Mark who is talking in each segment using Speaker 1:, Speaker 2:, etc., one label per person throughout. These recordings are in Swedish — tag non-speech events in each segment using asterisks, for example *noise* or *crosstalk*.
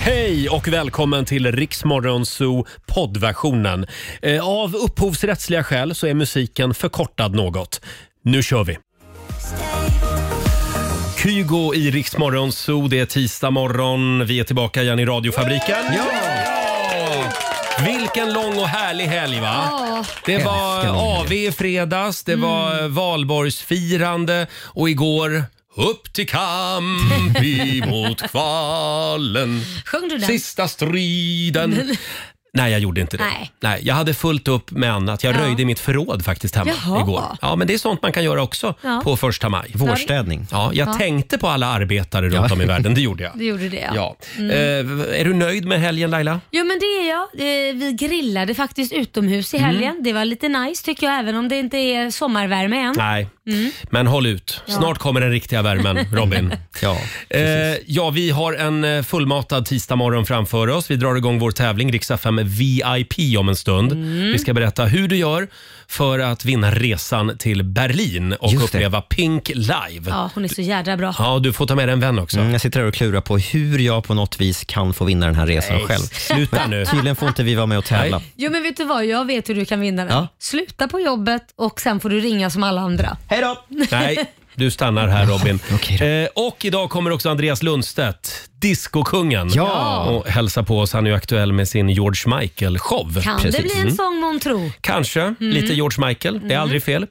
Speaker 1: Hej och välkommen till Riksmorgonzoo poddversionen. Eh, Av upphovsrättsliga skäl så är musiken förkortad något. Nu kör vi! Kygo i Riksmorgonzoo, det är tisdag morgon. Vi är tillbaka igen i radiofabriken. Ja! Vilken lång och härlig helg va?
Speaker 2: Ja.
Speaker 1: Det var
Speaker 3: Älskar lång
Speaker 1: AV i fredags, det var valborgsfirande och igår upp till kamp emot kvalen.
Speaker 2: Sjöng du den?
Speaker 1: Sista striden. Nej, jag gjorde inte det.
Speaker 2: Nej.
Speaker 1: jag hade fullt upp med annat. Jag
Speaker 2: Ja.
Speaker 1: röjde i mitt förråd faktiskt hemma
Speaker 2: Jaha.
Speaker 1: igår. Ja, men det är sånt man kan göra också
Speaker 2: Ja.
Speaker 1: på första maj.
Speaker 3: Vårstädning.
Speaker 1: Ja, jag
Speaker 2: Ja.
Speaker 1: tänkte på alla arbetare runt om i världen. Det gjorde jag.
Speaker 2: Du gjorde *laughs* det Mm. ja.
Speaker 1: Ja. Eh, är du nöjd med helgen Laila?
Speaker 2: Jo men det är jag. Eh, Vi grillade faktiskt utomhus
Speaker 3: Mm.
Speaker 2: i helgen. Det var lite nice tycker jag även om det inte är sommarvärme än.
Speaker 1: Nej, men håll ut. Snart kommer den riktiga värmen,
Speaker 2: *laughs*
Speaker 1: Robin.
Speaker 3: Ja.
Speaker 1: Eh, ja, vi har en eh, fullmatad tisdagmorgon framför oss. Vi drar igång vår tävling Riksa 5 VIP om en stund.
Speaker 3: Mm.
Speaker 1: Vi ska berätta hur du gör för att vinna resan till Berlin och
Speaker 3: Just det.
Speaker 1: uppleva Pink live. Ja.
Speaker 2: Ja, hon är så jädra bra.
Speaker 1: du får ta med dig en vän också.
Speaker 3: Mm, jag sitter här och klurar på hur jag på något vis kan få vinna den här resan själv.
Speaker 1: Sluta
Speaker 3: *laughs*
Speaker 1: nu.
Speaker 3: Tydligen får inte vi vara med och tävla.
Speaker 1: Nej.
Speaker 2: Jo men vet du vad, jag vet hur du kan vinna den.
Speaker 3: Ja.
Speaker 2: Sluta på jobbet och sen får du ringa som alla andra.
Speaker 3: Hej då!
Speaker 1: Nej, du stannar här Robin.
Speaker 3: *laughs* Okej då.
Speaker 1: eh, och idag kommer också Andreas Lundstedt, diskokungen,
Speaker 3: Ja.
Speaker 1: och hälsa på oss. Han är ju aktuell med sin George Michael-show.
Speaker 2: Kan det
Speaker 3: Precis. Mm.
Speaker 2: bli en sång månntro?
Speaker 1: Kanske.
Speaker 2: Mm.
Speaker 1: Lite George Michael. Det är aldrig fel.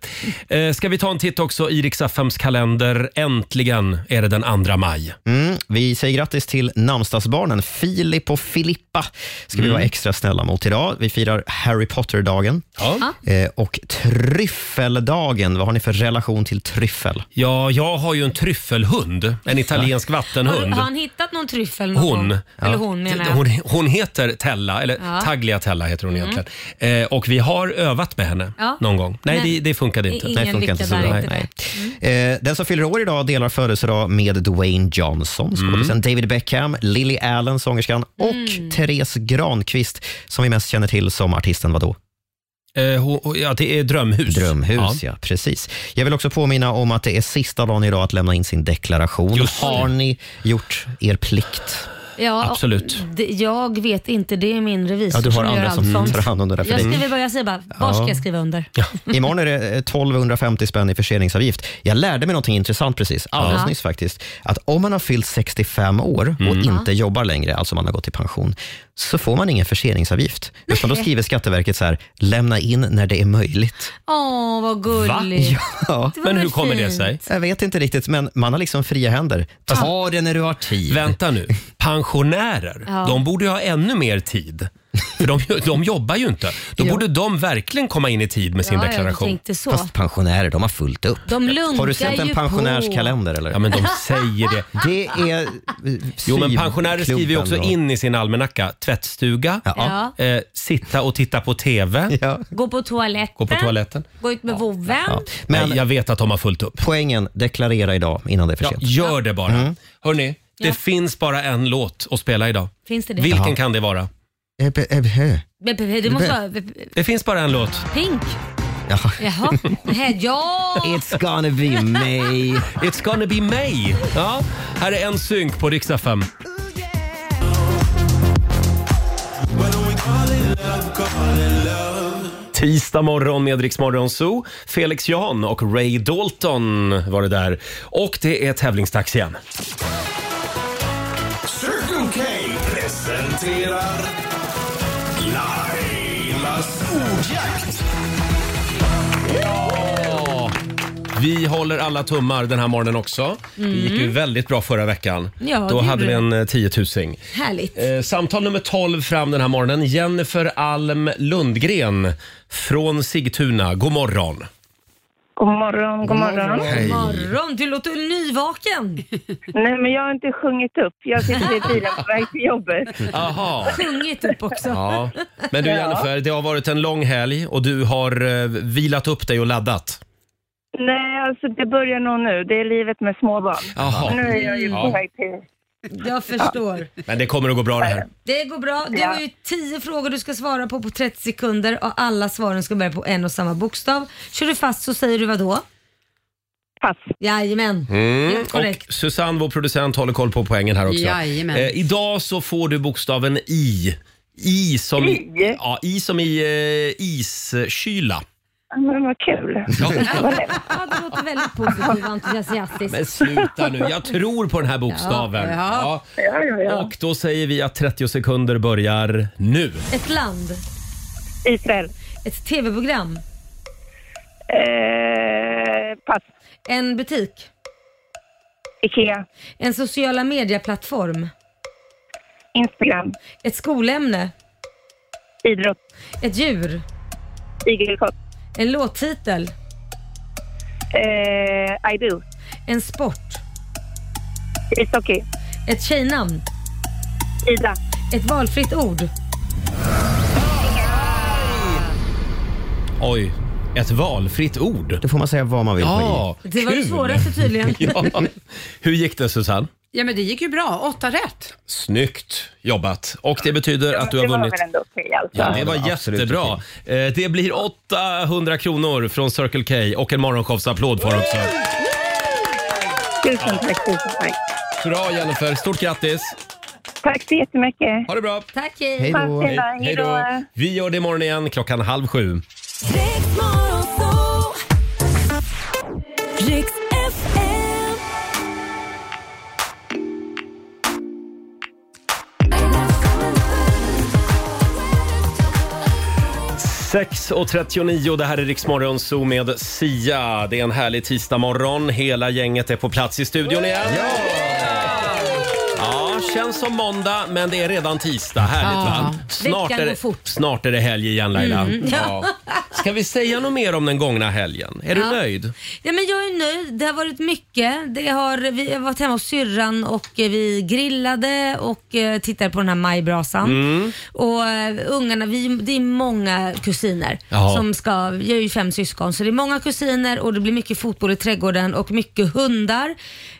Speaker 1: Eh, ska vi ta en titt också i Riksaffems kalender. Äntligen är det den 2 maj.
Speaker 3: Mm, vi säger grattis till namnsdagsbarnen Filip och Filippa. ska vi vara extra snälla mot idag. Vi firar Harry Potter-dagen
Speaker 1: Mm. Ja.
Speaker 3: eh, och tryffeldagen. Vad har ni för relation till tryffel?
Speaker 1: ja, jag har ju en tryffelhund. En italiensk
Speaker 2: Har, har
Speaker 1: vattenhund.
Speaker 2: han hittat någon tryffel? Någon
Speaker 1: Hon.
Speaker 2: gång? Eller hon menar jag.
Speaker 1: Hon, hon heter Tella, eller
Speaker 2: Ja. Mm.
Speaker 1: Tagliatella heter hon egentligen. Eh, och vi har övat med henne
Speaker 2: Ja.
Speaker 1: någon gång. Nej,
Speaker 2: Men-
Speaker 1: det, det funkade inte.
Speaker 2: I- Mm. Ingen lycka där, inte
Speaker 3: Nej. Eh, den som fyller år idag delar födelsedag med Dwayne Johnson, skådisen David Beckham, Lily Allen, sångerskan, och
Speaker 2: Mm.
Speaker 3: Therese Granqvist, som vi mest känner till som artisten vadå?
Speaker 1: Eh, hon, hon- ja, det är drömhus.
Speaker 3: Drömhus, ja. Precis. Jag vill också påminna om att det är sista dagen idag att lämna in sin deklaration.
Speaker 1: Just det.
Speaker 3: Har ni gjort er plikt?
Speaker 2: Ja,
Speaker 1: Absolut.
Speaker 2: det- Jag vet inte, det är min revisor som gör allt sånt.
Speaker 3: tar hand om det där för
Speaker 2: Jag
Speaker 3: dig.
Speaker 2: skriver bara, jag säger bara, var ska jag skriva under?
Speaker 3: *laughs* Imorgon är det eh, 1250 spänn i förseningsavgift. Jag lärde mig någonting intressant precis, alldeles
Speaker 2: Ja.
Speaker 3: nyss faktiskt. Att om man har fyllt 65 år och
Speaker 1: Mm.
Speaker 3: inte jobbar längre, alltså man har gått i pension, så får man ingen förseningsavgift. Utan då skriver Skatteverket så här, lämna in när det är möjligt.
Speaker 2: Åh, vad gulligt.
Speaker 3: *laughs* Ja.
Speaker 2: Det var
Speaker 1: Men
Speaker 2: väl
Speaker 1: hur kommer det
Speaker 2: fint.
Speaker 1: sig?
Speaker 3: Jag vet inte riktigt, men man har liksom fria händer. Ta det när du har tid.
Speaker 1: Vänta nu, pensionärer,
Speaker 2: Ja.
Speaker 1: de borde ju ha ännu mer tid. För de, *laughs* de jobbar ju inte. Då
Speaker 2: Jo.
Speaker 1: borde de verkligen komma in i tid med sin
Speaker 2: ja,
Speaker 1: deklaration.
Speaker 2: Jag tänkte så.
Speaker 3: Fast pensionärer, de har fullt upp.
Speaker 2: de lunkar
Speaker 3: Har du sett en
Speaker 2: ju
Speaker 3: pensionärskalender eller?
Speaker 1: Ja, men de säger det.
Speaker 3: Det är... eh,
Speaker 1: Jo, men pensionärer skriver ju också
Speaker 3: syklubben då.
Speaker 1: in i sin almanacka tvättstuga,
Speaker 2: Ja.
Speaker 1: eh, sitta och titta på TV,
Speaker 3: *laughs* Ja.
Speaker 2: på. Gå på toaletten.
Speaker 1: gå på toaletten.
Speaker 2: Gå ut med vovven.
Speaker 3: Ja.
Speaker 1: Men
Speaker 3: Men-
Speaker 1: Nej, jag vet att de har fullt upp.
Speaker 3: Poängen, deklarera idag innan det är för
Speaker 1: Ja,
Speaker 3: sent.
Speaker 1: gör det bara. Hörni, det
Speaker 2: Ja.
Speaker 1: finns bara en låt att spela idag.
Speaker 2: Finns det det?
Speaker 1: Vilken kan det vara?
Speaker 3: Ebbe, ebbe, Eh, hö.
Speaker 2: Men, Det måste vara
Speaker 1: Det finns bara en låt.
Speaker 2: pink.
Speaker 3: Ja.
Speaker 2: Jaha. Det här- Ja!
Speaker 1: *laughs*
Speaker 3: It's gonna be me.
Speaker 1: It's gonna be me. Ja, här är en synk på riksdag 5. Tisdag morgon med Rix Morgon Zoo. Felix Jan och Ray Dalton var det där. Och det är tävlingsdags igen.
Speaker 4: Circle K presenterar Lailas ordjakt.
Speaker 1: Vi håller alla tummar den här morgonen också. Det gick ju väldigt bra förra veckan.
Speaker 2: Mm. Ja, det
Speaker 1: Då
Speaker 2: gjorde
Speaker 1: hade vi
Speaker 2: det.
Speaker 1: en eh, tiotusing.
Speaker 2: Härligt.
Speaker 1: Eh, samtal nummer 12 fram den här morgonen. Jennifer Alm Lundgren från Sigtuna. God morgon.
Speaker 5: God morgon, god morgon.
Speaker 2: God morgon. Du låter nyvaken.
Speaker 5: Nej, men jag har inte sjungit upp. Jag sitter i bilen
Speaker 1: *laughs*
Speaker 5: på väg till jobbet.
Speaker 1: Aha.
Speaker 2: Sjungit upp också.
Speaker 1: Ja. Men du Jennifer, det har varit en lång helg och du har eh, vilat upp dig och laddat.
Speaker 5: Nej, alltså det börjar nog nu. Det är livet med småbarn. Nu
Speaker 1: Jaha.
Speaker 5: är jag ju på
Speaker 1: Ja.
Speaker 5: väg till...
Speaker 2: Jag förstår.
Speaker 1: Men det kommer att gå bra det här.
Speaker 2: Det går bra. Det var ju 10 frågor du ska svara på på 30 sekunder och alla svaren ska börja på en och samma bokstav. Kör du fast så säger du vad då?
Speaker 5: Pass.
Speaker 2: Jajamän, helt korrekt.
Speaker 1: Mm. Och Susanne, vår producent, håller koll på poängen här också.
Speaker 6: Jajamän.
Speaker 1: Eh, idag så får du bokstaven I. I som i,
Speaker 5: I?
Speaker 1: ja, I, som i eh, iskyla.
Speaker 5: Ja, Men vad kul.
Speaker 1: Ja.
Speaker 2: Ja, det låter väldigt positivt och entusiastiskt.
Speaker 1: Men sluta nu, jag tror på den här bokstaven.
Speaker 6: Ja,
Speaker 5: Ja, ja,
Speaker 1: Ja.
Speaker 5: ja.
Speaker 1: Och då säger vi att 30 sekunder börjar nu.
Speaker 2: Ett land,
Speaker 5: Israel.
Speaker 2: ett tv-program,
Speaker 5: Eh, pass.
Speaker 2: en butik,
Speaker 5: Ikea.
Speaker 2: en sociala medieplattform,
Speaker 5: Instagram.
Speaker 2: ett skolämne,
Speaker 5: Idrott.
Speaker 2: ett djur,
Speaker 5: Igelkott.
Speaker 2: en låttitel,
Speaker 5: Eh, I do.
Speaker 2: en sport,
Speaker 5: Ishockey.
Speaker 2: ett tjejnamn,
Speaker 5: Ida.
Speaker 2: ett valfritt ord.
Speaker 1: Oj, ett valfritt ord.
Speaker 3: Då får man säga vad man vill på i.
Speaker 1: Ja,
Speaker 2: Det var det
Speaker 1: kul.
Speaker 2: svåraste tydligen.
Speaker 1: *laughs* Ja. Hur gick det Susanne?
Speaker 6: ja, men det gick ju bra. Åtta rätt.
Speaker 1: Snyggt jobbat. Och det betyder att du har
Speaker 5: det var
Speaker 1: vunnit.
Speaker 5: väl ändå okej alltså.
Speaker 1: Ja, det
Speaker 3: det
Speaker 1: var
Speaker 3: var absolut
Speaker 1: jättebra. Eh, Det blir 800 kronor från Circle K och en morgonshowsapplåd för också.
Speaker 5: Tusen tack, tusen tack.
Speaker 1: Bra Jennifer, stort grattis!
Speaker 5: Tack så jättemycket.
Speaker 1: Ha det bra!
Speaker 2: Tack, hej.
Speaker 3: Hej
Speaker 5: Tack
Speaker 3: då.
Speaker 5: snälla. Hej då.
Speaker 1: Vi gör det imorgon igen klockan halv sju.
Speaker 7: Riks FM.
Speaker 1: Sex och 39, det här är Riksmorgon Zoo med Sia. Det är en härlig tisdagmorgon. Hela gänget är på plats i studion igen. Ja! Känns som måndag, men det är redan tisdag. Härligt, va? Snart
Speaker 2: Veckan
Speaker 1: är,
Speaker 2: går fort. Mm.
Speaker 1: snart är det helg igen, Laila. Ja. Ska vi säga något mer om den gångna helgen? Är du
Speaker 2: Ja.
Speaker 1: nöjd?
Speaker 2: Ja, men jag är nöjd. Det har varit mycket. Det har, vi har varit hemma hos syrran och eh, vi grillade och eh, tittade på den här majbrasan.
Speaker 1: Mm.
Speaker 2: Och eh, ungarna, vi, det är många kusiner
Speaker 1: Jaha.
Speaker 2: som ska, jag är ju fem syskon, så det är många kusiner och det blir mycket fotboll i trädgården och mycket hundar.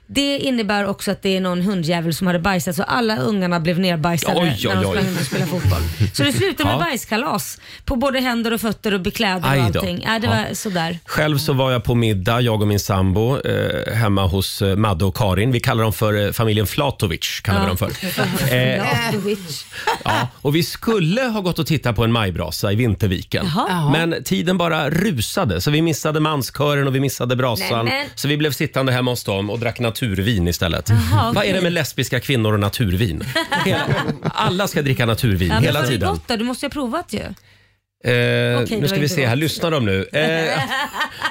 Speaker 2: Det innebär också att det är någon hundjävel som hade bajsat så alla ungarna blev nerbajsade
Speaker 1: Oj, oj,
Speaker 2: när de
Speaker 1: oj.
Speaker 2: sprang ut och spelade fotboll. Så det slutade med
Speaker 1: Ja.
Speaker 2: bajskalas på både händer och fötter och bekläder
Speaker 1: Aj
Speaker 2: och
Speaker 1: då.
Speaker 2: allting. Ja, det
Speaker 1: Ja.
Speaker 2: var sådär.
Speaker 1: Själv så var jag på middag, jag och min sambo, eh, hemma hos eh, Madde och Karin. Vi kallar dem för eh, familjen Flatovic. Kallar vi dem för. Eh,
Speaker 2: *laughs* Ja, the witch.
Speaker 1: ja, och vi skulle ha gått och tittat på en majbrasa i Vinterviken.
Speaker 2: Jaha.
Speaker 1: Men tiden bara rusade, så vi missade manskören och vi missade brasan.
Speaker 2: Nej, men-
Speaker 1: Så vi blev sittande hemma hos dem och drack naturvin istället.
Speaker 2: Jaha,
Speaker 1: Vad är
Speaker 2: okej.
Speaker 1: det med lesbiska kvinnor och naturvin? Hela, alla ska dricka naturvin
Speaker 2: Ja, men
Speaker 1: hela
Speaker 2: var det
Speaker 1: tiden.
Speaker 2: gott då? Du måste ju ha provat ju.
Speaker 1: Eh,
Speaker 2: det
Speaker 1: nu
Speaker 2: var
Speaker 1: ska vi
Speaker 2: inte
Speaker 1: se
Speaker 2: gott.
Speaker 1: här, lyssnar de nu?
Speaker 2: *laughs*
Speaker 1: Eh,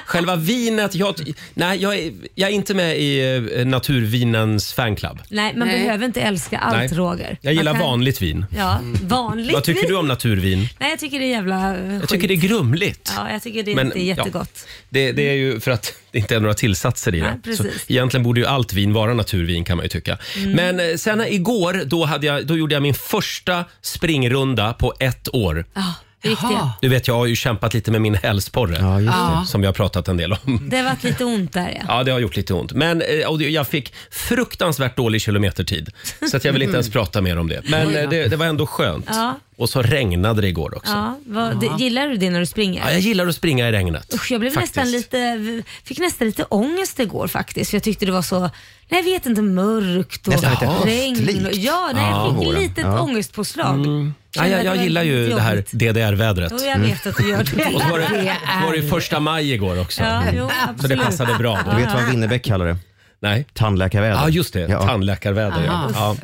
Speaker 1: själva vinet, jag, nej, jag, är, jag är inte med i eh, naturvinens fanclub.
Speaker 2: Nej, man
Speaker 6: Nej.
Speaker 2: behöver inte älska allt
Speaker 1: Nej.
Speaker 2: Roger.
Speaker 1: Jag gillar
Speaker 2: Man kan-
Speaker 1: vanligt vin.
Speaker 2: Ja, vanligt.
Speaker 1: Vad tycker
Speaker 2: vin.
Speaker 1: du om naturvin?
Speaker 2: Nej, jag tycker det är jävla
Speaker 1: Jag tycker det är grumligt.
Speaker 2: Ja, jag tycker det
Speaker 1: Men,
Speaker 2: inte är
Speaker 1: ja.
Speaker 2: jättegott. Mm.
Speaker 1: Det, det är ju för att det inte är några tillsatser i det.
Speaker 2: Nej,
Speaker 1: så
Speaker 2: precis. Mm.
Speaker 1: egentligen borde ju allt vin vara naturvin kan man ju tycka. Men eh, sen igår, då, hade jag, då gjorde jag min första springrunda på ett år.
Speaker 2: Ja, det gick det.
Speaker 6: Jaha.
Speaker 1: Du vet, jag har ju kämpat lite med min hälsporre.
Speaker 3: Ja, just det.
Speaker 6: Ja.
Speaker 1: Som vi har pratat en del om.
Speaker 2: Det har varit lite ont där ja.
Speaker 1: Ja, det har gjort lite ont. Men eh, och det- jag fick fruktansvärt dålig kilometertid. Så att jag vill inte ens prata mer om det. Men eh, det, det var ändå skönt.
Speaker 2: Mm. Ja.
Speaker 1: Och så regnade det igår också.
Speaker 2: ja, vad, det gillar du det när du springer?
Speaker 1: Ja, jag gillar att springa i regnet.
Speaker 2: Usch, jag blev
Speaker 1: faktiskt.
Speaker 2: nästan lite, fick nästan lite ångest igår faktiskt. För jag tyckte det var så, nej jag vet inte, mörkt och
Speaker 3: Nästan lite
Speaker 2: regn. Och,
Speaker 3: höstlikt.
Speaker 2: ja, nej, jag fick
Speaker 3: våren.
Speaker 2: lite
Speaker 3: Ja.
Speaker 2: ångestpåslag.
Speaker 1: Mm. Ja,
Speaker 2: Kände
Speaker 1: jag,
Speaker 2: att
Speaker 1: jag
Speaker 2: var
Speaker 1: gillar ju
Speaker 2: lite
Speaker 1: det här
Speaker 2: jobbigt.
Speaker 1: DDR-vädret.
Speaker 2: Jo, jag vet att du gör det.
Speaker 1: Mm. *laughs* Och så var det, var det första maj igår också. Mm.
Speaker 2: Ja, jo,
Speaker 1: Så det
Speaker 2: absolut.
Speaker 1: passade bra
Speaker 3: Du
Speaker 1: då.
Speaker 3: vet vad Winnerbäck kallar det?
Speaker 1: Nej.
Speaker 3: Tandläkarväder.
Speaker 1: Ja, just det.
Speaker 3: Ja.
Speaker 1: Tandläkarväder. Ja.
Speaker 6: Aha.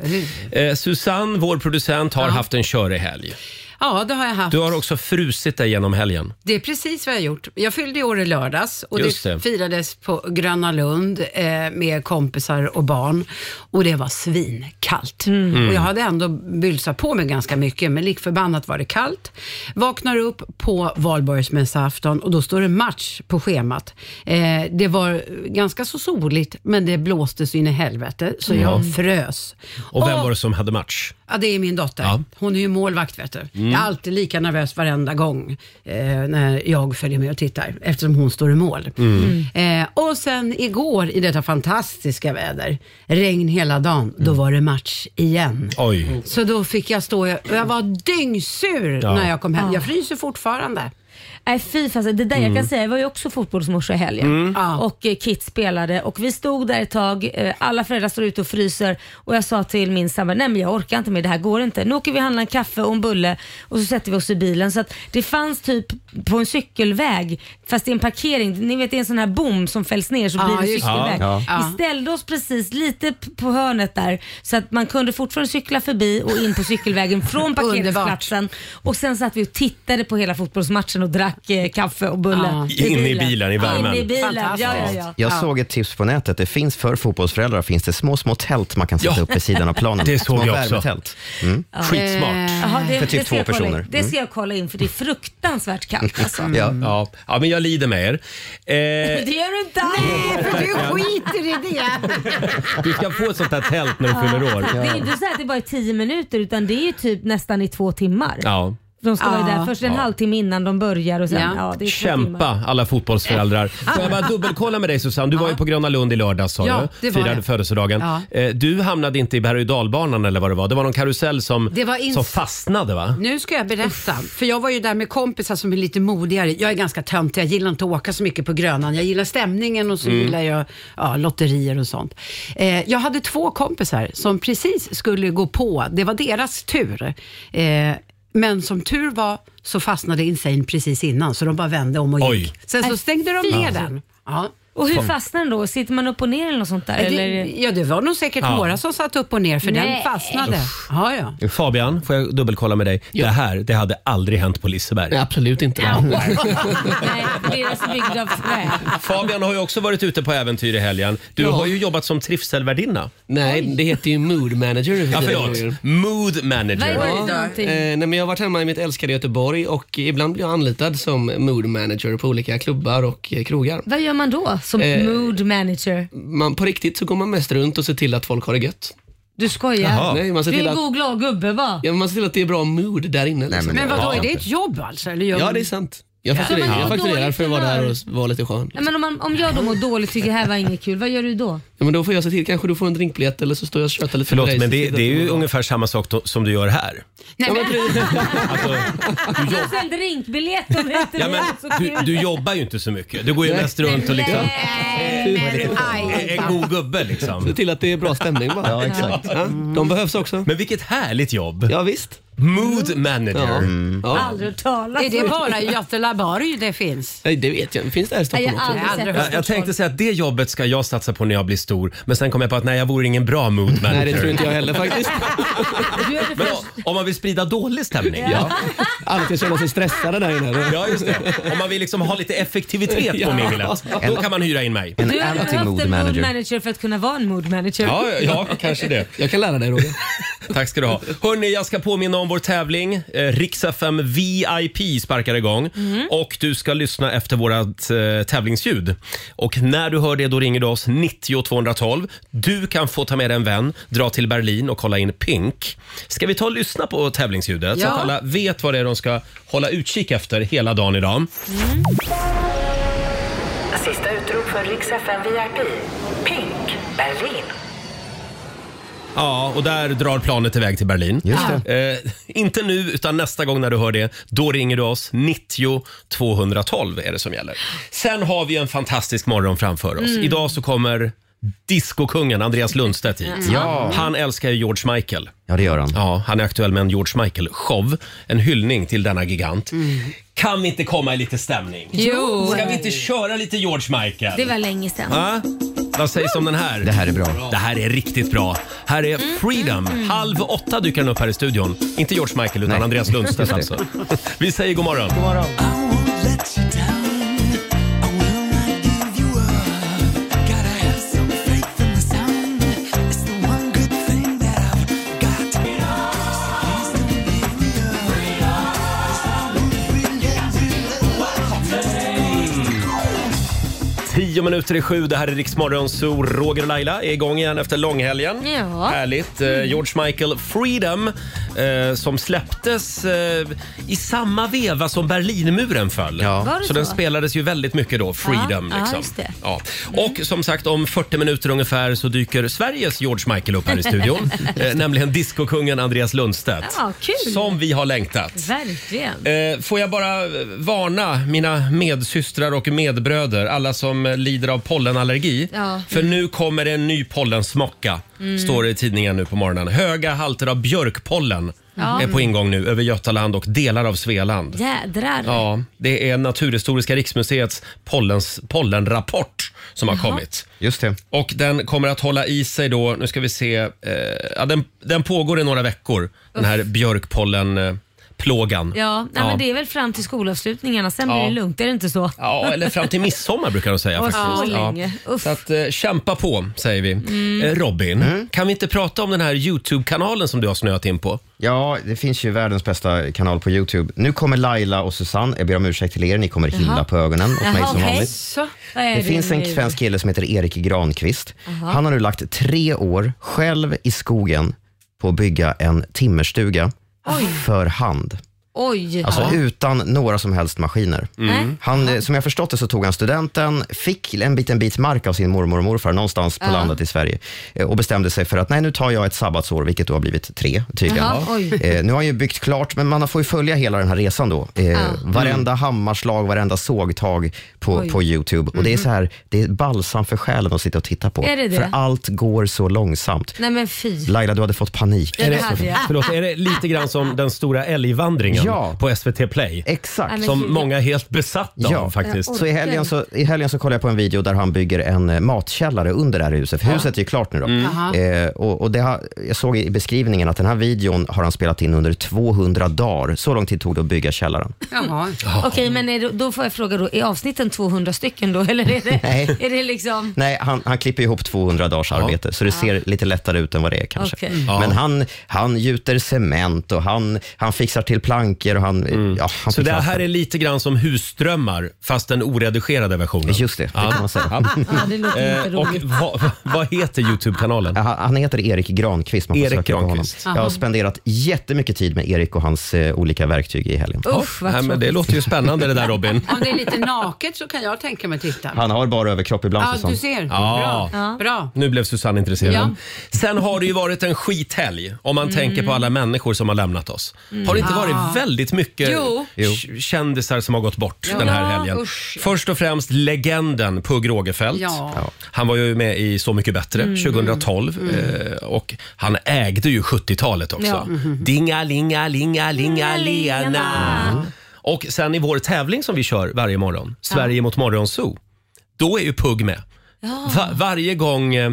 Speaker 1: Ja. Eh, Susanne, vår producent, har haft en körig helg.
Speaker 6: Ja, det har jag haft.
Speaker 1: Du har också frusit dig genom helgen.
Speaker 6: Det är precis vad jag gjort. Jag fyllde i år i lördags och
Speaker 1: Just det.
Speaker 6: det firades på Gröna Lund eh, med kompisar och barn och det var svinkallt.
Speaker 1: Mm.
Speaker 6: Och jag hade ändå bylsat på mig ganska mycket, men lik förbannat var det kallt. Vaknar upp på valborgsmässoafton och då står det match på schemat. Eh, det var ganska så soligt, men det blåste så in i helvete, så jag frös.
Speaker 1: Mm. Och vem
Speaker 6: Och-
Speaker 1: var det som hade match?
Speaker 6: Ja, det är min dotter.
Speaker 1: Ja. Mm.
Speaker 6: Hon är ju målvakt vet du. Jag är alltid lika nervös varenda gång eh, när jag följer med och tittar eftersom hon står i mål.
Speaker 1: Mm.
Speaker 6: Eh, och sen igår i detta fantastiska väder, regn hela dagen, då
Speaker 1: Mm.
Speaker 6: var det match igen.
Speaker 1: Oj.
Speaker 2: Mm.
Speaker 6: Så då fick jag stå, och jag var dyngsur
Speaker 1: Ja.
Speaker 6: när jag kom hem. Jag fryser fortfarande.
Speaker 2: Nej fy fasen, det där jag
Speaker 1: Mm.
Speaker 2: kan säga, jag var ju också fotbollsmorsa i helgen
Speaker 6: Ja.
Speaker 2: och eh, Kit spelade och vi stod där ett tag, eh, alla föräldrar står ute och fryser och jag sa till min sambo, nej men jag orkar inte med det här, går inte. Nu åker vi och handlar en kaffe och en bulle och så sätter vi oss i bilen. Så att det fanns typ på en cykelväg, fast i en parkering, ni vet det är en sån här bom som fälls ner så
Speaker 6: Ja,
Speaker 2: blir det
Speaker 6: just-
Speaker 2: cykelväg.
Speaker 3: Ja,
Speaker 6: ja.
Speaker 2: Vi ställde oss precis lite p- på hörnet där så att man kunde fortfarande cykla förbi och in på cykelvägen
Speaker 6: *laughs*
Speaker 2: från parkeringsplatsen. Och sen satt vi och tittade på hela fotbollsmatchen och drack eh, kaffe och bulle.
Speaker 6: Ja.
Speaker 1: In i bilen, i värmen.
Speaker 2: In i bilen, ja, ja, ja.
Speaker 6: Fantastiskt.
Speaker 3: Jag
Speaker 6: Ja.
Speaker 3: såg ett tips på nätet. Det finns för fotbollsföräldrar finns det små, små tält man kan sätta
Speaker 1: Ja.
Speaker 3: upp vid sidan av
Speaker 1: *laughs*
Speaker 3: planen.
Speaker 1: Det såg
Speaker 3: Små
Speaker 1: jag också.
Speaker 3: värmetält.
Speaker 1: Skitsmart.
Speaker 2: Jaha,
Speaker 6: Mm.
Speaker 2: det,
Speaker 3: För typ
Speaker 2: det ska jag
Speaker 3: två
Speaker 2: kolla in.
Speaker 3: personer.
Speaker 2: Det ska jag kolla in för det är fruktansvärt kallt alltså.
Speaker 3: *laughs* Ja.
Speaker 1: Mm. Ja. ja, men jag lider med er. Eh,
Speaker 2: Det gör du inte alls.
Speaker 6: För du skiter i det.
Speaker 1: du ska få ett sånt här tält när du fyller år.
Speaker 2: Det är ju inte så att det bara är 10 minuter utan det är ju typ nästan i två timmar.
Speaker 1: Ja.
Speaker 2: De ska vara
Speaker 6: Ja.
Speaker 2: där först en halvtimme innan de börjar och sen, ja.
Speaker 6: Ja.
Speaker 2: det är två timmar.
Speaker 1: Kämpa alla fotbollsföräldrar. Får jag bara dubbelkolla med dig Susanne? Du var ju på Gröna Lund i lördags sa
Speaker 6: Ja,
Speaker 1: du.
Speaker 6: det var
Speaker 1: Firade
Speaker 6: jag.
Speaker 1: födelsedagen.
Speaker 6: Ja.
Speaker 1: Eh, Du hamnade inte i berg och dalbanan eller vad det var. Det var någon karusell som,
Speaker 6: Det var ins-
Speaker 1: som fastnade va?
Speaker 6: Nu ska jag berätta, för jag var ju där med kompisar som är lite modigare. Jag är ganska töntig, jag gillar inte att åka så mycket på Grönan. Jag gillar stämningen och så gillar jag ja, lotterier och sånt. Eh, jag hade två kompisar som precis skulle gå på, det var deras tur. Eh, men som tur var så fastnade Insane precis innan, så de bara vände om och
Speaker 1: Oj.
Speaker 6: gick. Sen så stängde de
Speaker 2: fy.
Speaker 6: ner den. Ja. eh,
Speaker 2: Och hur fastnar den då? Sitter man upp och ner eller något sånt där?
Speaker 6: Det,
Speaker 2: Eller?
Speaker 6: ja, det var nog säkert
Speaker 1: Ja.
Speaker 6: några som satt upp och ner för
Speaker 2: Nej.
Speaker 6: den fastnade. Ja, ja.
Speaker 1: Fabian, får jag dubbelkolla med dig? Det här, det hade aldrig hänt på Liseberg.
Speaker 8: Absolut inte.
Speaker 2: Nej, för det är alltså byggd av trä.
Speaker 1: Fabian har ju också varit ute på äventyr i helgen. Du
Speaker 8: Ja.
Speaker 1: har ju jobbat som trivselvärdinna.
Speaker 8: Nej, det heter ju mood
Speaker 2: *laughs*
Speaker 8: manager.
Speaker 1: Ja,
Speaker 8: för
Speaker 1: förlåt. Mood
Speaker 2: Vad är det
Speaker 1: manager.
Speaker 2: för någonting?
Speaker 8: Eh, nej, men jag har varit hemma i mitt älskade Göteborg och ibland blir jag anlitad som mood manager på olika klubbar och eh, krogar.
Speaker 2: Vad gör man då som
Speaker 1: Eh.
Speaker 2: mood manager?
Speaker 8: Man, på riktigt så går man mest runt och ser till att folk har det gött.
Speaker 2: Du skojar?
Speaker 1: Jaha.
Speaker 8: Nej, man ser
Speaker 2: Du är
Speaker 8: till
Speaker 2: en
Speaker 8: att,
Speaker 2: god glad gubbe va?
Speaker 8: ja, man ser till att det är bra mood där inne.
Speaker 3: Nej,
Speaker 8: Liksom.
Speaker 3: men,
Speaker 6: Men vadå,
Speaker 1: Ja.
Speaker 6: är det ett jobb alltså? Eller gör
Speaker 8: Ja,
Speaker 6: man-
Speaker 8: det är sant. Jag
Speaker 2: Så man
Speaker 8: fakturerar,
Speaker 2: är på
Speaker 8: jag fakturerar
Speaker 2: dåligt
Speaker 8: för att vara
Speaker 2: humör.
Speaker 8: där och vara lite skön.
Speaker 2: Nej, men om, man, om jag då mår dåligt tycker jag här var inget kul, vad gör du då?
Speaker 8: Ja, men då får jag se till, kanske du får en drinkbiljett eller så står jag och tjötar lite
Speaker 1: Förlåt,
Speaker 8: med dig.
Speaker 1: men
Speaker 8: Så
Speaker 1: det,
Speaker 8: sitter
Speaker 1: det är
Speaker 8: jag
Speaker 1: ju
Speaker 8: och-
Speaker 1: ungefär samma sak to- som du gör här. Alltså,
Speaker 6: Nej, men,
Speaker 2: Du har Alltså, en drinkbiljett om det inte
Speaker 1: Ja, men,
Speaker 2: är så
Speaker 1: du,
Speaker 2: kul.
Speaker 1: du jobbar ju inte så mycket. Du går ju mest runt och liksom...
Speaker 6: Nej, men aj.
Speaker 1: En god
Speaker 8: *laughs*
Speaker 1: gubbe
Speaker 8: Se
Speaker 1: liksom.
Speaker 8: till att det är bra stämning bara.
Speaker 3: Ja, exakt.
Speaker 8: Ja, de behövs också.
Speaker 1: Men vilket härligt jobb!
Speaker 8: Ja, visst.
Speaker 1: Mood manager.
Speaker 8: Ja. Mm. Ja.
Speaker 2: Aldrig hört talas
Speaker 6: Är det bara i Götelaborg det finns?
Speaker 8: Nej, det vet jag. Finns det här i
Speaker 2: Nej, jag
Speaker 8: Stockholm också?
Speaker 2: har aldrig
Speaker 6: aldrig
Speaker 2: sett
Speaker 1: Jag, jag tänkte säga att det jobbet ska jag satsa på när jag blir stor. Men sen kom jag på att nej, jag vore ingen bra mood manager.
Speaker 8: Nej, det tror inte jag heller faktiskt.
Speaker 2: Du är det
Speaker 1: Men
Speaker 2: först-
Speaker 1: om- om man vill sprida dålig stämning.
Speaker 8: Ja. Alla ska känna sig stressade där inne.
Speaker 1: Ja, just det. Om man vill liksom ha lite effektivitet på
Speaker 8: Ja.
Speaker 1: minglet, då kan man hyra in mig.
Speaker 3: En
Speaker 2: Du har
Speaker 3: anti
Speaker 2: behövt
Speaker 3: mood
Speaker 2: en mood
Speaker 3: manager.
Speaker 2: manager för att kunna vara en mood manager.
Speaker 1: Ja, ja, kanske det.
Speaker 8: Jag kan lära dig Roger.
Speaker 1: Tack ska du ha. Hörni, jag ska påminna om vår tävling. Eh, Rix FM VIP sparkar igång. Och du ska lyssna efter vårat eh, tävlingsljud. Och när du hör det då ringer du oss 90 212. Du kan få ta med dig en vän, dra till Berlin och kolla in Pink. Ska vi ta och lyssna på tävlingsljudet så
Speaker 6: Ja.
Speaker 1: att alla vet vad det är de ska hålla utkik efter hela dagen idag?
Speaker 9: Sista utrop för Rix FM VIP. Pink, Berlin.
Speaker 1: Ja, och där drar planet iväg till Berlin.
Speaker 3: Just det.
Speaker 1: Eh, inte nu, utan nästa gång när du hör det. Då ringer du oss. 90 212 är det som gäller. Sen har vi en fantastisk morgon framför
Speaker 3: Mm.
Speaker 1: oss. Idag så kommer diskokungen Andreas Lundstedt hit.
Speaker 3: Ja.
Speaker 1: Han älskar ju George Michael.
Speaker 3: Ja, det gör han.
Speaker 1: Ja, han är aktuell med en George Michael-show. En hyllning till denna gigant.
Speaker 3: Mm.
Speaker 1: Kan vi inte komma i lite stämning?
Speaker 2: Jo,
Speaker 1: Ska vi inte köra lite George Michael?
Speaker 2: det var länge sedan.
Speaker 1: Va? Vad sägs om den här?
Speaker 3: Det här är bra. Mm.
Speaker 1: Det här är riktigt bra. Här är Freedom. Halv åtta dyker den upp här i studion. Inte George Michael utan
Speaker 3: Nej.
Speaker 1: Andreas Lundstedt
Speaker 3: *laughs* Just det.
Speaker 1: alltså. Vi säger god morgon. Tio minuter i sju, det här är Riksmorgon Zoo. Roger och Laila är igång igen efter långhelgen.
Speaker 2: Ja. Mm.
Speaker 1: Härligt. Eh, George Michael Freedom eh, som släpptes eh, i samma veva som Berlinmuren föll.
Speaker 2: Var det
Speaker 1: så den
Speaker 2: så?
Speaker 1: spelades ju väldigt mycket då, Freedom.
Speaker 2: Ja, ja,
Speaker 1: liksom.
Speaker 2: just det.
Speaker 1: Ja. Och som sagt, om 40 minuter ungefär så dyker Sveriges George Michael upp här
Speaker 2: *laughs*
Speaker 1: i studion. eh, nämligen diskokungen Andreas Lundstedt.
Speaker 2: Ja, kul.
Speaker 1: Som vi har längtat.
Speaker 2: Verkligen.
Speaker 1: Eh, Får jag bara eh, varna mina medsystrar och medbröder, alla som eh, lider av pollenallergi.
Speaker 2: Ja. Mm.
Speaker 1: För nu kommer det en ny pollensmocka, står det i tidningen nu på morgonen. Höga halter av björkpollen
Speaker 2: Ja.
Speaker 1: är på ingång nu över Götaland och delar av Svealand.
Speaker 2: Jädrar.
Speaker 1: Ja, det är Naturhistoriska riksmuseets pollens, pollenrapport som har
Speaker 2: Jaha.
Speaker 1: kommit.
Speaker 3: Just det.
Speaker 1: Och den kommer att hålla i sig då, nu ska vi se, eh, ja, den, den pågår i några veckor, den här björkpollen eh, plågan.
Speaker 2: Ja, nej, Men det är väl fram till skolavslutningarna, sen
Speaker 1: Ja.
Speaker 2: blir det lugnt, är det inte så?
Speaker 1: Ja, eller fram till midsommar brukar de säga
Speaker 2: Åh,
Speaker 1: faktiskt.
Speaker 2: så länge. Mm.
Speaker 1: Ja.
Speaker 2: Uff.
Speaker 1: Så att eh, kämpa på, säger vi. Eh, Robin,
Speaker 3: Mm.
Speaker 1: kan vi inte prata om den här YouTube-kanalen som du har snöat in på?
Speaker 3: Ja, det finns ju världens bästa kanal på Youtube. Nu kommer Laila och Susanne. Jag ber om ursäkt till er, ni kommer himla på ögonen åt mig
Speaker 2: Jaha,
Speaker 3: som
Speaker 2: okej.
Speaker 3: vanligt.
Speaker 6: Så.
Speaker 2: Vad är
Speaker 3: Det finns en
Speaker 2: nu?
Speaker 3: svensk kille som heter Erik Granqvist. Han har nu lagt tre år själv i skogen på att bygga en timmerstuga för hand.
Speaker 2: Oj.
Speaker 3: Alltså utan några som helst maskiner.
Speaker 2: Nej.
Speaker 3: Han, eh, som jag förstått det så tog han studenten, fick en biten bit mark av sin mormor och morfar någonstans på landet i Sverige eh, och bestämde sig för att nej, nu tar jag ett sabbatsår, vilket då har blivit tre tydligen.
Speaker 2: Jaha, oj.
Speaker 3: Eh, nu har han ju byggt klart, men man får ju följa hela den här resan då. Eh, Varenda hammarslag, varenda sågtag på,
Speaker 2: Mm. Oj. Mm-hmm.
Speaker 3: på Youtube. Och det är så här, det är balsam för själen att sitta och titta på.
Speaker 2: Är det det?
Speaker 3: För allt går så långsamt.
Speaker 2: Nej men fy.
Speaker 3: Laila, du hade fått panik.
Speaker 2: Ja, det hade jag.
Speaker 1: Förlåt, är det lite grann som den stora älgvandringen
Speaker 3: Ja.
Speaker 1: på SVT Play?
Speaker 3: Exakt.
Speaker 2: Nej, men
Speaker 1: Som
Speaker 2: gud.
Speaker 1: många är helt besatta av faktiskt.
Speaker 2: Ja,
Speaker 3: Så i helgen, så i helgen så kollade jag på en video där han bygger en eh, matkällare under det här huset. För huset är ju klart nu då. Eh, och, och det har, jag såg i beskrivningen att den här videon har han spelat in under 200 dagar. Så lång tid tog det att bygga källaren.
Speaker 6: Jaha.
Speaker 2: Okej, men är det, då får jag fråga då, är avsnitten 200 stycken då eller är
Speaker 1: *laughs*
Speaker 2: det,
Speaker 3: Nej.
Speaker 2: är det liksom...
Speaker 3: Nej, han, han klipper ihop 200 dagars arbete, så det ser lite lättare ut än vad det är kanske.
Speaker 2: Okej.
Speaker 3: Men han, han gjuter cement och han, han fixar till plankor och han... Ja, han
Speaker 1: Mm. Så det
Speaker 3: fixar
Speaker 1: här är lite grann som husdrömmar, fast den oredigerade versionen.
Speaker 3: Just det, det kan man säga.
Speaker 2: Ja, Ah, det låter inte
Speaker 1: Eh, och
Speaker 2: roligt.
Speaker 1: vad, vad heter Youtube-kanalen?
Speaker 3: Ja, Han han heter Erik Granqvist. Man får
Speaker 1: Erik
Speaker 3: söka på honom.
Speaker 1: Granqvist.
Speaker 3: Jag har spenderat jättemycket tid med Erik och hans eh, olika verktyg i helgen.
Speaker 6: Oh.
Speaker 2: Usch, vad
Speaker 1: Nej, men det
Speaker 2: tråkigt.
Speaker 1: låter ju spännande det där Robin.
Speaker 6: Om det är lite naket så kan jag tänka mig titta.
Speaker 3: Han har bara överkropp ibland.
Speaker 6: Ja,
Speaker 3: Susanne.
Speaker 6: du ser.
Speaker 1: Ja.
Speaker 6: Bra. Bra.
Speaker 1: Nu blev Susanne intresserad.
Speaker 6: Ja. Mm.
Speaker 1: Sen har det ju varit en skithelg om man tänker på alla människor som har lämnat oss. Har det inte varit väldigt mycket
Speaker 6: Ah. Jo.
Speaker 1: k- kändisar som har gått bort den här helgen?
Speaker 6: usch.
Speaker 1: Först och främst legenden Pugh Rogefeldt.
Speaker 6: Ja. Mm.
Speaker 1: Han var ju med i Så mycket bättre 2012 Eh, och han ägde ju 70-talet också.
Speaker 2: Ja.
Speaker 1: Dinga, linga, linga, linga, lena.
Speaker 2: Dingalingalena.
Speaker 1: Och sen i vår tävling som vi kör varje morgon, Sverige mot Morgonzoo, då är ju Pugh med. Va- varje gång eh,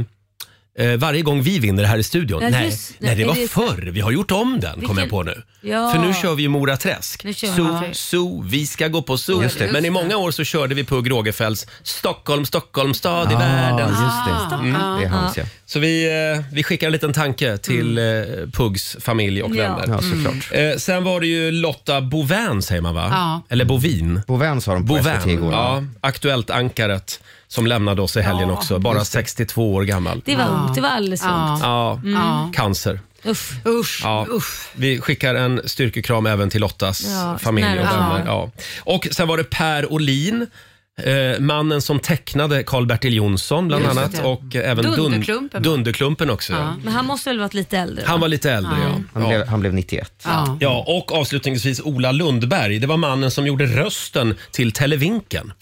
Speaker 1: eh, varje gång vi vinner här i studion.
Speaker 2: Ja,
Speaker 1: nej,
Speaker 2: just-
Speaker 1: nej, det
Speaker 2: nej,
Speaker 1: var
Speaker 2: det är-
Speaker 1: förr. Vi har gjort om den, kom
Speaker 2: Vilken-
Speaker 1: jag på nu.
Speaker 2: Ja.
Speaker 1: För nu kör vi ju Mora Träsk.
Speaker 2: Nu kör vi Mora
Speaker 1: Zoo,
Speaker 2: Träsk.
Speaker 1: zoo, vi ska gå på zoo.
Speaker 6: Just det.
Speaker 1: Men i många år så körde vi Pugh Rogefeldts Stockholm, Stockholm, stad i
Speaker 3: Ja,
Speaker 1: världen.
Speaker 3: just
Speaker 6: Ah.
Speaker 3: det. Mm, Det är hans, ja.
Speaker 1: Så vi, eh, vi skickar en liten tanke till eh, Pugs familj och
Speaker 2: Mm. Ja.
Speaker 1: vänner.
Speaker 3: ja
Speaker 6: Mm.
Speaker 3: såklart.
Speaker 1: Eh, sen var det ju Lotta Bovin säger man va?
Speaker 6: Ja.
Speaker 1: Eller Bovin.
Speaker 3: Bovens har de på SVT
Speaker 1: Bovin,
Speaker 3: igår.
Speaker 1: ja, aktuellt ankaret som lämnade oss i helgen också. Bara 62 år gammal.
Speaker 2: Det var ungt, det var alldeles ungt.
Speaker 1: Ja, cancer.
Speaker 2: Usch.
Speaker 6: Usch.
Speaker 1: Ja.
Speaker 6: Usch.
Speaker 1: Vi skickar en styrkekram även till Lottas
Speaker 2: Ja,
Speaker 1: familj och
Speaker 2: nära och
Speaker 1: vänner. Ja. Och sen var det Per Olin. Eh, mannen som tecknade Karl-Bertil Jonsson bland
Speaker 6: Just
Speaker 1: annat
Speaker 6: det.
Speaker 1: och eh, även Dunderklumpen,
Speaker 6: Dunderklumpen, va?
Speaker 1: Dunderklumpen också. Ja.
Speaker 2: Men han måste väl varit lite äldre?
Speaker 1: Han var lite äldre
Speaker 3: Han,
Speaker 1: ja. ja.
Speaker 3: blev, han blev 91.
Speaker 6: Ja.
Speaker 1: Ja, och avslutningsvis Ola Lundberg. Det var mannen som gjorde rösten till Televinken.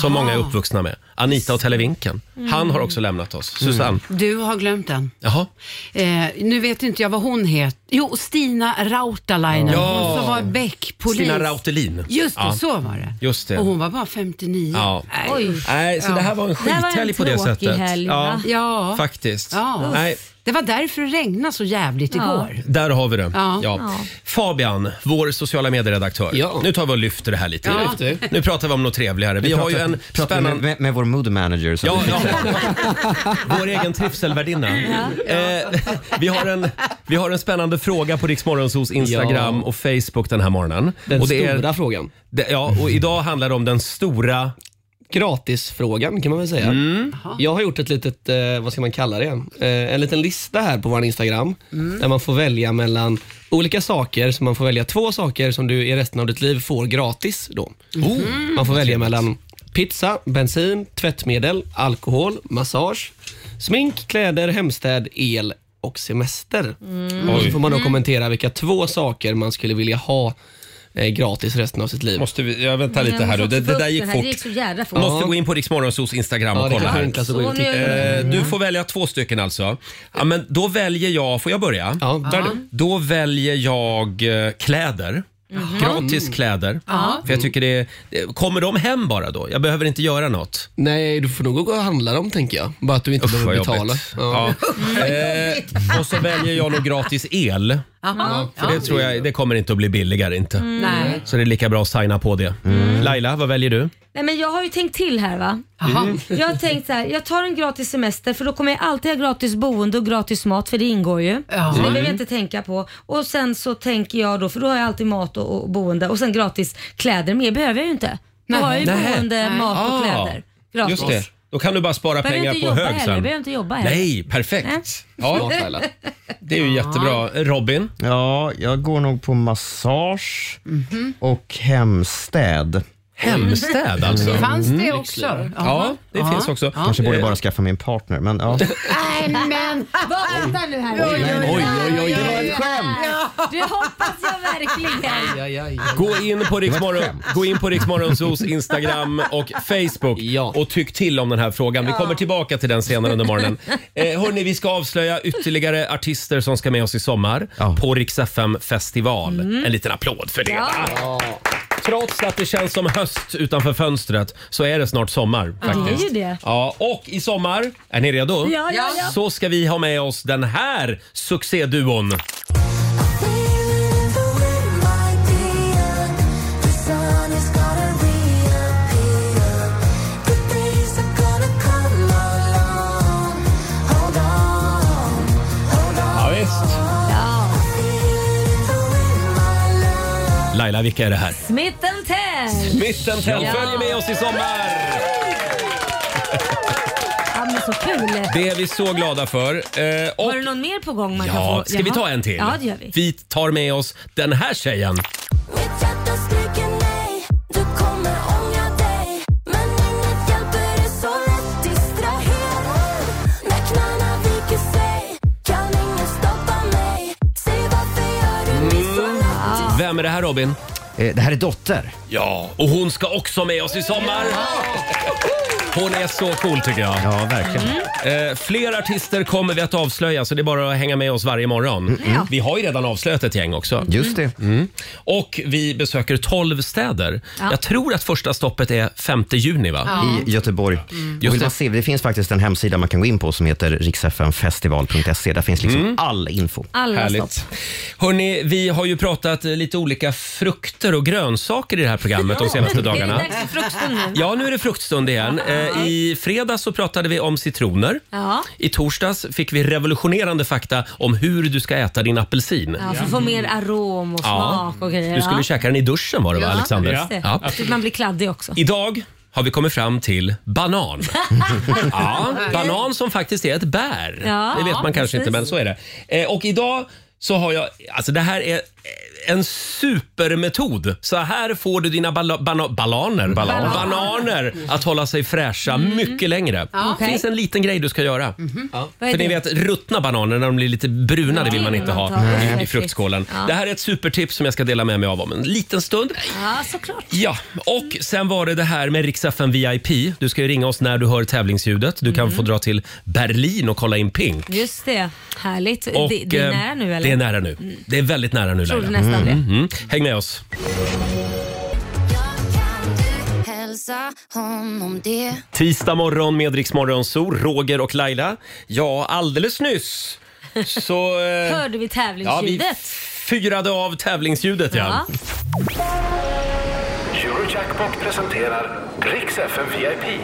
Speaker 1: Som många är uppvuxna med. Anita och Televinken. Han har också lämnat oss. Susanne.
Speaker 6: Du har glömt den.
Speaker 1: Jaha.
Speaker 6: Eh, nu vet inte jag vad hon heter. Jo, Stina Rautalainen.
Speaker 1: Ja.
Speaker 6: Hon som var bäckpolis.
Speaker 1: Stina Rautelin.
Speaker 6: Just det,
Speaker 1: Ja.
Speaker 6: så var det.
Speaker 1: Just det.
Speaker 6: Och hon var bara 59.
Speaker 1: Ja.
Speaker 6: Nej.
Speaker 2: Oj.
Speaker 1: Nej, så det här var en
Speaker 2: Det här var en
Speaker 1: skithelg på det
Speaker 2: tråkig
Speaker 1: sättet.
Speaker 2: helg, va?
Speaker 6: Ja.
Speaker 1: Faktiskt.
Speaker 6: Ja.
Speaker 1: Nej,
Speaker 6: Det var därför det regnade så jävligt igår.
Speaker 1: där har vi det. Ja.
Speaker 6: Ja.
Speaker 1: Fabian, vår sociala medieredaktör.
Speaker 8: Ja.
Speaker 1: Nu tar vi och lyfter det här lite.
Speaker 8: Ja. Vi lyfter.
Speaker 1: Nu pratar vi om något trevligare. Vi har ju en
Speaker 3: Pratar vi
Speaker 1: spännande...
Speaker 3: med, med, med vår mood manager. Så
Speaker 1: Ja, ja. *laughs* Vår egen trivselvärdinna. Eh, vi, har en, vi har en spännande fråga på Riksmorgonsos Instagram
Speaker 8: Ja.
Speaker 1: och Facebook den här morgonen.
Speaker 8: Den
Speaker 1: och det
Speaker 8: stora
Speaker 1: är,
Speaker 8: frågan.
Speaker 1: det, ja, och idag handlar det om den stora
Speaker 8: gratisfrågan kan man väl säga.
Speaker 1: Mm.
Speaker 8: Jag har gjort ett litet, eh, vad ska man kalla det, eh, en liten lista här på vår Instagram
Speaker 2: Mm.
Speaker 8: där man får välja mellan olika saker, så man får välja två saker som du i resten av ditt liv får gratis. Då.
Speaker 2: Mm.
Speaker 8: Oh, Man får välja mellan pizza, bensin, tvättmedel, alkohol, massage, smink, kläder, hemstäd, el och semester.
Speaker 2: Mm.
Speaker 8: Och så får man då kommentera vilka två saker man skulle vilja ha eh, gratis resten av sitt liv.
Speaker 1: Måste vi, jag väntar lite
Speaker 2: Jag
Speaker 1: här nu.
Speaker 2: måste få
Speaker 1: Det, det
Speaker 2: upp
Speaker 1: där
Speaker 2: den
Speaker 1: gick
Speaker 2: här. Det gick
Speaker 1: fort.
Speaker 2: så jävla fort.
Speaker 1: Måste gå in på Riksmorgonsos Instagram
Speaker 8: Ja,
Speaker 1: och
Speaker 8: det
Speaker 1: kolla
Speaker 8: kanske är
Speaker 1: här.
Speaker 8: enklast att gå in
Speaker 2: Så
Speaker 8: och
Speaker 2: nu
Speaker 8: titta.
Speaker 1: Eh, Du får välja två stycken alltså. Ja, men då väljer jag, får jag börja?
Speaker 8: Ja, bär du.
Speaker 1: Då väljer jag eh, kläder.
Speaker 2: Mhm.
Speaker 1: Gratis
Speaker 2: Mm.
Speaker 1: kläder. För jag tycker det, det, kommer de hem bara då? Jag behöver inte göra något.
Speaker 8: Nej, du får nog gå och handla dem tänker jag. Bara att du inte
Speaker 1: Usch vad
Speaker 8: behöver betala. Mm.
Speaker 1: jobbigt. Ja.
Speaker 8: *laughs*
Speaker 1: Eh, och så väljer jag nog gratis el.
Speaker 6: Jaha.
Speaker 1: För det tror jag, det kommer inte att bli billigare inte.
Speaker 2: Mm.
Speaker 6: Nej.
Speaker 1: Så det är lika bra att signa på det. Laila, vad väljer du?
Speaker 2: Nej, men jag har ju tänkt till här va.
Speaker 6: Jaha.
Speaker 1: Mm.
Speaker 2: Jag har tänkt så här, jag tar en gratis semester för då kommer jag alltid ha gratis boende och gratis mat för det ingår ju.
Speaker 6: Ja.
Speaker 2: Så
Speaker 1: Mm.
Speaker 2: det behöver jag inte tänka på. Och sen så tänker jag då, för då har jag alltid mat och, och boende och sen gratis kläder. Mer behöver jag ju inte. Då
Speaker 6: Nej.
Speaker 2: har jag ju
Speaker 1: Nej.
Speaker 2: boende,
Speaker 6: Nej.
Speaker 2: mat och
Speaker 1: Ah,
Speaker 2: kläder. Gratis.
Speaker 1: Just det. Då kan du bara spara
Speaker 2: Behöver
Speaker 1: pengar
Speaker 2: inte
Speaker 1: på
Speaker 2: jobba
Speaker 1: hög
Speaker 2: heller.
Speaker 1: sen.
Speaker 2: Behöver inte jobba heller. *laughs*
Speaker 1: Nej,
Speaker 2: Nej.
Speaker 1: perfekt.
Speaker 8: Ja.
Speaker 1: Ja, det är ju jättebra. Robin?
Speaker 3: *laughs* Ja, jag går nog på massage
Speaker 6: Mhm.
Speaker 3: och hemstäd.
Speaker 1: Hemstäd alltså.
Speaker 2: Mm.
Speaker 6: Fanns det också?
Speaker 1: Ja,
Speaker 6: Jaha.
Speaker 1: det finns också. Eh,
Speaker 3: Kanske borde bara skaffa mig en partner, men
Speaker 1: *laughs*
Speaker 3: ja.
Speaker 6: Nej, men
Speaker 2: Vänta nu här.
Speaker 1: Oj, oj, oj.
Speaker 2: Det hoppas jag verkligen.
Speaker 8: Aj, aj, aj.
Speaker 1: Gå in på Riksmorgon, gå in på Riksmorgonsos Instagram och Facebook
Speaker 8: Ja.
Speaker 1: och tyck till om den här frågan. Vi kommer tillbaka till den senare under morgonen. Eh, hörni, vi ska avslöja ytterligare artister som ska med oss i sommar
Speaker 3: Ja.
Speaker 1: på Rix FM festival. En liten applåd för det. va? Trots att det känns som höst utanför fönstret så är det snart sommar faktiskt.
Speaker 2: Det är ju det.
Speaker 1: Ja, och i sommar, är ni redo?
Speaker 2: Ja, ja, ja.
Speaker 1: Så ska vi ha med oss den här succéduon. Ja, visst. Laila, vilka är det här?
Speaker 2: Smith Tell.
Speaker 1: Mitten Tell
Speaker 2: Ja.
Speaker 1: följer med oss i sommar!
Speaker 2: Ja, men så kul.
Speaker 1: Det är vi så glada för. Eh, och,
Speaker 2: Har du någon mer på gång? Man kan
Speaker 1: ja,
Speaker 2: få?
Speaker 1: ska
Speaker 2: Jaha.
Speaker 1: vi ta en till?
Speaker 2: Ja, det gör vi.
Speaker 1: Vi tar med oss den här tjejen. Mm. Vem är det här Robin?
Speaker 3: Eh, Det här är Dotter.
Speaker 1: Ja, och hon ska också med oss i sommar! Hon är så cool tycker jag.
Speaker 3: Ja, verkligen.
Speaker 1: Eh, fler artister kommer vi att avslöja så det är bara att hänga med oss varje morgon.
Speaker 2: Mm.
Speaker 1: Vi har ju redan avslöjat ett gäng också.
Speaker 3: Just det.
Speaker 1: Och vi besöker 12 städer. Jag tror att första stoppet är 5 juni va?
Speaker 3: I Göteborg. Och vill
Speaker 1: Mm. det.
Speaker 3: man se, det finns faktiskt en hemsida man kan gå in på som heter riksfnfestival.se. Där finns
Speaker 1: Mm.
Speaker 3: liksom all info.
Speaker 1: Ah.
Speaker 2: Alla stopp.
Speaker 1: Härligt. Hörni, vi har ju pratat eh, lite olika frukter och grönsaker i det här programmet de senaste
Speaker 2: Är *laughs*
Speaker 1: dagarna.
Speaker 2: det dags för frukosten nu?
Speaker 1: Ja, nu är det fruktstund igen. Eh, I fredags så pratade vi om citroner.
Speaker 2: Ja.
Speaker 1: I torsdags fick vi revolutionerande fakta om hur du ska äta din apelsin.
Speaker 2: Ja, för att få mer arom och
Speaker 1: Ja.
Speaker 2: smak och grejer.
Speaker 1: Du skulle
Speaker 2: ja.
Speaker 1: käka den i duschen var det va,
Speaker 2: Ja,
Speaker 1: Alexander?
Speaker 2: just det.
Speaker 1: Ja.
Speaker 2: Så att Man blir kladdig också.
Speaker 1: Idag har vi kommit fram till
Speaker 2: *laughs*
Speaker 1: banan. ja, banan som faktiskt är ett bär.
Speaker 2: Ja,
Speaker 1: det vet man kanske
Speaker 2: precis.
Speaker 1: inte, men så är det. Eh, och idag så har jag, alltså det här är en supermetod. Så här får du dina bala, bana, balaner,
Speaker 3: Balan.
Speaker 1: bananer att hålla sig fräscha mycket längre. Det
Speaker 2: Mm. Okej. Mhm.
Speaker 1: finns en liten grej du ska göra.
Speaker 2: Vad är
Speaker 1: För ni
Speaker 2: det?
Speaker 1: vet, ruttna bananer när de blir lite bruna, det vill man inte ha
Speaker 2: Nej.
Speaker 1: i, i fruktskålen.
Speaker 2: Ja.
Speaker 1: Det här är ett supertips som jag ska dela med mig av om en liten stund.
Speaker 2: Ja, såklart.
Speaker 1: Ja, och sen var det det här med Riksaffen VIP. Du ska ju ringa oss när du hör tävlingsljudet. Du kan få dra till Berlin och kolla in Pink.
Speaker 2: Just Mm. det. Härligt.
Speaker 1: Och,
Speaker 2: det, det är
Speaker 1: eh,
Speaker 2: nära nu eller? Mm.
Speaker 1: Det är nära nu. Det är väldigt nära nu
Speaker 2: Tror du
Speaker 1: Laila.
Speaker 2: nästan det?
Speaker 1: Mm. Häng med oss. Tisdag morgon med Rix Morgonzoo, Roger och Laila. Ja, alldeles nyss så... eh,
Speaker 2: *laughs* Hörde vi
Speaker 1: ja, vi
Speaker 2: tävlingsljudet?
Speaker 1: fyrade av tävlingsljudet ja.
Speaker 2: Ja.
Speaker 4: Eurojackpot presenterar Rix FM VIP.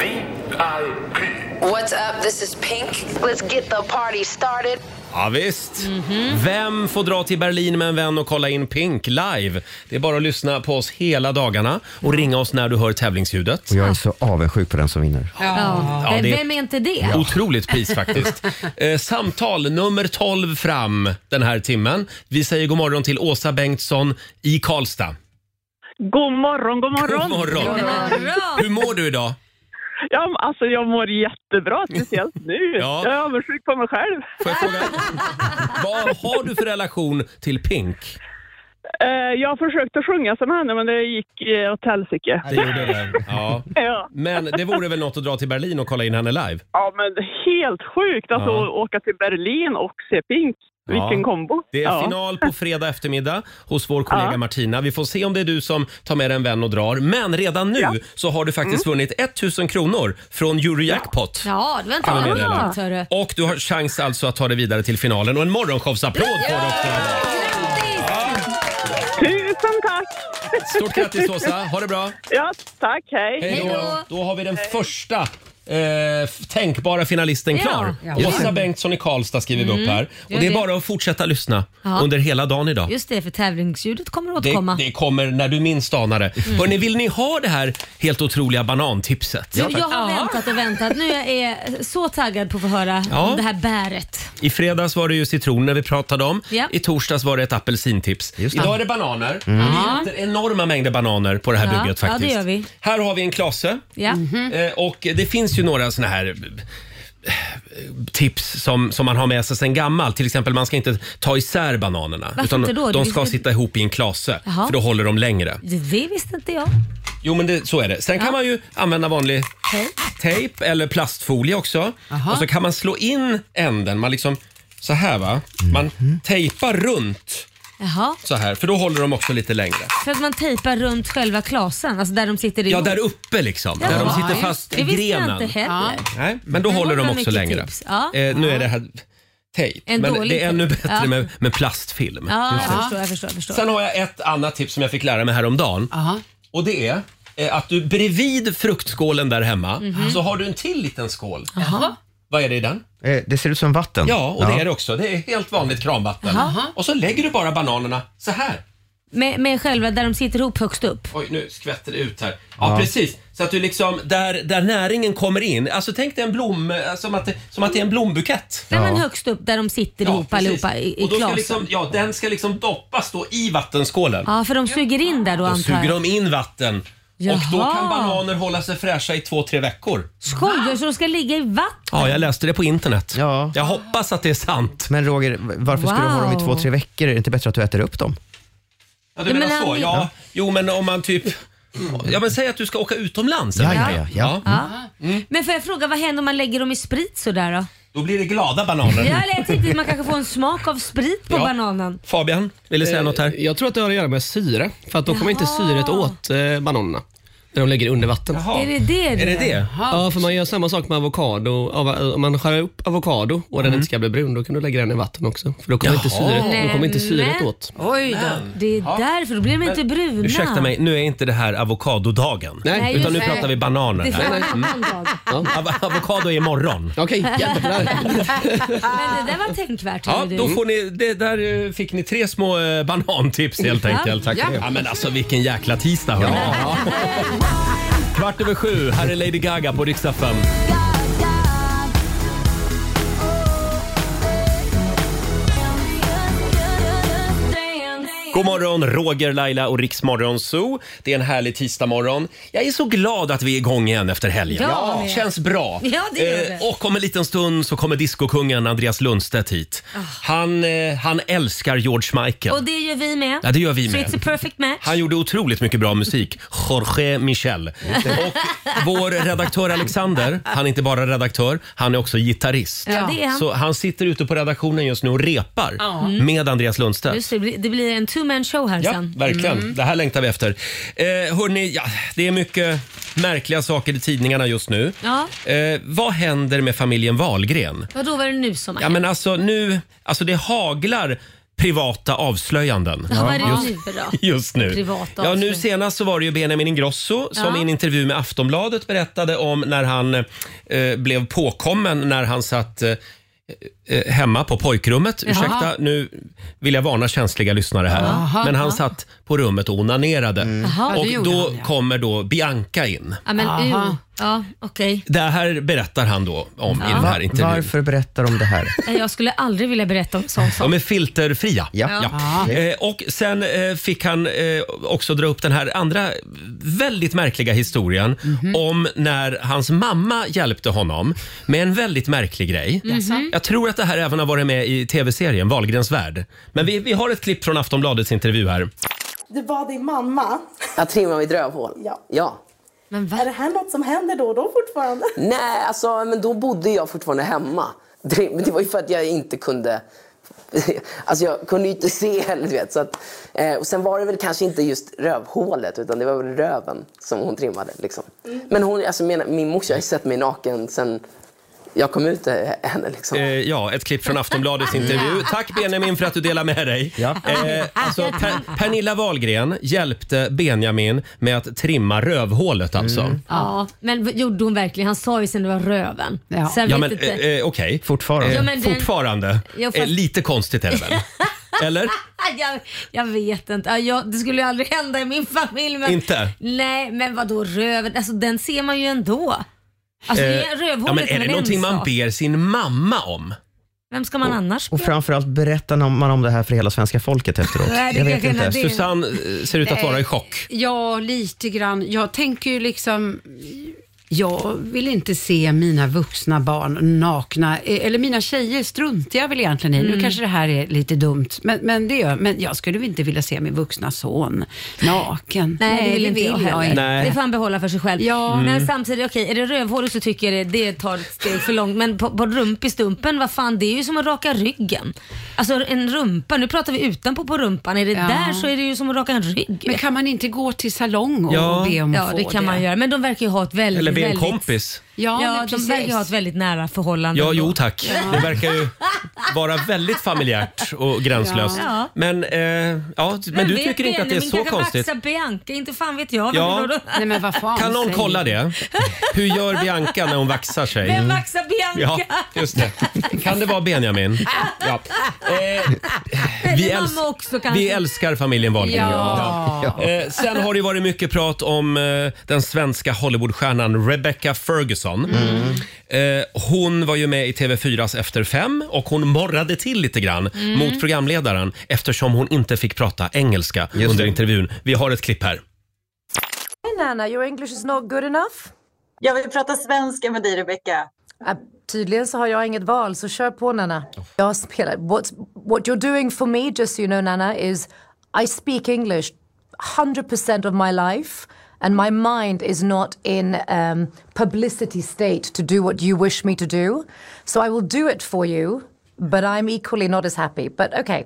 Speaker 4: VIP.
Speaker 9: What's up? This is Pink. Let's get the party started.
Speaker 1: Ja, visst. Vem får dra till Berlin med en vän och kolla in Pink live? Det är bara att lyssna på oss hela dagarna och ringa oss när du hör tävlingsljudet.
Speaker 3: Och jag är så avundsjuk på den som vinner.
Speaker 2: Ja.
Speaker 1: Ja, det är-
Speaker 2: Vem är inte det?
Speaker 1: Otroligt pris faktiskt. eh, samtal nummer 12 fram den här timmen. Vi säger god morgon till Åsa Bengtsson i Karlstad.
Speaker 10: God morgon, god morgon.
Speaker 1: God morgon. God Hur mår du idag?
Speaker 10: Ja, alltså jag mår jättebra, speciellt nu.
Speaker 1: Ja.
Speaker 10: Jag är avundsjuk på mig själv.
Speaker 1: Vad har du för relation till Pink?
Speaker 10: Eh, Jag försökte sjunga som henne, men det gick eh, åt helsike.
Speaker 1: Det gjorde det. Ja.
Speaker 10: Ja.
Speaker 1: Men det vore väl något att dra till Berlin och kolla in henne live?
Speaker 10: ja, men det är helt sjukt alltså,
Speaker 1: Ja.
Speaker 10: att åka till Berlin och se Pink. Vilken
Speaker 1: Ja.
Speaker 10: kombo.
Speaker 1: Det är
Speaker 10: ja.
Speaker 1: final på fredag eftermiddag hos vår kollega Martina. Vi får se om det är du som tar med dig en vän och drar. Men redan nu så har du faktiskt vunnit 1000 kronor från Eurojackpot.
Speaker 2: Mm. Ja, det var inte
Speaker 1: Kan vi
Speaker 2: alla
Speaker 1: meddela.
Speaker 2: rätt, hörru.
Speaker 1: Och du har chans alltså att ta dig vidare till finalen och en morgonshowsapplåd på dig också.
Speaker 10: Tusen tack!
Speaker 1: Stort grattis Åsa, ha det bra.
Speaker 10: Ja, tack. Hej.
Speaker 1: Hej då. Då har vi den första eh, f- tänkbara finalisten
Speaker 2: Ja.
Speaker 1: klar.
Speaker 2: Ja.
Speaker 1: Åsa Bengtsson i Karlstad skriver vi upp
Speaker 2: Mm,
Speaker 1: här.
Speaker 2: gör
Speaker 1: Och det är
Speaker 2: det.
Speaker 1: bara att fortsätta lyssna
Speaker 2: Ja.
Speaker 1: under hela dagen idag.
Speaker 2: Just det, för tävlingsljudet kommer att
Speaker 1: Det,
Speaker 2: återkomma.
Speaker 1: det kommer när du minst anar det.
Speaker 2: Mm.
Speaker 1: Hörrni, vill ni ha det här helt otroliga banantipset?
Speaker 2: Du, jag har väntat och väntat. Nu är jag eh, så taggad på att få höra
Speaker 1: Ja.
Speaker 2: om det här bäret.
Speaker 1: I fredags var det ju citroner vi pratade om.
Speaker 2: Ja.
Speaker 1: I torsdags var det ett apelsintips. Idag är det bananer.
Speaker 2: Mm. Ja.
Speaker 1: Vi äter enorma mängder bananer på det här
Speaker 2: ja.
Speaker 1: bygget faktiskt.
Speaker 2: Ja, det gör vi. Mm.
Speaker 1: Här har vi en klase.
Speaker 2: Ja.
Speaker 1: Eh, Och det finns ju några såna här eh, tips som, som man har med sig sen gammalt. Till exempel man ska inte ta isär bananerna.
Speaker 2: Varför inte då?
Speaker 1: De
Speaker 2: Det
Speaker 1: ska
Speaker 2: finns ju-
Speaker 1: sitta ihop i en klase
Speaker 2: Jaha.
Speaker 1: för då håller de längre.
Speaker 2: Det visste inte jag.
Speaker 1: Jo men det, så är det. Sen kan man ju använda vanlig tejp eller plastfolie också.
Speaker 2: Jaha.
Speaker 1: Och så kan man slå in änden. Man liksom så här va. Man
Speaker 2: Mhm.
Speaker 1: tejpar runt
Speaker 2: Jaha.
Speaker 1: så här för då håller de också lite längre.
Speaker 2: För att man tejpar runt själva klasen, alltså där de sitter
Speaker 1: Ja
Speaker 2: ihop.
Speaker 1: där uppe liksom.
Speaker 2: Ja,
Speaker 1: där de sitter
Speaker 2: just
Speaker 1: fast
Speaker 2: det.
Speaker 1: i
Speaker 2: Det visste jag
Speaker 1: grenen.
Speaker 2: inte heller. Ja.
Speaker 1: Nej, men då
Speaker 2: Det
Speaker 1: håller
Speaker 2: var
Speaker 1: de
Speaker 2: bra
Speaker 1: också
Speaker 2: mycket
Speaker 1: längre.
Speaker 2: tips. Ja.
Speaker 1: Eh, nu är det här tejp.
Speaker 2: En
Speaker 1: Men
Speaker 2: dålig
Speaker 1: det är ännu
Speaker 2: tejp.
Speaker 1: bättre
Speaker 2: Ja.
Speaker 1: med, med plastfilm.
Speaker 2: Ja,
Speaker 1: Just det.
Speaker 2: jag förstår, jag förstår, jag förstår.
Speaker 1: Sen har jag ett annat tips som jag fick lära mig häromdagen. Och det är eh, att du bredvid fruktskålen där hemma
Speaker 2: Mhm.
Speaker 1: så har du en till liten skål.
Speaker 2: Jaha.
Speaker 1: Vad är det i den?
Speaker 3: Eh, det ser ut som vatten.
Speaker 1: Ja, och det är det också. Det är helt vanligt kranvatten.
Speaker 2: Jaha.
Speaker 1: Och så lägger du bara bananerna så här.
Speaker 2: Med, med själva där de sitter ihop högst upp.
Speaker 1: Oj, nu skvätter det ut här. Ja,
Speaker 3: Ja.
Speaker 1: precis. Så att du liksom, där, där näringen kommer in. Alltså tänk dig en blom, eh, som att, det- som att det är en blombukett.
Speaker 2: Nej, men högst upp där de sitter
Speaker 1: Ja,
Speaker 2: ihop
Speaker 1: precis.
Speaker 2: allihopa i, i
Speaker 1: och då ska
Speaker 2: klasen.
Speaker 1: liksom, ja, den ska liksom doppas då i vattenskålen.
Speaker 2: Ja, för de suger in där då
Speaker 1: Då
Speaker 2: antar
Speaker 1: suger
Speaker 2: jag.
Speaker 1: de in vatten. Och då
Speaker 2: Jaha.
Speaker 1: kan bananer hålla sig fräscha i två, tre veckor.
Speaker 2: Skojar så de ska ligga i vatten?
Speaker 1: Ja, jag läste det på internet.
Speaker 3: Ja.
Speaker 1: Jag hoppas att det är sant.
Speaker 3: Men Roger, varför ska du ha dem i
Speaker 2: Wow.
Speaker 3: två, tre veckor? Är det inte bättre att du äter upp dem?
Speaker 1: Ja,
Speaker 2: Ja,
Speaker 1: du menar
Speaker 2: men
Speaker 1: så?
Speaker 2: han-
Speaker 1: Ja. Jo, men om man typ... Ja, men säg att du ska åka utomlands. eller?
Speaker 2: Ja, ja,
Speaker 1: ja. Mm.
Speaker 2: Men får jag fråga, vad händer om man lägger dem i sprit sådär då?
Speaker 1: Då blir det glada bananer.
Speaker 2: Ja, eller jag tänkte att man kanske får en smak av sprit på
Speaker 1: Ja.
Speaker 2: bananen.
Speaker 1: Fabian, vill du säga något här?
Speaker 8: Jag tror att det har att göra med syre, för att då kommer inte
Speaker 2: Jaha.
Speaker 8: syret åt eh, bananerna när de lägger under vatten.
Speaker 2: Är det det Är det det? det?
Speaker 8: Ja, för man gör samma sak med avokado. Av- eh, Om man skär upp avokado och den inte ska bli brun, då kan du lägga den i vatten också. För då kommer inte
Speaker 1: Mm. Jaha.
Speaker 8: syret, då kommer inte syret
Speaker 2: Nämen.
Speaker 8: åt.
Speaker 2: Oj då. Det är därför, då blir de inte bruna.
Speaker 1: Ursäkta mig, nu är inte det här avokadodagen.
Speaker 2: Nej. Nej,
Speaker 1: utan nu
Speaker 2: just det.
Speaker 1: pratar vi bananer.
Speaker 2: Det
Speaker 1: här.
Speaker 2: får vara en
Speaker 1: Mm.
Speaker 2: annan dag.
Speaker 1: Av- Avokado är imorgon.
Speaker 8: Okej,
Speaker 2: Men det där var tänkvärt.
Speaker 1: Ja,
Speaker 2: hörru du.
Speaker 1: då får ni, det, där eh, fick ni tre små eh, banantips helt
Speaker 2: Ja.
Speaker 1: enkelt.
Speaker 2: Tack för det.
Speaker 1: Ja, men alltså vilken jäkla tisdag hörni. Kvart över sju, här är Lady Gaga på riksdag fem. God morgon, Roger, Laila och Riksmorgon Zoo. Det är en härlig tisdagmorgon. Jag är så glad att vi är igång igen efter helgen.
Speaker 2: Ja, med.
Speaker 1: Känns bra.
Speaker 2: Ja, det gör
Speaker 1: Eh,
Speaker 2: det.
Speaker 1: Och om en liten stund så kommer discokungen Andreas Lundstedt hit. Han, eh, han älskar George Michael.
Speaker 2: Ah. Och det gör vi med.
Speaker 1: Ja, det gör vi
Speaker 2: Så
Speaker 1: med.
Speaker 2: it's a perfect match.
Speaker 1: Han gjorde otroligt mycket bra musik. Jorge Michel. Och vår redaktör Alexander, han är inte bara redaktör, han är också gitarrist.
Speaker 2: Ja, det är han.
Speaker 1: Så han sitter ute på redaktionen just nu och repar
Speaker 2: Ja.
Speaker 1: med Andreas Lundstedt.
Speaker 2: Just det, det blir- det blir en two man show här
Speaker 1: Ja,
Speaker 2: sen.
Speaker 1: verkligen.
Speaker 2: Mm.
Speaker 1: Det här längtar vi efter. Eh, hörni, ja, det är mycket märkliga saker i tidningarna just nu.
Speaker 2: Ja,
Speaker 1: Eh, vad händer med familjen Wahlgren?
Speaker 2: vadå var det nu som
Speaker 1: Ja, men alltså, nu, alltså det haglar privata avslöjanden.
Speaker 2: Ja, vad är det
Speaker 1: Just-
Speaker 2: nu då?
Speaker 1: Just nu.
Speaker 2: Privata
Speaker 1: ja, nu
Speaker 2: avslöjanden.
Speaker 1: senast så var det ju Benjamin Ingrosso som
Speaker 2: Ja.
Speaker 1: i en intervju med Aftonbladet berättade om när han eh, blev påkommen när han satt eh, eh, hemma på pojkrummet.
Speaker 4: Jaha.
Speaker 1: Ursäkta, nu vill jag varna känsliga lyssnare här.
Speaker 2: Jaha.
Speaker 1: Men han satt på rummet och onanerade.
Speaker 2: Mm. Jaha, det
Speaker 1: Och
Speaker 2: gjorde
Speaker 1: då
Speaker 2: han, ja.
Speaker 1: kommer då Bianca in.
Speaker 2: Ja, men
Speaker 1: Aha.
Speaker 2: uh, ja, okej.
Speaker 1: Det här berättar han då om i den här
Speaker 3: Va-
Speaker 1: intervjun.
Speaker 3: Varför berättar de det här?
Speaker 2: Nej, Eh, Jag skulle aldrig vilja berätta om sånt.
Speaker 1: De är filterfria.
Speaker 2: Ja. Ja.
Speaker 1: Eh, och sen eh, fick han eh, också dra upp den här andra väldigt märkliga historien
Speaker 2: Mhm.
Speaker 1: om när hans mamma hjälpte honom med en väldigt märklig grej.
Speaker 4: Jaså?
Speaker 1: Jag tror att det här även har varit med i tv-serien Wahlgrens värld. Men vi, vi har ett klipp från Aftonbladets intervju här.
Speaker 11: Du bad din mamma.
Speaker 12: Att trimma mitt rövhål? Ja. ja.
Speaker 11: Är det här något som händer då och då fortfarande?
Speaker 12: Nej, alltså, men då bodde jag fortfarande hemma. Det, men det var ju för att jag inte kunde... Alltså jag kunde ju inte se heller, du vet. Så att, eh, och sen var det väl kanske inte just rövhålet, utan det var väl röven som hon trimmade. Liksom.
Speaker 11: Mm.
Speaker 12: Men hon, alltså, min, min morsa har ju sett mig naken sen jag kom ut eh, henne. Liksom.
Speaker 1: Eh, ja, ett klipp från Aftonbladets intervju. Tack Benjamin för att du delar med dig. Eh, alltså, per, Pernilla Wahlgren hjälpte Benjamin med att trimma rövhålet alltså.
Speaker 2: Ja, men vad gjorde hon verkligen? Han sa ju sen det var röven. Så jag
Speaker 1: Ja,
Speaker 2: vet
Speaker 1: men eh,
Speaker 2: inte.
Speaker 1: eh, okej. Fortfarande.
Speaker 2: Ja, men den-
Speaker 1: Fortfarande.
Speaker 2: Ja, fast-
Speaker 1: Eh, lite konstigt är det
Speaker 2: *laughs*
Speaker 1: väl? Eller?
Speaker 2: jag, jag vet inte. Ja, Jag, det skulle ju aldrig hända i min familj. Men,
Speaker 1: Inte?
Speaker 2: Nej, men vad då röven? Alltså den ser man ju ändå. Alltså det är
Speaker 1: Eh,
Speaker 2: rövhålet
Speaker 1: ja, men är
Speaker 2: väl
Speaker 1: det
Speaker 2: en
Speaker 1: någonting man
Speaker 2: sak.
Speaker 1: ber sin mamma om?
Speaker 2: Vem ska man annars
Speaker 3: Och framförallt berättar man om det här för hela svenska folket efteråt.
Speaker 6: Nej, det
Speaker 3: jag vet
Speaker 6: kanske
Speaker 3: inte.
Speaker 6: är det. Susanne,
Speaker 1: ser
Speaker 6: Eh, Ja, lite grann. Jag tänker ju liksom... Jag vill inte se mina vuxna barn nakna, eh, eller mina tjejer struntar jag väl egentligen i. Nu
Speaker 13: Mm.
Speaker 6: kanske det här är lite dumt, men, men det gör Men jag skulle väl inte vilja se min vuxna son naken.
Speaker 2: Nej, det vill inte jag heller.
Speaker 6: Nej.
Speaker 2: Det får han behålla för sig själv.
Speaker 6: Ja. Mm.
Speaker 2: Men samtidigt, okej, är det rövhålet så tycker jag det, det tar ett steg för långt. Men på, på rumpistumpen, vad fan, det är ju som att raka ryggen. Alltså en rumpa, nu pratar vi utanpå på rumpan. Är det
Speaker 6: Ja.
Speaker 2: där så är det ju som att raka en rygg. Men
Speaker 6: kan man inte gå till salong
Speaker 1: och Ja. be om att
Speaker 2: Ja,
Speaker 1: få
Speaker 2: det kan
Speaker 1: det?
Speaker 2: man göra. Men de verkar ju ha ett väldigt...
Speaker 1: Eller be en
Speaker 2: väldigt,
Speaker 1: kompis?
Speaker 2: Ja,
Speaker 6: men
Speaker 2: de
Speaker 6: precis.
Speaker 2: verkar ju ha ett väldigt nära förhållande.
Speaker 1: Ja,
Speaker 2: ändå.
Speaker 1: jo tack. Det verkar ju vara väldigt familjärt och gränslöst.
Speaker 2: Ja.
Speaker 1: Men, eh, ja, men
Speaker 2: Vem
Speaker 1: du
Speaker 2: vet,
Speaker 1: tycker inte att det är
Speaker 2: Benjamin
Speaker 1: så
Speaker 2: kanske
Speaker 1: konstigt?
Speaker 2: baxar Bianca, inte fan vet jag.
Speaker 1: Ja.
Speaker 6: Nej, men vad fan
Speaker 1: Kan någon
Speaker 6: säger
Speaker 1: kolla
Speaker 6: du?
Speaker 1: det? Hur gör Bianca när hon vaxar sig?
Speaker 2: Vem vaxar Bianca?
Speaker 1: Ja, just det. Kan det
Speaker 2: *laughs*
Speaker 1: vara Benjamin? Ja. Eh, vi,
Speaker 2: Eller mamma
Speaker 1: älsk-
Speaker 2: också kanske.
Speaker 1: vi älskar familjen Wahlgren.
Speaker 2: Ja. Ja.
Speaker 1: Eh, sen har det varit mycket prat om eh, den svenska Hollywoodstjärnan Rebecca Ferguson. Eh, hon var ju med i TV4s Efter fem och hon morrade till lite grann
Speaker 4: Mm.
Speaker 1: mot programledaren eftersom hon inte fick prata engelska under intervjun. Vi har ett klipp här.
Speaker 14: Hey Nana, your English is not good enough. Jag vill prata svenska med dig Rebecca. Äh, tydligen så har jag inget val, så kör på Nana. Jag spelar... What, what you're doing for me, just so you know Nana, is I speak English 100% of my life and my mind is not in um, publicity state to do what you wish me to do. So I will do it for you, but I'm equally not as happy. But okay.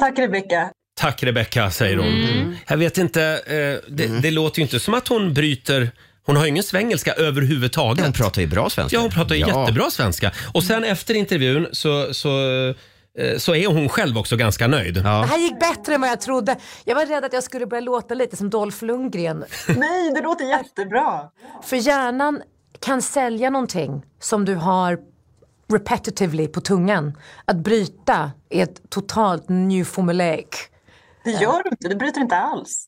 Speaker 14: Tack Rebecca.
Speaker 1: Tack Rebecca, säger hon.
Speaker 14: Mm.
Speaker 1: Jag vet inte, eh, det, det låter ju inte som att hon bryter hon har ju ingen svengelska överhuvudtaget. Hon pratar ju bra svenska. Ja, hon pratar ju
Speaker 3: Ja.
Speaker 1: jättebra svenska. Och sen efter intervjun så, så, eh, så är hon själv också ganska nöjd.
Speaker 14: Det här gick bättre än vad jag trodde. Jag var rädd att jag skulle börja låta lite som Dolph Lundgren. Nej, det låter jättebra. För hjärnan kan sälja någonting som du har repetitively på tungan. Att bryta är ett totalt new formulaic. Det gör du inte, det bryter inte alls.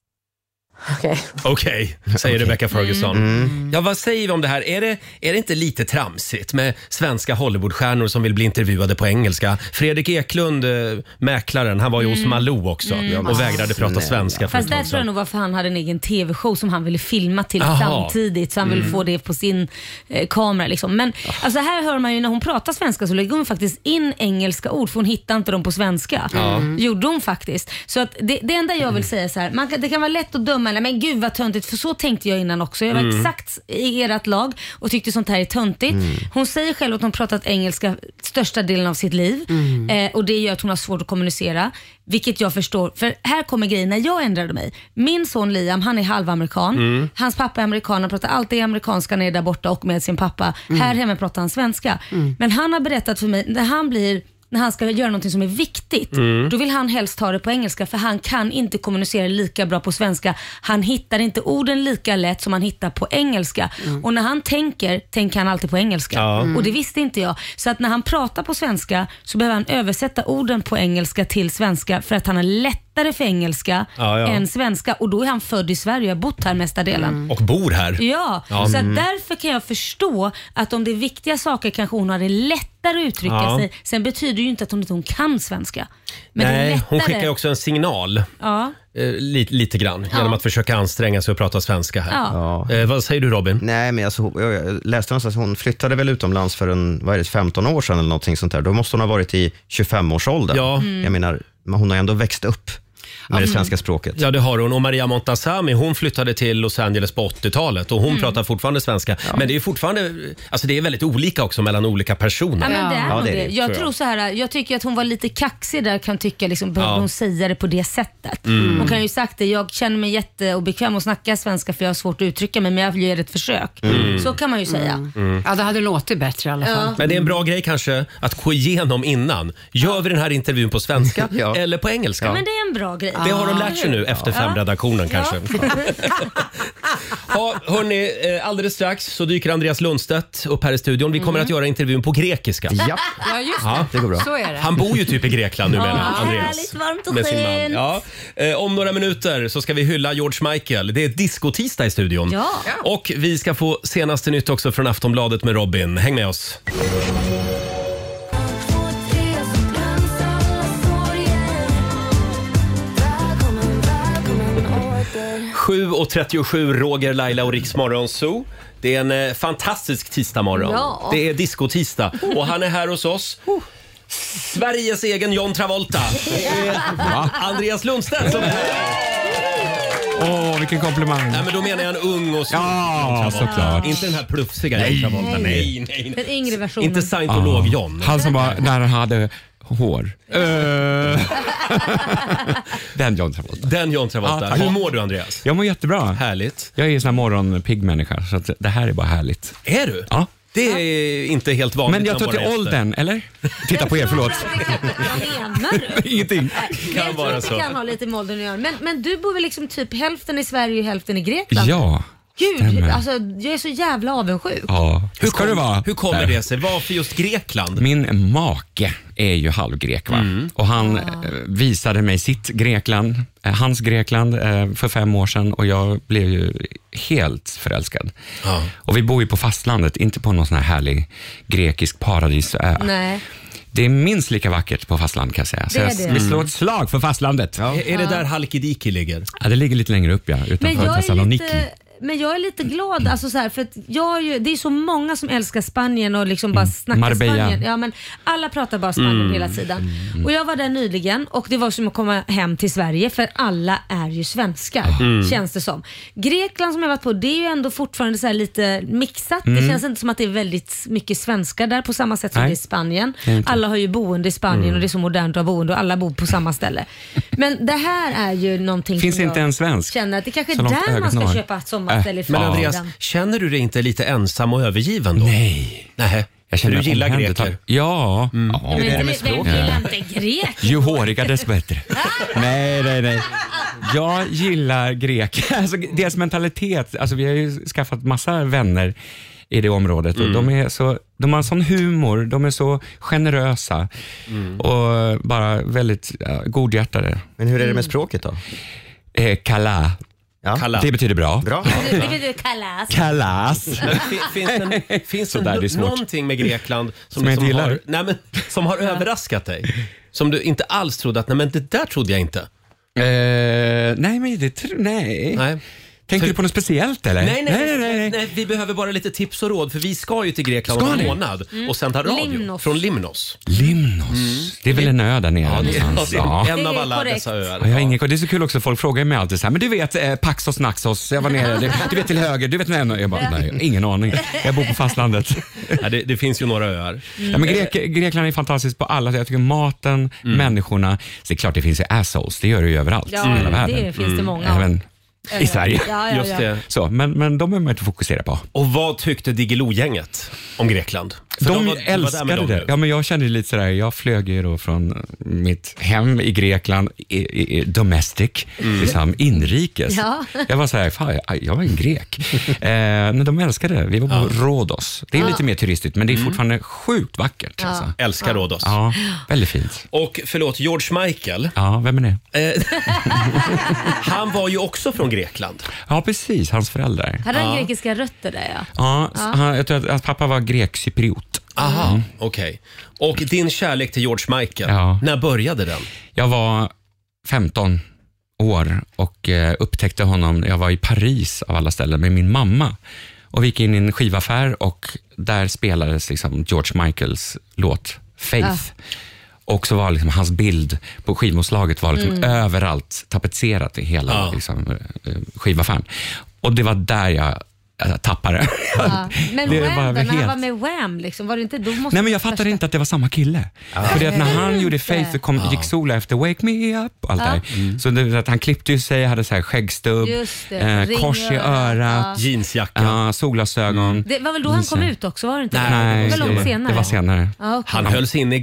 Speaker 1: Okej, säger Rebecca Ferguson. Ja, vad säger vi om det här? Är det, är det inte lite tramsigt med svenska Hollywoodstjärnor som vill bli intervjuade på engelska? Fredrik Eklund, eh, mäklaren, han var ju hos
Speaker 2: Mm.
Speaker 1: Malou också
Speaker 2: Mm.
Speaker 1: och vägrade prata
Speaker 2: Snälla.
Speaker 1: svenska för ett
Speaker 2: Fast där
Speaker 1: tag
Speaker 2: tror jag
Speaker 1: sedan.
Speaker 2: nog varför han hade en egen TV-show som han ville filma till
Speaker 1: Aha.
Speaker 2: samtidigt. Så han ville
Speaker 1: Mm.
Speaker 2: få det på sin eh, kamera. Liksom. Men
Speaker 15: Ah.
Speaker 2: alltså, här hör man ju när hon pratar svenska så lägger hon faktiskt in engelska ord för hon hittar inte dem på svenska.
Speaker 15: Ja. Mm.
Speaker 2: Mm. gjorde hon faktiskt. Så att det, det enda jag vill säga är så här, man kan, det kan vara lätt att döma, eller, men gud vad töntigt, för så tänkte jag innan också. Jag var
Speaker 15: Mm.
Speaker 2: exakt i ert lag och tyckte sånt här är töntigt.
Speaker 15: Mm.
Speaker 2: Hon säger själv att hon pratat engelska största delen av sitt liv
Speaker 15: Mm.
Speaker 2: eh, och det gör att hon har svårt att kommunicera, vilket jag förstår. För här kommer grejen när jag ändrade mig. Min son Liam, han är halvamerikan.
Speaker 15: Mm.
Speaker 2: Hans pappa är amerikan, han pratar alltid amerikanska nere där borta och med sin pappa.
Speaker 15: Mm.
Speaker 2: Här hemma pratar han svenska.
Speaker 15: Mm.
Speaker 2: Men han har berättat för mig, när han blir när han ska göra någonting som är viktigt,
Speaker 13: Mm.
Speaker 2: då vill han helst ha det på engelska för han kan inte kommunicera lika bra på svenska. Han hittar inte orden lika lätt som han hittar på engelska. Och när han tänker, tänker han alltid på engelska.
Speaker 13: Ja. Mm.
Speaker 2: Och det visste inte jag. Så att när han pratar på svenska så behöver han översätta orden på engelska till svenska för att han har lättare för engelska
Speaker 1: Ja, ja.
Speaker 2: än svenska. Och då är han född i Sverige och har bott här mesta delen.
Speaker 1: Och bor här.
Speaker 2: Ja, så att
Speaker 1: Mm.
Speaker 2: därför kan jag förstå att om det är viktiga saker kanske hon har det lättare att uttrycka
Speaker 1: Ja.
Speaker 2: sig. Sen betyder ju inte att hon inte hon kan svenska. Men det är
Speaker 1: Nej,
Speaker 2: lättare.
Speaker 1: hon skickar ju också en signal.
Speaker 2: Ja.
Speaker 1: Eh, lite, lite grann,
Speaker 2: Ja.
Speaker 1: genom att försöka anstränga sig och prata svenska här.
Speaker 2: Ja.
Speaker 1: Eh, vad säger du Robin?
Speaker 3: Nej, men alltså, jag jag läste någonstans att hon flyttade väl utomlands för en, vad är det, 15 år sedan eller någonting sånt där. Då måste hon ha varit i 25-årsåldern.
Speaker 1: Ja. Mm.
Speaker 3: Jag menar, men hon har ändå växt upp med det
Speaker 1: Mm.
Speaker 3: svenska språket.
Speaker 1: Ja, det har hon. Och Maria Montazami, hon flyttade till Los Angeles på 80-talet och hon
Speaker 2: Mm.
Speaker 1: pratar fortfarande svenska. Men det är fortfarande, alltså det är väldigt olika också mellan olika personer.
Speaker 2: Ja, men det är nog det. Jag tror så här, jag tycker att hon var lite kaxig där kan tycka, liksom, behöver
Speaker 1: Ja.
Speaker 2: hon säga det på det sättet?
Speaker 1: Mm.
Speaker 2: Hon kan ju sagt det, jag känner mig jätteobekväm att snacka svenska för jag har svårt att uttrycka mig men jag ger ett försök.
Speaker 1: Mm.
Speaker 2: Så kan man ju säga.
Speaker 1: Mm.
Speaker 6: Ja, det hade låtit bättre i alla fall.
Speaker 1: Men det är en bra grej kanske att gå igenom innan. Gör vi den här intervjun på svenska eller på engelska?
Speaker 2: Ja. Men det är en bra grej.
Speaker 1: Det har de lärt sig nu efter
Speaker 2: Ja.
Speaker 1: femredaktionen
Speaker 2: Ja.
Speaker 1: kanske. Ja, hörni, eh, alldeles strax så dyker Andreas Lundstedt upp här i studion. Vi kommer
Speaker 2: Mm.
Speaker 1: att göra intervjun på grekiska.
Speaker 3: Ja.
Speaker 6: Ja, just det.
Speaker 1: Ja.
Speaker 6: det går bra. Så är det.
Speaker 1: Han bor ju typ i Grekland nu
Speaker 6: Ja,
Speaker 1: menar Andreas.
Speaker 2: Härligt, varmt och
Speaker 1: Med sin man.
Speaker 2: skönt.
Speaker 1: Ja. Eh, Om några minuter så ska vi hylla George Michael. Det är discotisdag i studion.
Speaker 2: Ja.
Speaker 1: Och vi ska få senaste nytt också från Aftonbladet med Robin. Häng med oss.
Speaker 7: Välkommen,
Speaker 1: 7.37, Roger, Laila och Riksmorgon Zoo. Det är en eh, fantastisk tisdagmorgon.
Speaker 7: Ja.
Speaker 1: Det är discotisdag och han är här hos oss. Sveriges egen John Travolta. Det är Andreas Lundstedt som är här.
Speaker 15: Åh, vilken komplimang.
Speaker 1: Nej, men då menar jag en ung och snygg John
Speaker 15: Ja,
Speaker 1: Travolta.
Speaker 15: såklart.
Speaker 1: Inte den här plufsiga
Speaker 15: Nej,
Speaker 1: John Travolta.
Speaker 15: nej. Ah.
Speaker 1: nej,
Speaker 2: Den yngre versionen.
Speaker 1: Inte scientolog-John.
Speaker 15: Han som var när han hade hår. Eh, *laughs* Den John Travolta.
Speaker 1: Den John Travolta.
Speaker 15: Ja, tack.
Speaker 1: Hur mår du Andreas?
Speaker 15: Jag mår jättebra.
Speaker 1: Härligt.
Speaker 15: Jag är en sån här morgonpigg människa, så att det här är bara härligt.
Speaker 1: Är du?
Speaker 15: Ja.
Speaker 1: Det är inte helt vanligt.
Speaker 15: Men jag
Speaker 1: bland
Speaker 15: tror
Speaker 1: våra
Speaker 15: till
Speaker 1: gäster.
Speaker 15: åldern, eller? Titta på er, *laughs* förlåt.
Speaker 2: Menar du?
Speaker 15: Ingenting.
Speaker 2: jag tror att *laughs* det kan ha lite med åldern att göra. Men, men du bor väl liksom typ hälften i Sverige och hälften i Grekland?
Speaker 15: Ja.
Speaker 2: Gud,
Speaker 15: stämmer.
Speaker 2: alltså, jag är så jävla avundsjuk.
Speaker 15: Ja. Hur ska det vara?
Speaker 1: Hur kommer
Speaker 15: Där.
Speaker 1: det sig? Varför just Grekland?
Speaker 15: Min make är ju halvgrek va?
Speaker 2: Mm.
Speaker 15: och
Speaker 2: Ah.
Speaker 15: han eh, visade mig sitt Grekland, eh, hans Grekland eh, för fem år sedan och jag blev ju helt förälskad. Och vi bor ju på fastlandet, inte på någon sån här härlig grekisk paradisö.
Speaker 2: Nej.
Speaker 15: Det är minst lika vackert på fastlandet kan jag säga. Så
Speaker 2: Det är
Speaker 15: jag,
Speaker 2: det. Mm.
Speaker 15: vi slår ett slag för fastlandet.
Speaker 1: Är- är det där Halkidiki ligger?
Speaker 15: Ja, det ligger lite längre upp ja,
Speaker 2: Men
Speaker 15: utanför
Speaker 2: jag, är
Speaker 15: Thessaloniki.
Speaker 2: lite, men jag är lite glad, alltså så här, för att jag har ju, det är så många som älskar Spanien och liksom bara snackar
Speaker 15: Marbella.
Speaker 2: Spanien. Ja, men alla pratar bara Spanien
Speaker 15: Mm.
Speaker 2: hela tiden. Och Jag var där nyligen och det var som att komma hem till Sverige för alla är ju svenskar
Speaker 13: Mm.
Speaker 2: känns det som. Grekland som jag varit på det är ju ändå fortfarande så här lite mixat. Det
Speaker 13: Mm.
Speaker 2: känns inte som att det är väldigt mycket svenskar där på samma sätt som
Speaker 13: Nej.
Speaker 2: det är i Spanien.
Speaker 13: Det är inte.
Speaker 2: Alla har ju boende i Spanien
Speaker 15: Mm.
Speaker 2: och det är så modernt att ha boende och alla bor på samma ställe. Men det här är ju någonting
Speaker 15: Finns
Speaker 2: som
Speaker 15: inte
Speaker 2: jag
Speaker 15: en svensk?
Speaker 2: känner att det kanske är
Speaker 15: Så långt Äh,
Speaker 2: där man
Speaker 15: ögat
Speaker 2: ska
Speaker 15: når.
Speaker 2: köpa ett sommarställe ifrån.
Speaker 1: Men Andreas, känner du dig inte lite ensam och övergiven då? Nej. Nej.
Speaker 15: Jag känner
Speaker 1: du
Speaker 15: mig
Speaker 1: gillar
Speaker 15: omhändertagen.
Speaker 1: greker?
Speaker 15: Ja.
Speaker 1: Hur är det med språket?
Speaker 2: inte
Speaker 15: *laughs*
Speaker 2: grek?
Speaker 15: Ju håriga dess bättre. *laughs* nej, nej, nej. Jag gillar grek. *laughs* Alltså, deras mentalitet, alltså, vi har ju skaffat massa vänner i det området och
Speaker 16: Mm.
Speaker 15: de, är så, de har sån humor, de är så generösa
Speaker 1: Mm.
Speaker 15: och bara väldigt ja, godhjärtade.
Speaker 3: Men hur är det
Speaker 6: Mm.
Speaker 3: med språket då?
Speaker 15: Eh, kala.
Speaker 1: Kala.
Speaker 15: Det betyder bra.
Speaker 3: bra.
Speaker 2: Det det betyder kalas. *laughs*
Speaker 15: Kalas. *laughs*
Speaker 1: Men fi- Finns det, finns det,
Speaker 15: Sådär, det är svårt.
Speaker 1: någonting med Grekland som,
Speaker 15: Som jag
Speaker 1: liksom
Speaker 15: inte
Speaker 1: har,
Speaker 15: gillar.
Speaker 1: nej, men, som
Speaker 15: *laughs*
Speaker 1: har överraskat dig? Som du inte alls trodde att, nej men det där trodde jag inte.
Speaker 15: Eh, nej, men det tror nej.
Speaker 1: nej.
Speaker 15: Tänker du på något speciellt eller?
Speaker 1: Nej nej nej, nej, Vi behöver bara lite tips och råd för vi ska ju till Grekland
Speaker 15: Ska
Speaker 1: om en
Speaker 15: ni?
Speaker 1: månad
Speaker 2: Mm.
Speaker 1: och sända radio
Speaker 2: Limnos.
Speaker 1: från Limnos.
Speaker 15: Limnos. Det är väl en ö där nere
Speaker 1: Mm. Ja, det, ja,
Speaker 15: någonstans?
Speaker 1: det är alltså en
Speaker 2: Det
Speaker 1: av
Speaker 2: är
Speaker 1: alla
Speaker 2: korrekt.
Speaker 1: dessa öar.
Speaker 15: Ja, jag har ingen, det är så kul också, folk frågar mig alltid så här, men du vet eh, Paxos Naxos, jag var nere, du, du vet till höger, du vet nej, jag bara, nej, ingen aning. *laughs* Jag bor på fastlandet.
Speaker 1: Ja, det, det finns ju några öar.
Speaker 15: Ja, men Grek, Grekland är fantastiskt på alla sätt. Jag tycker maten,
Speaker 1: Mm.
Speaker 15: människorna, så det är klart det finns ju assholes, det gör det ju överallt
Speaker 2: Ja,
Speaker 15: i hela
Speaker 2: det
Speaker 15: världen. Mm,
Speaker 2: finns det många av.
Speaker 15: Även i Sverige.
Speaker 2: Ja, ja, Just ja. det.
Speaker 15: Så, men, men de behöver man inte fokusera på.
Speaker 1: Och vad tyckte Diggiloo-gänget om Grekland? För
Speaker 15: de
Speaker 1: de var- du var där med
Speaker 15: älskade
Speaker 1: dem
Speaker 15: det.
Speaker 1: nu.
Speaker 15: Ja, men jag kände ju lite sådär, jag flög ju då från eh, mitt hem i Grekland, i, i, i domestic,
Speaker 1: Mm.
Speaker 15: liksom inrikes.
Speaker 2: Ja.
Speaker 15: Jag var såhär, fan, jag, jag var en grek.
Speaker 1: *laughs*
Speaker 15: eh, men de älskade det. Vi var på Rhodos. Det är
Speaker 1: Ja.
Speaker 15: lite mer turistigt, men det är
Speaker 1: Mm.
Speaker 15: fortfarande sjukt vackert.
Speaker 1: Ja.
Speaker 15: Alltså.
Speaker 1: Älskar Rhodos.
Speaker 15: Ja, väldigt fint.
Speaker 1: Och förlåt, George Michael.
Speaker 15: Ja, vem är det?
Speaker 1: Eh, han var ju också från Grekland.
Speaker 15: Ja, precis. Hans föräldrar.
Speaker 2: Hade han
Speaker 15: ja.
Speaker 2: grekiska rötter där ja?
Speaker 15: Ja,
Speaker 2: Ja.
Speaker 15: Han, jag tror att hans pappa var grekcypriot.
Speaker 1: Aha, okej. Och din kärlek till George Michael, när började den?
Speaker 15: Jag var 15 år och eh, upptäckte honom när jag var i Paris av alla ställen med min mamma. Och vi gick in i en skivaffär och där spelades liksom George Michaels låt Faith. Och så var liksom hans bild på skivomslaget var liksom
Speaker 13: Mm.
Speaker 15: överallt tapetserat i hela liksom, eh, skivaffären. Och det var där jag eh, tappade det. *laughs*
Speaker 2: Ja. Ah. Men
Speaker 15: Det var
Speaker 2: Wham då, när
Speaker 15: helt-
Speaker 2: han var med Wham liksom, var det inte, då måste
Speaker 15: Nej, men jag fattade inte att det var samma kille. För det att när han gjorde Faith så kom, gick Sola efter Wake Me Up och allt
Speaker 2: Ja.
Speaker 15: det där. Så det, var att han klippte ju sig, hade så här skäggstubb,
Speaker 2: Just det.
Speaker 15: eh,
Speaker 2: Ring
Speaker 15: kors
Speaker 2: i
Speaker 15: i
Speaker 2: örat,
Speaker 15: örat,
Speaker 2: ja. Mm.
Speaker 1: jeansjacka,
Speaker 15: solglasögon.
Speaker 2: Det var väl då han kom
Speaker 15: Jeans-
Speaker 2: ut också, var det inte?
Speaker 15: Nej,
Speaker 2: det var långt senare.
Speaker 15: det var senare.
Speaker 2: Ja, okej.
Speaker 1: Han hölls inne i
Speaker 2: Men jag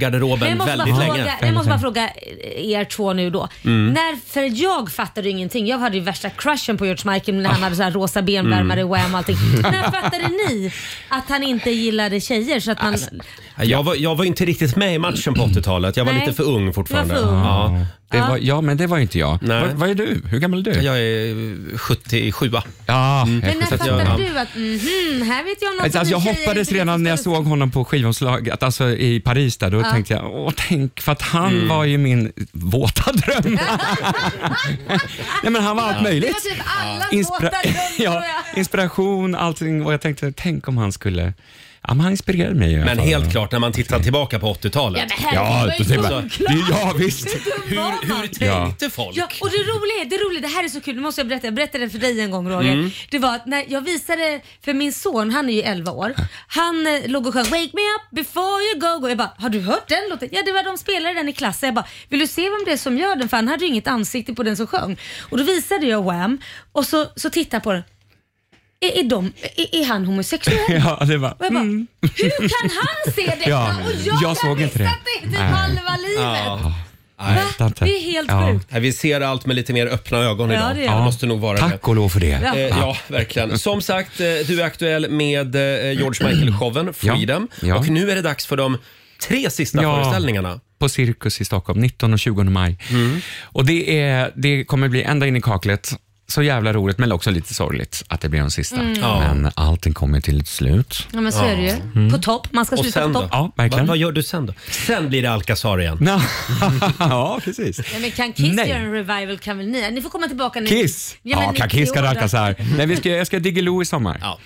Speaker 2: måste,
Speaker 1: garderoben
Speaker 2: bara
Speaker 1: väldigt
Speaker 2: fråga,
Speaker 1: länge.
Speaker 2: jag måste bara fråga eh, er två nu då.
Speaker 1: Mm.
Speaker 2: När, för jag fattade ju ingenting. Jag hade ju värsta crushen på George Michael när han
Speaker 15: Ah.
Speaker 2: hade så här rosa benvärmare,
Speaker 1: Mm.
Speaker 2: Wham och
Speaker 15: *laughs*
Speaker 2: allting. När fattade ni att han inte gillade tjejer? Så att man,
Speaker 15: Alltså,
Speaker 1: Jag var, jag var inte riktigt med i matchen på 80-talet. Jag var
Speaker 2: Nej.
Speaker 1: lite för ung fortfarande.
Speaker 2: Du var för ung.
Speaker 1: Ja.
Speaker 2: Det var-
Speaker 15: ja, men det var inte jag. Vad är du? Hur gammal är du? Ah,
Speaker 1: Jag är 77.
Speaker 15: Ja,
Speaker 2: men när fattade du att mhm, här vet jag om något
Speaker 15: Alltså,
Speaker 2: som
Speaker 15: jag
Speaker 2: tjejer
Speaker 15: hoppades
Speaker 2: inte
Speaker 15: redan när jag såg honom på skivomslaget, alltså i Paris där, då
Speaker 2: Ja.
Speaker 15: tänkte jag, åh tänk, för att han var ju min
Speaker 2: *laughs*
Speaker 15: våta dröm. *laughs* Nej men han var allt
Speaker 2: Ja.
Speaker 15: möjligt.
Speaker 2: Det var typ alla
Speaker 15: *laughs*
Speaker 2: våta
Speaker 15: Inspira-
Speaker 2: drömmar, tror
Speaker 15: ja, inspiration, allting och jag tänkte, tänk om han skulle, ja men han inspirerade mig i alla
Speaker 1: Men
Speaker 15: fall.
Speaker 1: helt klart, när man tittar tillbaka på 80-talet.
Speaker 2: Ja, men herregud,
Speaker 15: då
Speaker 2: det var ju
Speaker 15: tänker jag,
Speaker 2: solklart.
Speaker 15: ja visst.
Speaker 2: Hur dum var man?
Speaker 1: Tänkte folk?
Speaker 2: Ja, och det roliga, är- det roliga, det här är så kul, nu måste jag berätta, jag berättade det för dig en gång Roger.
Speaker 1: Mm.
Speaker 2: Det var att när jag visade för min son, han är ju 11 år, han eh, låg och sjöng “Wake me up before you go go”. Jag bara, har du hört den låten? Ja, det var de spelade den i klassen. Jag bara, vill du se vem det är som gör den? För han hade ju inget ansikte på den som sjöng. Och då visade jag Wham och så, så tittade jag på den. Är, är, de, är, är han homosexuell?
Speaker 15: *laughs* *laughs* Ja, det Mm. var,
Speaker 2: Och jag bara, hur kan han se detta?
Speaker 15: *laughs* Ja,
Speaker 2: och jag,
Speaker 15: jag såg inte det.
Speaker 2: Det är typ
Speaker 15: Nej.
Speaker 2: halva livet. Va?
Speaker 1: Nej.
Speaker 2: Det är helt Ja. sjukt.
Speaker 1: Nej, Vi ser allt med lite mer öppna ögon
Speaker 2: Ja,
Speaker 1: idag.
Speaker 2: det
Speaker 1: Det,
Speaker 2: gör vi.
Speaker 1: måste nog vara
Speaker 15: Tack och lov för det.
Speaker 1: Ja.
Speaker 15: Ja.
Speaker 1: Eh, ja, verkligen. Som sagt, eh, du är aktuell med eh, George Michael-showen Freedom.
Speaker 15: Ja.
Speaker 1: Och nu är det dags för de tre sista
Speaker 15: Ja.
Speaker 1: föreställningarna. Mm.
Speaker 15: på Cirkus i Stockholm 19 och 20 maj. Och det, är, det kommer bli ända in i kaklet. Så jävla roligt, men också lite sorgligt att det blir de sista.
Speaker 2: Mm. Ja.
Speaker 15: Men allting kommer till ett slut.
Speaker 2: Ja men så är det ju.
Speaker 15: Mm.
Speaker 2: På topp. Man ska
Speaker 15: Och
Speaker 2: sluta
Speaker 15: sen
Speaker 2: på
Speaker 15: då?
Speaker 2: topp.
Speaker 15: Ja, verkligen.
Speaker 1: Vad, vad gör du sen då? Sen blir det Alcazar igen.
Speaker 15: *laughs* ja, precis.
Speaker 2: Nej, men kan Kiss
Speaker 15: Nej.
Speaker 2: göra en revival kan väl ni? Ni får komma tillbaka när
Speaker 15: Kiss!
Speaker 2: Ja, men
Speaker 15: Ja, kan
Speaker 2: 90
Speaker 15: Kiss
Speaker 2: år
Speaker 15: kan
Speaker 2: då.
Speaker 15: rackas här. Nej, vi ska, jag ska Diggiloo i sommar.
Speaker 2: Ja.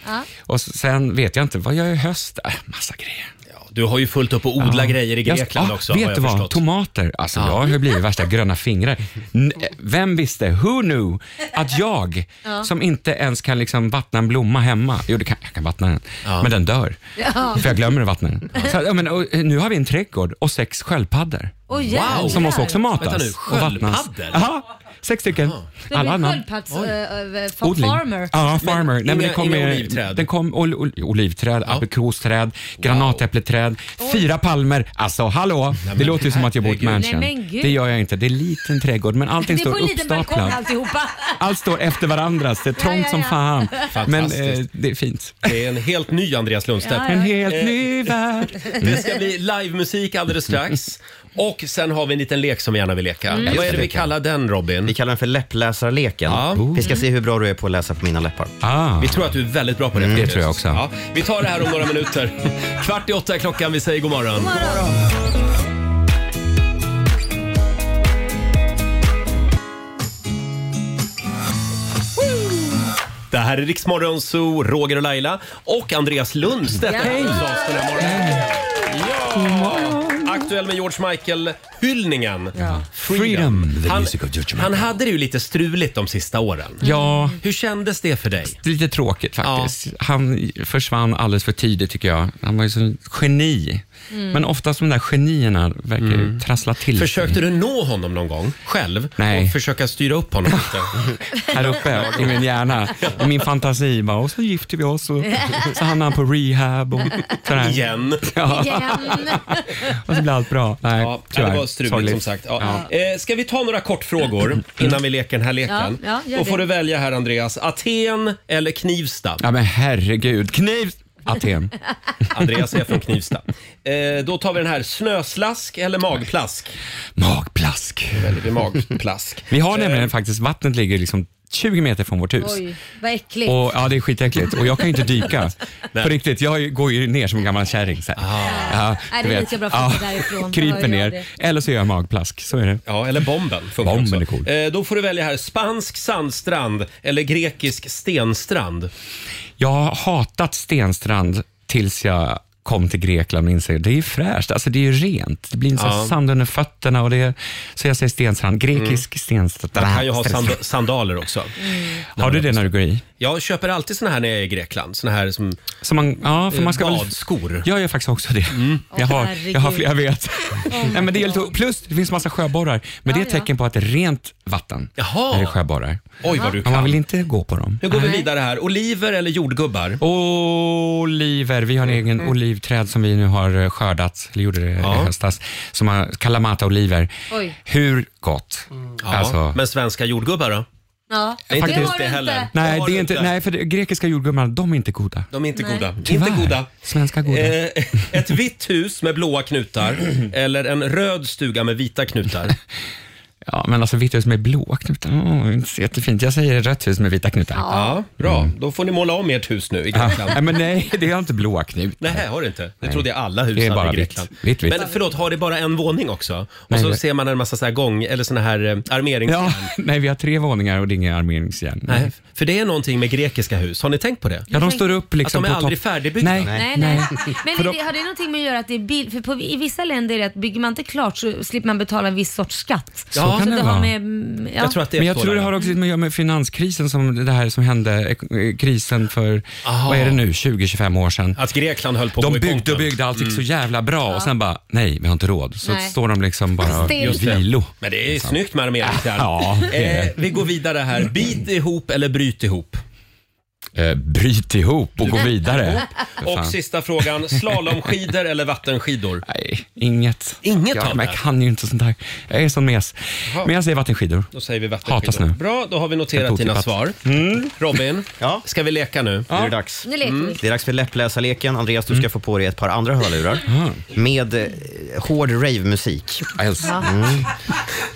Speaker 15: Och s- sen vet jag inte, vad gör jag i höst? Äh, massa grejer.
Speaker 1: Du har ju fullt upp att odla grejer i
Speaker 15: Jag-
Speaker 1: Grekland
Speaker 15: ah,
Speaker 1: också.
Speaker 15: Vet
Speaker 1: har
Speaker 15: du
Speaker 1: jag
Speaker 15: vad?
Speaker 1: förstått.
Speaker 15: Tomater. Alltså, Jag har ju blivit värsta gröna fingrar.
Speaker 1: *laughs*
Speaker 15: N- Vem visste, who knew, att jag
Speaker 2: Ja.
Speaker 15: som inte ens kan liksom vattna en blomma hemma. Jo, det kan, jag kan vattna den, men den dör.
Speaker 2: Ja.
Speaker 15: För jag glömmer att vattna den. Så, ja, men, och, eh, nu har vi en trädgård och sex sköldpaddor.
Speaker 2: Åh, jävlar.
Speaker 15: Som måste också matas.
Speaker 1: Oh, Vänta nu,
Speaker 15: och vattnas.
Speaker 1: sköldpaddor?
Speaker 15: Ja, sex stycken.
Speaker 2: Det blir
Speaker 15: annan-
Speaker 2: sköldpadds... Äh, äh, fa-
Speaker 15: Odling.
Speaker 2: farmer.
Speaker 15: Ja, farmer. Nej, men
Speaker 1: inga-
Speaker 15: det kommer,
Speaker 1: inga olivträd?
Speaker 15: Den kom, ol, ol, olivträd, aprikosträd, granatäppleträd, fyra palmer. Alltså hallå, det låter ju som att jag bor i ett
Speaker 2: herregud.
Speaker 15: mansion.
Speaker 2: Nej, men gud.
Speaker 15: det gör jag inte. Det är en liten trädgård, men
Speaker 2: det
Speaker 15: allting
Speaker 2: är på
Speaker 15: står
Speaker 2: en liten balkong
Speaker 15: uppstaplat. *laughs*
Speaker 2: alltihopa.
Speaker 15: Allt står efter varandra, så det är
Speaker 2: Ja,
Speaker 15: trångt
Speaker 2: ja,
Speaker 15: som
Speaker 2: ja.
Speaker 15: fan. Men eh,
Speaker 1: Fantastiskt.
Speaker 15: det är fint.
Speaker 1: Det är en helt ny Andreas Lundstedt.
Speaker 15: Ja, ja. En helt
Speaker 2: Eh,
Speaker 15: ny värld.
Speaker 1: Det ska bli livemusik alldeles
Speaker 15: *laughs*
Speaker 1: strax. Och sen har vi en liten lek som vi gärna vill leka.
Speaker 3: Mm.
Speaker 1: Vad är det vi kallar den Robin?
Speaker 3: Vi kallar den för läppläsarleken. Vi ska se hur bra du är på att läsa på mina läppar.
Speaker 15: Ah.
Speaker 1: Vi tror att du är väldigt bra på det.
Speaker 3: Mm, det
Speaker 1: faktiskt.
Speaker 3: tror jag också.
Speaker 1: Ja, vi tar det här om några
Speaker 3: *laughs*
Speaker 1: minuter. Kvart i åtta är klockan. Vi säger god morgon. Det här är Riksmorgon Zoo, Roger och Laila och Andreas Lundstedt är hos oss den här morgonen. Ja. aktuell med George Michael-hyllningen.
Speaker 15: Ja.
Speaker 1: Freedom,
Speaker 15: the
Speaker 1: han,
Speaker 15: music of George
Speaker 1: han hade det ju lite struligt de sista åren.
Speaker 15: Ja.
Speaker 1: Hur kändes det för dig?
Speaker 15: Lite tråkigt faktiskt. Han försvann alldeles för tidigt tycker jag. Han var ju som ett geni.
Speaker 1: Mm.
Speaker 15: Men oftast de där genierna verkar ju trassla till
Speaker 1: Försökte
Speaker 15: sig.
Speaker 1: du nå honom någon gång själv?
Speaker 15: Nej.
Speaker 1: Och försöka styra upp honom
Speaker 15: *laughs*
Speaker 1: lite?
Speaker 15: Här uppe i min hjärna, i min fantasi. Bara, och så gifte vi
Speaker 1: *laughs*
Speaker 15: oss och så hamnade han på rehab. Och sådär.
Speaker 1: Igen.
Speaker 15: Ja.
Speaker 2: Igen.
Speaker 15: *laughs* Och så blir allt bra. Nej, ja,
Speaker 1: Ja,
Speaker 15: tyvärr.
Speaker 1: det var struligt
Speaker 15: Sorgligt.
Speaker 1: som sagt. Ja. Eh, ska vi ta några kortfrågor innan vi leker den här leken?
Speaker 2: Ja, ja, gör
Speaker 1: Då får
Speaker 2: det.
Speaker 1: du välja här Andreas. Aten eller Knivsta?
Speaker 15: Ja, men herregud. Kniv...
Speaker 1: *laughs*
Speaker 15: Aten.
Speaker 1: Andreas är från Knivsta. Eh, då tar vi den här. Snöslask eller magplask?
Speaker 15: Magplask.
Speaker 1: Väldigt magplask.
Speaker 15: Vi har nämligen faktiskt, vattnet ligger liksom 20 meter från vårt hus.
Speaker 2: Oj, vad äckligt.
Speaker 15: Och, ja, det är skitäckligt. Och jag kan ju inte
Speaker 1: *laughs*
Speaker 15: dyka. På riktigt, jag går ju ner som en gammal kärring sen.
Speaker 1: Ah.
Speaker 15: Ja,
Speaker 2: Nej, det
Speaker 15: du
Speaker 2: är
Speaker 15: vet.
Speaker 2: lika bra att flytta därifrån. Då gör
Speaker 15: Kryper
Speaker 2: jag
Speaker 15: ner.
Speaker 2: det.
Speaker 15: Eller så gör jag magplask. Så är det.
Speaker 1: Ja, eller bomben.
Speaker 15: Bomben är cool.
Speaker 1: Eh, då får du välja här. Spansk sandstrand eller grekisk stenstrand?
Speaker 15: Jag har hatat Stenstrand tills jag kom till Grekland och inser det är ju fräscht, alltså det är ju rent. Det blir en sån
Speaker 1: Ja.
Speaker 15: sand under fötterna och det är, så jag säger Stenstrand, grekisk Stenstrand.
Speaker 1: Mm. Man kan ju ha sand sandaler också.
Speaker 2: Mm.
Speaker 15: Har du det när du går i?
Speaker 1: Jag köper alltid såna här när jag är i Grekland. Såna här som,
Speaker 15: som man, ja, för
Speaker 1: eh,
Speaker 15: man ska väl-
Speaker 1: badskor.
Speaker 15: Jag gör faktiskt också det.
Speaker 1: Mm.
Speaker 15: *laughs* Jag, har, jag har flera, jag vet.
Speaker 1: my
Speaker 15: Nej, men det är lite, plus, det finns massa sjöborrar, men det är ett tecken på att det är rent vatten när det är sjöborrar.
Speaker 1: Oj, vad du
Speaker 15: Men Man
Speaker 1: kan.
Speaker 15: vill inte gå på dem.
Speaker 1: Nu går vi vidare här. Oliver eller jordgubbar?
Speaker 15: Oliver, vi har en egen olivträd som vi nu har eh, skördat, eller gjorde det i höstas, som har Kalamata-oliver.
Speaker 2: Oj.
Speaker 15: Hur gott?
Speaker 1: Mm. Ja,
Speaker 15: Alltså-
Speaker 1: men svenska jordgubbar då?
Speaker 2: Ja,
Speaker 15: Faktiskt.
Speaker 2: det heller.
Speaker 15: Nej,
Speaker 1: har
Speaker 15: det
Speaker 1: du
Speaker 15: är inte,
Speaker 1: inte.
Speaker 15: nej, för det, grekiska jordgubbarna, de är inte goda.
Speaker 1: De är inte goda.
Speaker 15: Tyvärr.
Speaker 1: Inte goda.
Speaker 15: Svenska goda.
Speaker 1: Eh, ett vitt hus med blåa
Speaker 15: *clears throat*
Speaker 1: knutar eller en röd stuga med vita knutar?
Speaker 15: Ja, men alltså vitt hus med blåa knutar, oh, inte så jättefint. Jag säger rött hus med vita knutar.
Speaker 1: Ja, bra.
Speaker 15: Mm.
Speaker 1: Då får ni måla om ert hus nu i Grekland.
Speaker 15: Nej, men nej, det är inte blåa knutar.
Speaker 1: Nej, har det inte? Det
Speaker 15: Nej.
Speaker 1: trodde jag alla hus
Speaker 15: Det är
Speaker 1: hade
Speaker 15: bara
Speaker 1: i Grekland.
Speaker 15: vitt. Vitt, vitt.
Speaker 1: Men förlåt, har det bara en våning också? Och
Speaker 15: Nej,
Speaker 1: så
Speaker 15: det-
Speaker 1: ser man en massa så här gång, eller såna här eh, armeringsjärn.
Speaker 15: Ja, nej, vi har tre våningar och det är inga armeringsjärn.
Speaker 1: Nej, för det är någonting med grekiska hus. Har ni tänkt på det?
Speaker 15: Ja, de står upp liksom
Speaker 1: Att de är
Speaker 15: på topp.
Speaker 1: aldrig färdigbyggda.
Speaker 15: Nej,
Speaker 2: Nej, nej.
Speaker 15: *laughs*
Speaker 2: Men är det, har det någonting med att göra att det är bill, för på, i vissa länder är det att bygger man inte klart så slipper man betala en viss sorts skatt.
Speaker 15: Så kan det
Speaker 2: det
Speaker 15: vara.
Speaker 2: har med, mm, ja.
Speaker 15: Men jag tror det har också lite med att göra med finanskrisen, som det här som hände, eh, krisen för,
Speaker 1: Aha.
Speaker 15: vad är det nu, 20-25 år sedan.
Speaker 1: Att Grekland höll på att
Speaker 15: De
Speaker 1: gå i
Speaker 15: byggde
Speaker 1: botten.
Speaker 15: och byggde, allt gick
Speaker 1: Mm.
Speaker 15: så jävla bra och sen bara, nej, vi har inte råd. Så
Speaker 1: Nej.
Speaker 15: står de liksom bara i
Speaker 1: Just det.
Speaker 15: vilo.
Speaker 1: Men det är snyggt med armeringsjärn.
Speaker 15: Ja, det är
Speaker 1: eh,
Speaker 15: det.
Speaker 1: vi går vidare här. Bit ihop eller bryt ihop?
Speaker 15: Eh, bryt ihop och gå vidare. För
Speaker 1: Och
Speaker 15: fan.
Speaker 1: sista frågan, slalomskidor eller vattenskidor?
Speaker 15: Nej, inget.
Speaker 1: Inget av
Speaker 15: jag, men
Speaker 1: det?
Speaker 15: jag kan ju inte sånt här. Jag är sån mes.
Speaker 1: Jaha.
Speaker 15: Men jag säger vattenskidor.
Speaker 1: Då säger vi
Speaker 15: Hatas
Speaker 1: vattenskidor.
Speaker 15: nu.
Speaker 1: Bra, då har vi noterat
Speaker 15: Helt
Speaker 1: dina
Speaker 15: otippat.
Speaker 1: svar.
Speaker 15: Mm.
Speaker 1: Robin, ska vi leka nu?
Speaker 3: Nu är det dags.
Speaker 2: Nu leker vi.
Speaker 3: Mm. Det är dags för läppläsarleken. Andreas, du ska få på dig ett par andra hörlurar med eh, hård rave-musik.
Speaker 15: Älskar.
Speaker 3: Mm.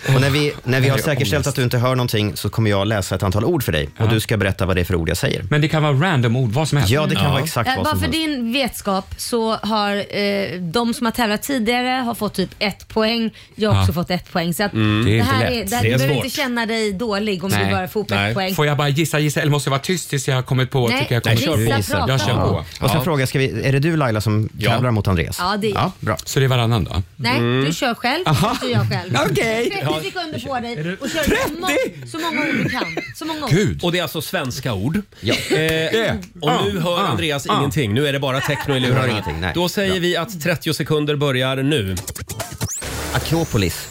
Speaker 3: Och när vi, när vi har
Speaker 15: Det är
Speaker 3: säkerställt
Speaker 15: ångest.
Speaker 3: att du inte hör någonting så kommer jag läsa ett antal ord för dig och du ska berätta vad det är för ord jag säger.
Speaker 15: Men det kan vara random ord, vad som helst.
Speaker 3: Ja, det kan vara exakt
Speaker 2: Eh,
Speaker 3: vad
Speaker 2: Bara
Speaker 3: som
Speaker 2: för
Speaker 3: helst.
Speaker 2: din vetskap så har eh, de som har tävlat tidigare har fått typ ett poäng. Jag har
Speaker 15: Ja.
Speaker 2: också fått ett poäng. Så att
Speaker 15: Mm. Det är inte
Speaker 2: här
Speaker 15: lätt.
Speaker 2: det här,
Speaker 15: Det
Speaker 2: du
Speaker 15: är
Speaker 2: behöver
Speaker 15: svårt.
Speaker 2: inte känna dig dålig om du bara får upp ett poäng.
Speaker 15: Får jag bara gissa, gissa eller måste jag vara tyst tills jag har kommit på?
Speaker 2: Nej,
Speaker 15: tycker jag kommer
Speaker 2: gissa, prata.
Speaker 15: Jag kör på.
Speaker 3: Ja. Och ska jag fråga, ska vi, är det du Laila som tävlar mot Andreas?
Speaker 2: Ja, det är jag.
Speaker 3: bra.
Speaker 15: Så det är varannan då?
Speaker 2: Nej,
Speaker 15: Mm.
Speaker 2: du kör själv.
Speaker 15: Aha.
Speaker 2: Så jag själv.
Speaker 15: *laughs* Okej.
Speaker 2: 30 sekunder på dig och kör så många, så många ord du kan. Så många ord.
Speaker 1: Och det är alltså svenska ord.
Speaker 3: Ja.
Speaker 1: Eh, och nu
Speaker 15: Ah,
Speaker 1: hör
Speaker 15: ah,
Speaker 1: Andreas
Speaker 15: ah.
Speaker 1: ingenting. Nu är det bara techno i
Speaker 3: Nu hör
Speaker 1: lurarna.
Speaker 3: ingenting, nej.
Speaker 1: Då säger vi att 30 sekunder börjar nu.
Speaker 3: Akropolis.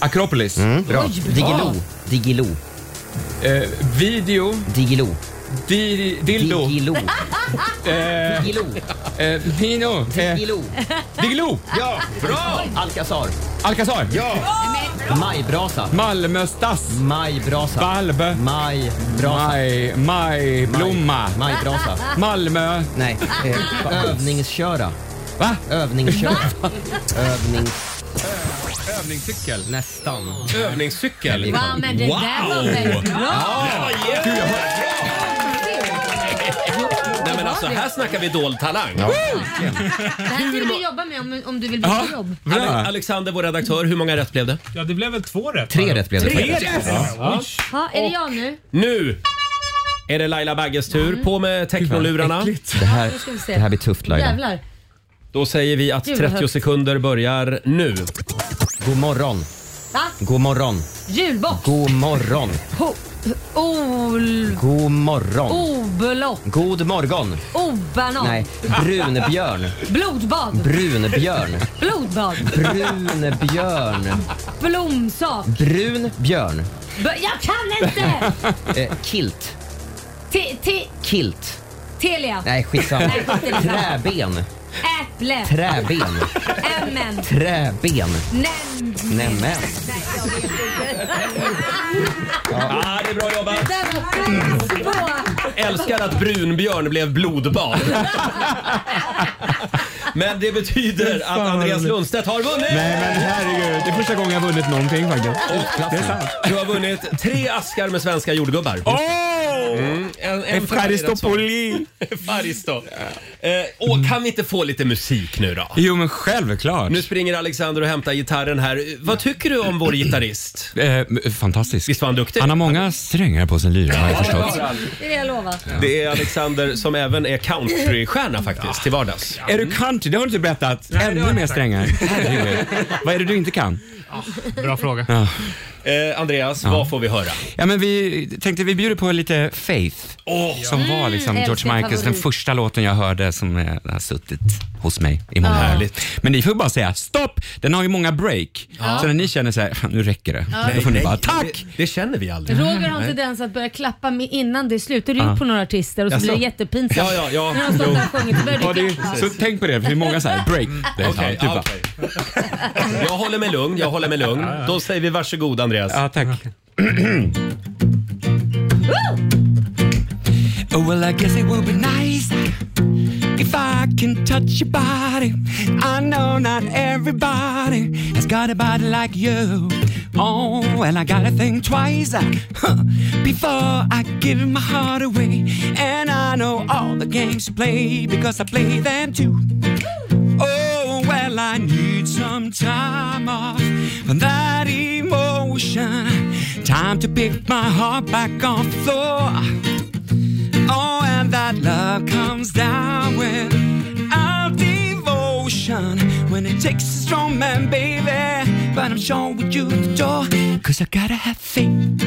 Speaker 15: Akropolis.
Speaker 3: Mm, bra.
Speaker 15: Oj, bra.
Speaker 3: Digilo. Digilo.
Speaker 15: Eh, video.
Speaker 3: Digilo.
Speaker 15: Di, dildo.
Speaker 3: Digilo.
Speaker 15: Eh,
Speaker 3: Digilo.
Speaker 15: eh, Dino. eh,
Speaker 3: Digilo.
Speaker 15: Digilo.
Speaker 3: Ja, bra! Alcazar.
Speaker 15: Alcazar.
Speaker 3: Ja. Majbrasa.
Speaker 15: Malmöstass.
Speaker 3: Majbrasa.
Speaker 15: Valve.
Speaker 3: Majbrasa.
Speaker 15: Maj, majblomma.
Speaker 3: Majbrasa.
Speaker 15: Malmö.
Speaker 3: Nej. Eh, övningsköra.
Speaker 15: Va?
Speaker 3: Övningsköra. Övnings...
Speaker 15: Övningscykel.
Speaker 3: Nästan.
Speaker 1: Övningscykel.
Speaker 2: Wow, men det där var väldigt bra.
Speaker 1: Nej men alltså här snackar vi dold talang.
Speaker 2: Det här ska du jobba med om, om du vill
Speaker 1: Ja.
Speaker 2: byta jobb.
Speaker 1: Ale- Alexander, vår redaktör, hur många rätt blev det?
Speaker 13: Ja, det blev väl två rätt?
Speaker 3: Tre rätt blev det.
Speaker 1: Tre
Speaker 3: faktiskt.
Speaker 1: rätt!
Speaker 13: Ja.
Speaker 2: Ja, är det jag nu?
Speaker 1: Nu är det Laila Bagges tur. På med technolurarna.
Speaker 3: Det här,
Speaker 2: Nu ska vi se.
Speaker 3: det här blir tufft Laila.
Speaker 2: Jävlar.
Speaker 1: Då säger vi att
Speaker 2: Gud, vad
Speaker 1: 30
Speaker 2: högt.
Speaker 1: sekunder börjar nu.
Speaker 3: God morgon.
Speaker 2: Va?
Speaker 3: God morgon.
Speaker 2: Julbock.
Speaker 3: God morgon.
Speaker 2: Ho- Ol...
Speaker 3: God
Speaker 2: Oh.
Speaker 3: morgon.
Speaker 2: Oblock.
Speaker 3: God morgon.
Speaker 2: Obanan.
Speaker 3: Nej, brunbjörn.
Speaker 2: Blodbad.
Speaker 3: Brunbjörn.
Speaker 2: Blodbad.
Speaker 3: Brunbjörn.
Speaker 2: Blomsak.
Speaker 3: Brunbjörn.
Speaker 2: B- Jag kan inte!
Speaker 3: Eh, kilt.
Speaker 2: Te- te-
Speaker 3: Kilt.
Speaker 2: Telia.
Speaker 3: Nej, skitsamma.
Speaker 2: Nej, skit i det.
Speaker 3: Träben.
Speaker 2: Äpple.
Speaker 3: Träben.
Speaker 2: Ämnen.
Speaker 3: Träben.
Speaker 2: Nämn.
Speaker 3: Nämen.
Speaker 1: Ah, det är bra jobbat!
Speaker 2: Det där var press på.
Speaker 1: Älskar att brunbjörn blev blodbad. Men det betyder att Andreas Lundstedt har vunnit!
Speaker 15: Nej men herregud, det är första gången jag vunnit någonting faktiskt. Det är sant.
Speaker 1: Du har vunnit tre askar med svenska jordgubbar.
Speaker 15: Åh!
Speaker 1: Mm, en, en
Speaker 15: Efkaristopoli.
Speaker 1: *laughs* Faristo. Eh, och kan vi inte få lite musik nu då?
Speaker 13: Jo, men självklart.
Speaker 1: Nu springer Alexander och hämtar gitarren här. Vad tycker du om vår gitarrist?
Speaker 13: Eh, fantastisk.
Speaker 1: Visst var han duktig?
Speaker 13: Han har många strängar på sin lyra har jag förstått.
Speaker 2: Det är det jag lovar.
Speaker 1: Det är Alexander som även är countrystjärna faktiskt till vardags.
Speaker 13: Är du country? Det har du inte berättat. Ännu mer strängar. Herregud. Vad är det du inte kan?
Speaker 1: Bra fråga.
Speaker 13: Ja.
Speaker 1: Eh, Andreas, vad får vi höra?
Speaker 13: Ja, men vi tänkte vi bjuder på lite Faith, som var liksom
Speaker 1: Mm,
Speaker 13: George
Speaker 1: älskar
Speaker 13: Michaels, den
Speaker 1: favorit.
Speaker 13: första låten jag hörde som eh, har suttit hos mig i många
Speaker 1: Ja.
Speaker 13: år. Men ni får bara säga stopp, den har ju många break.
Speaker 2: Ja.
Speaker 13: Så när ni känner så här, "Fan, nu räcker det,
Speaker 2: Ja.
Speaker 13: då får ni
Speaker 2: Nej,
Speaker 13: bara
Speaker 2: nej,
Speaker 13: tack!
Speaker 1: Det, känner vi aldrig.
Speaker 2: Roger har en tendens att börja klappa med innan det är slut. Det har du
Speaker 13: Ja.
Speaker 2: gjort på några artister och så
Speaker 13: Jaså?
Speaker 2: blir det jättepinsamt.
Speaker 13: Ja, ja, ja.
Speaker 2: När de står där och
Speaker 13: Jo.
Speaker 2: sjunger så
Speaker 13: Ja,
Speaker 2: börjar
Speaker 13: det
Speaker 2: du
Speaker 13: är,
Speaker 2: klappa.
Speaker 13: så tänk på det, för det är många så här break. Det är
Speaker 1: Mm. Okej,
Speaker 13: så här,
Speaker 1: ja, okej. *laughs* Jag håller mig lugn, jag håller mig lugn. Då säger vi varsågod Andreas.
Speaker 13: Ja, tack. Oh, well, I guess it would be nice if I can touch your body. I know not everybody has got a body like you. Oh, well, I gotta think twice huh, before I give my heart away. And I know all the games you play because I play them too. Oh, well, I need some time off from that emotion. Time to pick my heart back off the floor. Oh, and that love comes down with our devotion. When it takes a strong man, baby. But I'm sure with you, the door. Cause I gotta have faith.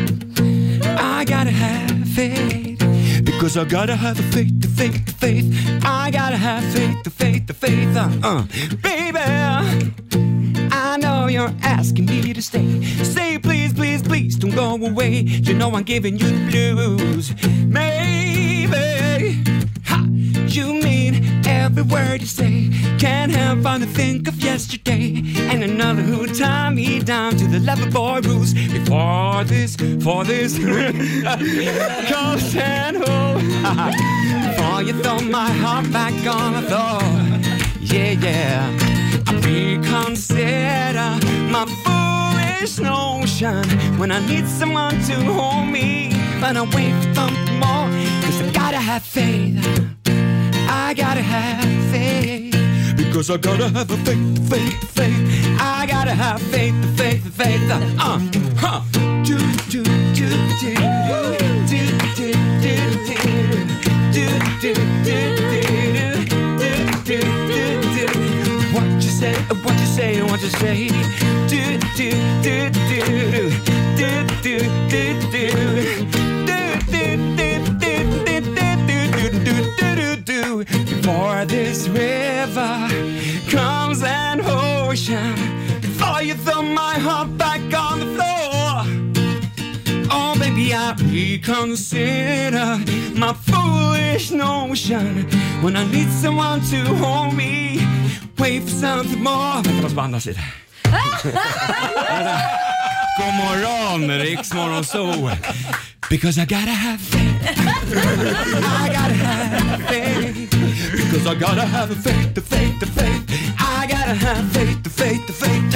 Speaker 13: I gotta have faith. Because I gotta have the faith, the faith, the faith. I gotta have faith, the faith, the faith. Uh, uh. Baby. I know you're asking me to stay. Say please, please, please don't go away. You know I'm giving you the blues. Maybe ha, you mean every word you say. Can't help but to think of yesterday and another who tied me down to the lover boy rules. Before this, for this, *laughs* comes and hold. *laughs* Before you throw my heart back on the floor. Yeah, yeah. I reconsider my foolish notion when I need someone to hold me, but I wait for something more. Cause I gotta have faith. I gotta have faith. Because I gotta have a faith, faith, faith. I gotta have faith, the faith, the faith. The, uh, huh. Do, do, do, do, do, do, do, do, do, do, do, do, do, do, do, do. What you say, what you say, what you say. Do, do, do, do, do, do, do, do, do. Do, do, do, do, do, do, do, do, do, do, do. Before this river comes an ocean, before you throw my heart back on the floor. Oh, baby, I reconsider my foolish notion when I need someone to hold me. Wait for something more. Jag måste bara andas lite. God morgon, Riks Morgonzoo. Because I gotta have faith. I gotta have faith. Because I gotta have a faith, the faith, the faith. I gotta have faith, the faith, the faith.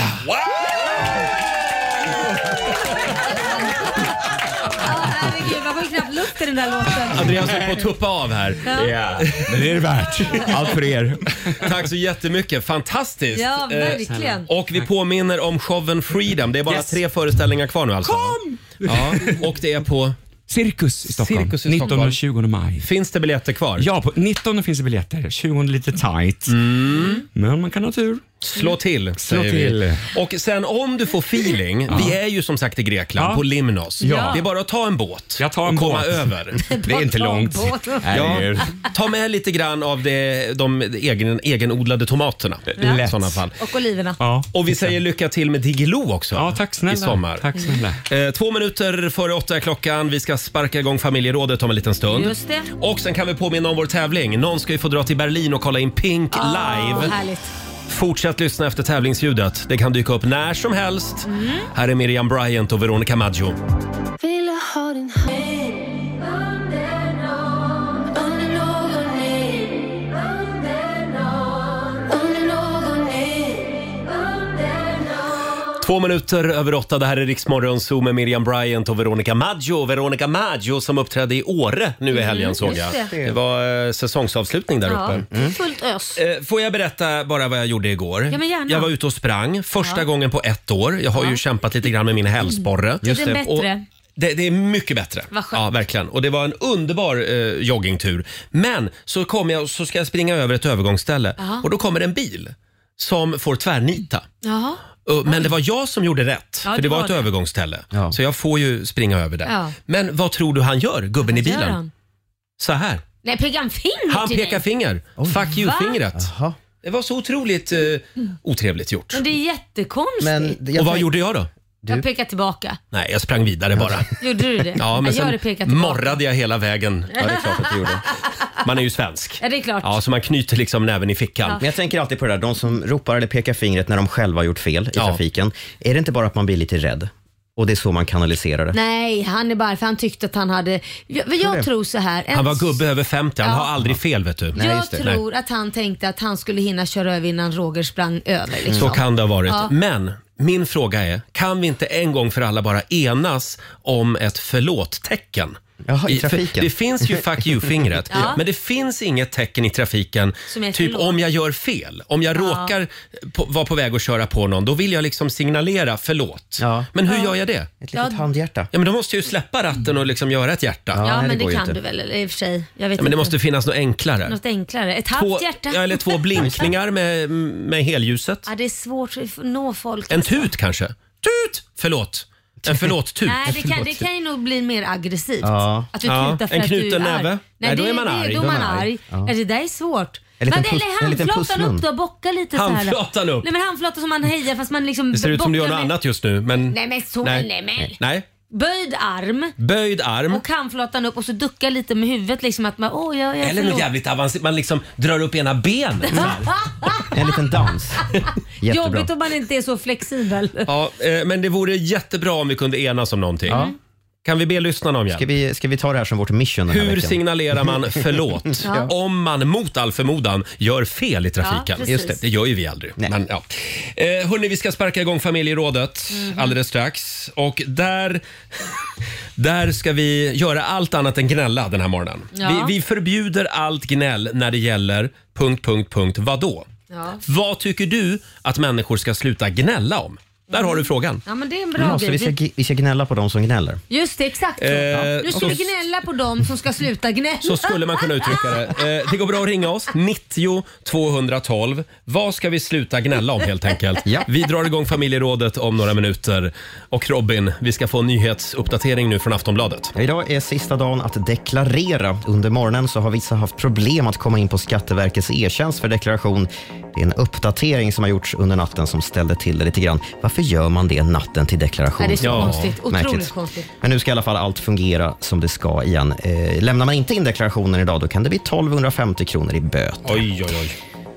Speaker 2: Herregud, man får ju knappt luft i den där låten.
Speaker 1: Andreas är på att tuppa av här.
Speaker 2: Ja.
Speaker 1: Men det är det värt. Allt för er. *laughs* Tack så jättemycket. Fantastiskt.
Speaker 2: Ja,
Speaker 1: Eh,
Speaker 2: verkligen.
Speaker 1: Och vi påminner om showen Freedom. Det är bara
Speaker 2: Yes.
Speaker 1: tre föreställningar kvar nu alltså.
Speaker 2: Kom!
Speaker 1: Ja, och det är på
Speaker 15: Cirkus i Stockholm.
Speaker 1: Cirkus i
Speaker 15: 19
Speaker 1: Stockholm.
Speaker 15: och 20 maj.
Speaker 1: Finns det biljetter kvar?
Speaker 15: Ja, på 19 finns det biljetter. 20 lite tight.
Speaker 8: Mm.
Speaker 15: Men man kan ha tur.
Speaker 1: Slå till,
Speaker 15: Slå
Speaker 1: säger vi.
Speaker 15: till.
Speaker 1: Och sen om du får feeling,
Speaker 15: Ja.
Speaker 1: vi är ju som sagt i Grekland,
Speaker 15: Ja.
Speaker 1: på Limnos.
Speaker 15: Ja.
Speaker 1: Det är bara att ta en båt
Speaker 15: Jag tar en
Speaker 1: och komma
Speaker 15: båt.
Speaker 1: över.
Speaker 15: Det är inte Ta en långt. Äh, båt.
Speaker 1: Ja,
Speaker 15: Herregud.
Speaker 1: ta med lite grann av det, de egen, egenodlade tomaterna i
Speaker 2: Lätt.
Speaker 1: sådana fall.
Speaker 2: Och oliverna.
Speaker 1: Och vi säger lycka till med Diggiloo också. Ja, tack
Speaker 15: snälla.
Speaker 1: I sommar.
Speaker 15: Tack snälla.
Speaker 1: Eh, Två minuter före åtta är klockan. Vi ska sparka igång familjerådet om en liten stund.
Speaker 2: Just det.
Speaker 1: Och sen kan vi påminna om vår tävling. Någon ska ju få dra till Berlin och kolla in Pink live.
Speaker 2: Härligt.
Speaker 1: Fortsätt lyssna efter tävlingsljudet. Det kan dyka upp när som helst.
Speaker 2: Mm.
Speaker 1: Här är Miriam Bryant och Veronica Maggio.
Speaker 7: Vill ha din hand under någon, under någon min. Under någon, under någon min. Under någon.
Speaker 1: Två minuter över åtta. Det här är Riksmorgon Zoo med Miriam Bryant och Veronica Maggio. Veronica Maggio som uppträdde i Åre nu i helgen
Speaker 2: Mm,
Speaker 1: såg
Speaker 2: just
Speaker 1: jag.
Speaker 2: det.
Speaker 1: Det var eh, säsongsavslutning där
Speaker 2: Ja,
Speaker 1: uppe. Mm.
Speaker 2: fullt ös.
Speaker 1: Eh, Får jag berätta bara vad jag gjorde igår?
Speaker 2: Ja, men gärna.
Speaker 1: Jag var ute och sprang första
Speaker 2: Ja. Mm.
Speaker 1: gången på ett år. Jag har ju kämpat lite grann med min hälsporre.
Speaker 2: Just det.
Speaker 1: Och
Speaker 2: bättre?
Speaker 1: det, det är mycket bättre.
Speaker 2: Vad skönt.
Speaker 1: Ja, verkligen. Och det var en underbar eh, joggingtur. Men så kommer jag och så ska jag springa över ett övergångsställe
Speaker 2: Ja.
Speaker 1: och då kommer en bil som får tvärnita.
Speaker 2: Jaha.
Speaker 1: Uh, Men det var jag som gjorde rätt,
Speaker 2: Ja,
Speaker 1: för det
Speaker 2: det
Speaker 1: var
Speaker 2: var
Speaker 1: ett
Speaker 2: det.
Speaker 1: övergångsställe. Så jag får ju springa över där.
Speaker 2: Ja.
Speaker 1: Men vad tror du han gör, gubben i
Speaker 2: Vad gör
Speaker 1: bilen?
Speaker 2: han?
Speaker 1: Så här.
Speaker 2: Nej, pekar han finger
Speaker 1: Han
Speaker 2: till
Speaker 1: pekar
Speaker 2: dig?
Speaker 1: finger. Fuck you-fingret.
Speaker 3: Jaha.
Speaker 1: Det var så otroligt eh, otrevligt gjort.
Speaker 2: Men det är jättekonstigt.
Speaker 1: och vad gjorde jag då?
Speaker 2: Jag pekar tillbaka.
Speaker 1: Nej, jag sprang vidare bara.
Speaker 2: Gjorde du det?
Speaker 1: *laughs* Ja, men
Speaker 2: jag hade
Speaker 1: sen
Speaker 2: pekat tillbaka.
Speaker 1: morrade jag hela vägen.
Speaker 2: Ja, det är klart att du gjorde.
Speaker 1: Man är ju svensk.
Speaker 2: Ja, det är klart.
Speaker 1: Ja, så man knyter liksom näven i
Speaker 2: *laughs*
Speaker 1: fickan.
Speaker 2: Ja.
Speaker 3: Men jag tänker alltid på det där, de som ropar eller pekar fingret när de själva har gjort fel i trafiken. Är det inte bara att man blir lite rädd? Och det är så man kanaliserar det.
Speaker 2: Nej, han är bara för han tyckte att han hade... Jag, jag tror så här. en-
Speaker 1: Han var gubbe över 50, han
Speaker 2: Ja.
Speaker 1: har aldrig fel vet du.
Speaker 2: jag tror att han tänkte att han skulle hinna köra över innan Roger sprang över. Liksom.
Speaker 1: Så kan det ha varit.
Speaker 2: Ja.
Speaker 1: Men min fråga är, kan vi inte en gång för alla bara enas om ett förlåt-tecken?
Speaker 3: Jaha, i
Speaker 1: för
Speaker 3: trafiken.
Speaker 1: Det finns ju fuck
Speaker 3: *laughs*
Speaker 1: you-fingret,
Speaker 2: Ja.
Speaker 1: men det finns inget tecken i trafiken.
Speaker 2: Som är
Speaker 1: typ
Speaker 2: förlåt.
Speaker 1: om jag gör fel, om jag
Speaker 2: Ja.
Speaker 1: råkar på, vara på väg att köra på någon, då vill jag liksom signalera förlåt. Men hur gör jag det?
Speaker 3: Ett
Speaker 2: litet Ja.
Speaker 3: handhjärta.
Speaker 1: Ja, men då måste jag ju släppa ratten och liksom göra ett hjärta.
Speaker 2: Ja, men det, kan du väl eller i och för sig. Jag vet
Speaker 1: Ja, men det
Speaker 2: inte.
Speaker 1: måste finnas något enklare.
Speaker 2: Något enklare. Ett
Speaker 1: Två,
Speaker 2: halvt hjärta.
Speaker 1: ja,
Speaker 2: *laughs*
Speaker 1: eller två blinkningar med, med helljuset.
Speaker 2: Ja, det är svårt att nå folk.
Speaker 1: En tut kanske? Tut! Förlåt. En förlåt-tut.
Speaker 2: Nej, det kan, det kan ju nog bli mer aggressivt.
Speaker 1: Ja.
Speaker 2: Att du
Speaker 1: Ja.
Speaker 2: tutar för
Speaker 1: En
Speaker 2: att du
Speaker 1: knuten
Speaker 2: är arg.
Speaker 1: näve?
Speaker 2: Nej,
Speaker 1: Nej,
Speaker 2: det,
Speaker 1: då är man
Speaker 2: det
Speaker 1: arg.
Speaker 2: Då är man arg.
Speaker 1: Ja.
Speaker 2: Ja. Det där är svårt.
Speaker 1: En liten
Speaker 2: Men,
Speaker 1: puss-
Speaker 2: eller
Speaker 1: en liten
Speaker 2: handflatan
Speaker 1: pusslund. Mm.
Speaker 2: upp då, bocka lite så här.
Speaker 1: Handflatan upp.
Speaker 2: Nej men handflatan som man hejar fast man liksom
Speaker 1: Det ser ut som du gör
Speaker 2: bockar
Speaker 1: något
Speaker 2: med-
Speaker 1: annat just nu. Men...
Speaker 2: Nej men så, nej, nej men.
Speaker 1: Nej.
Speaker 2: Böjd arm
Speaker 1: Böjd arm.
Speaker 2: och handflatan upp och så ducka lite med huvudet liksom att man, åh jag, jag
Speaker 1: Eller något jävligt avancerat. Man liksom drar upp ena benet.
Speaker 3: En
Speaker 2: *laughs*
Speaker 3: liten dans.
Speaker 2: Jobbigt om man inte är så flexibel.
Speaker 1: Ja, eh, men det vore jättebra om vi kunde enas om någonting. Kan vi be lyssnarna om hjälp?
Speaker 3: Ska vi, ska vi ta det här som vårt mission den här
Speaker 1: Hur
Speaker 3: veckan?
Speaker 1: signalerar
Speaker 3: *laughs*
Speaker 1: man förlåt
Speaker 3: Ja.
Speaker 1: om man mot all förmodan gör fel i
Speaker 3: Ja,
Speaker 1: trafiken?
Speaker 3: precis. Just det.
Speaker 1: det gör ju vi aldrig. Men, ja. eh, hörni, vi ska sparka igång familjerådet
Speaker 3: Mhm.
Speaker 1: alldeles strax. Och där, *laughs* där ska vi göra allt annat än gnälla den här morgonen.
Speaker 2: Ja.
Speaker 1: Vi, vi förbjuder allt gnäll när det gäller punkt, punkt, punkt, vadå?
Speaker 2: Ja.
Speaker 1: Vad tycker du att människor ska sluta gnälla om?
Speaker 3: Mm.
Speaker 1: Där har du frågan.
Speaker 2: ja men det är en bra
Speaker 3: Ja, så
Speaker 2: grej.
Speaker 3: vi ska, vi ska gnälla på de som gnäller.
Speaker 2: Just det, exakt så.
Speaker 1: Eh,
Speaker 2: nu ska vi
Speaker 1: så-
Speaker 2: gnälla på dem som ska sluta gnälla.
Speaker 1: Så skulle man kunna uttrycka det. Eh, det går bra att ringa oss, 90 212. Vad ska vi sluta gnälla om helt enkelt?
Speaker 3: Ja.
Speaker 1: Vi drar igång familjerådet om några minuter. Och Robin, vi ska få en nyhetsuppdatering nu från Aftonbladet.
Speaker 3: Idag är sista dagen att deklarera. Under morgonen så har vissa haft problem att komma in på Skatteverkets e-tjänst för deklaration. Det är en uppdatering som har gjorts under natten som ställde till det lite grann. Varför gör man det natten till deklaration?
Speaker 2: Nej, det är så konstigt. Otroligt
Speaker 3: märkligt.
Speaker 2: konstigt.
Speaker 3: Men nu ska i alla fall allt fungera som det ska igen. Eh, lämnar man inte in deklarationen idag då kan det bli 1250 kronor i böter.
Speaker 1: Oj, oj, oj.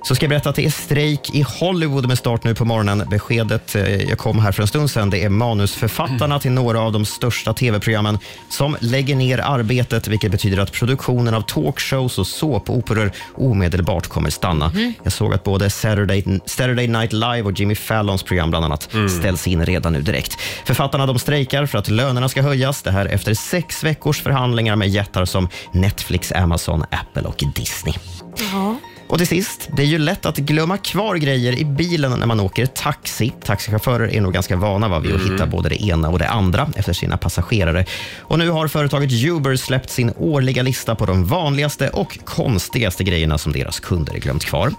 Speaker 3: Så ska jag berätta att det är strejk i Hollywood med start nu på morgonen. Beskedet eh, jag kom här för en stund sedan, det är manusförfattarna till några av de största tv-programmen som lägger ner arbetet, vilket betyder att produktionen av talkshows och såpoperor omedelbart kommer stanna. Jag såg att både Saturday, Saturday Night Live och Jimmy Fallons program bland annat ställs in redan nu direkt. Författarna de strejkar för att lönerna ska höjas. Det här efter sex veckors förhandlingar med jättar som Netflix, Amazon, Apple och Disney.
Speaker 2: Ja.
Speaker 3: Och till sist, det är ju lätt att glömma kvar grejer i bilen när man åker taxi. Taxichaufförer är nog ganska vana va, vid att hitta både det ena och det andra efter sina passagerare. Och nu har företaget Uber släppt sin årliga lista på de vanligaste och konstigaste grejerna som deras kunder glömt kvar.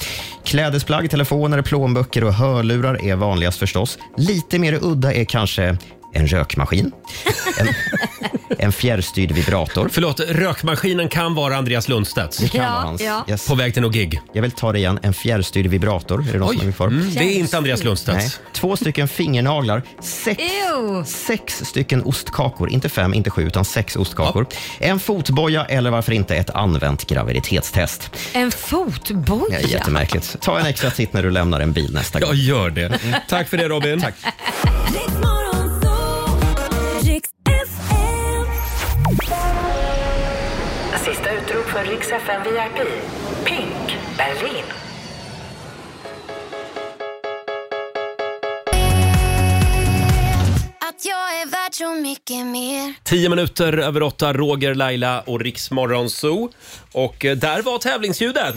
Speaker 3: Klädesplagg, telefoner, plånböcker och hörlurar är vanligast förstås. Lite mer udda är kanske en rökmaskin, en, en fjärrstyrd vibrator.
Speaker 1: Förlåt, rökmaskinen kan vara Andreas Lundstedts.
Speaker 3: Det kan
Speaker 1: Ja,
Speaker 3: vara hans.
Speaker 1: ja.
Speaker 3: På
Speaker 1: väg till något gig.
Speaker 3: Jag vill ta det igen. En fjärrstyrd vibrator. Är det någon
Speaker 1: Oj,
Speaker 3: som är kvar?
Speaker 1: mm, det är inte Andreas Lundstedts.
Speaker 3: Nej. Två stycken fingernaglar. Sex, sex stycken ostkakor. Inte fem, inte sju, utan sex ostkakor. En fotboja eller varför inte ett använt graviditetstest.
Speaker 2: En fotboja?
Speaker 3: Ja, jättemärkligt. Ta en extra titt när du lämnar en bil nästa gång. Jag
Speaker 1: gör det. Tack för det Robin. Mm. Tack.
Speaker 9: Sista utrop för Rix FM VIP. Pink Berlin.
Speaker 7: Att jag är värd så mycket mer
Speaker 1: Tio minuter över åtta, Roger, Laila och Riksmorgon Zoo. Och eh, där var tävlingsljudet.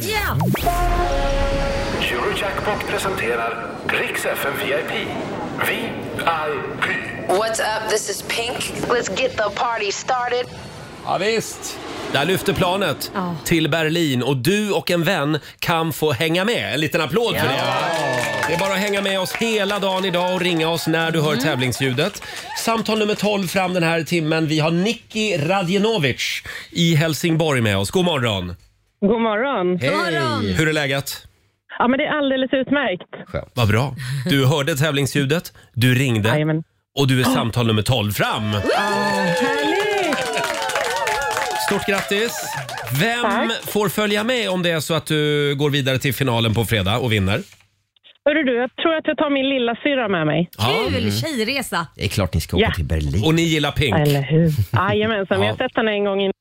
Speaker 4: Eurojackpot presenterar Rix FM VIP. VIP.
Speaker 9: What's up? This is Pink. Let's get the party started.
Speaker 1: Ja, visst. Där lyfter planet till Berlin och du och en vän kan få hänga med. En liten applåd för det. Det är bara att hänga med oss hela dagen idag och ringa oss när du hör tävlingsljudet. Samtal nummer 12 fram den här timmen. Vi har Nicky Radjenovic i Helsingborg med oss. God morgon!
Speaker 10: God morgon.
Speaker 1: Hur är läget?
Speaker 10: Ja, men det är alldeles utmärkt.
Speaker 1: Vad bra. Du hörde tävlingsljudet, du ringde och du är
Speaker 10: Ja.
Speaker 1: samtal nummer 12 fram.
Speaker 10: härligt!
Speaker 1: Stort grattis! Vem
Speaker 10: Tack.
Speaker 1: får följa med om det är så att du går vidare till finalen på fredag och vinner?
Speaker 10: Hörru du, jag tror att jag tar min lilla syra med mig.
Speaker 1: Kul, Mm.
Speaker 2: tjejresa.
Speaker 3: Det är klart ni ska åka
Speaker 10: Ja.
Speaker 3: till Berlin.
Speaker 1: Och ni gillar Pink?
Speaker 10: Eller hur? Jajamensan, vi har
Speaker 1: *laughs* Ja.
Speaker 10: sett henne en gång innan.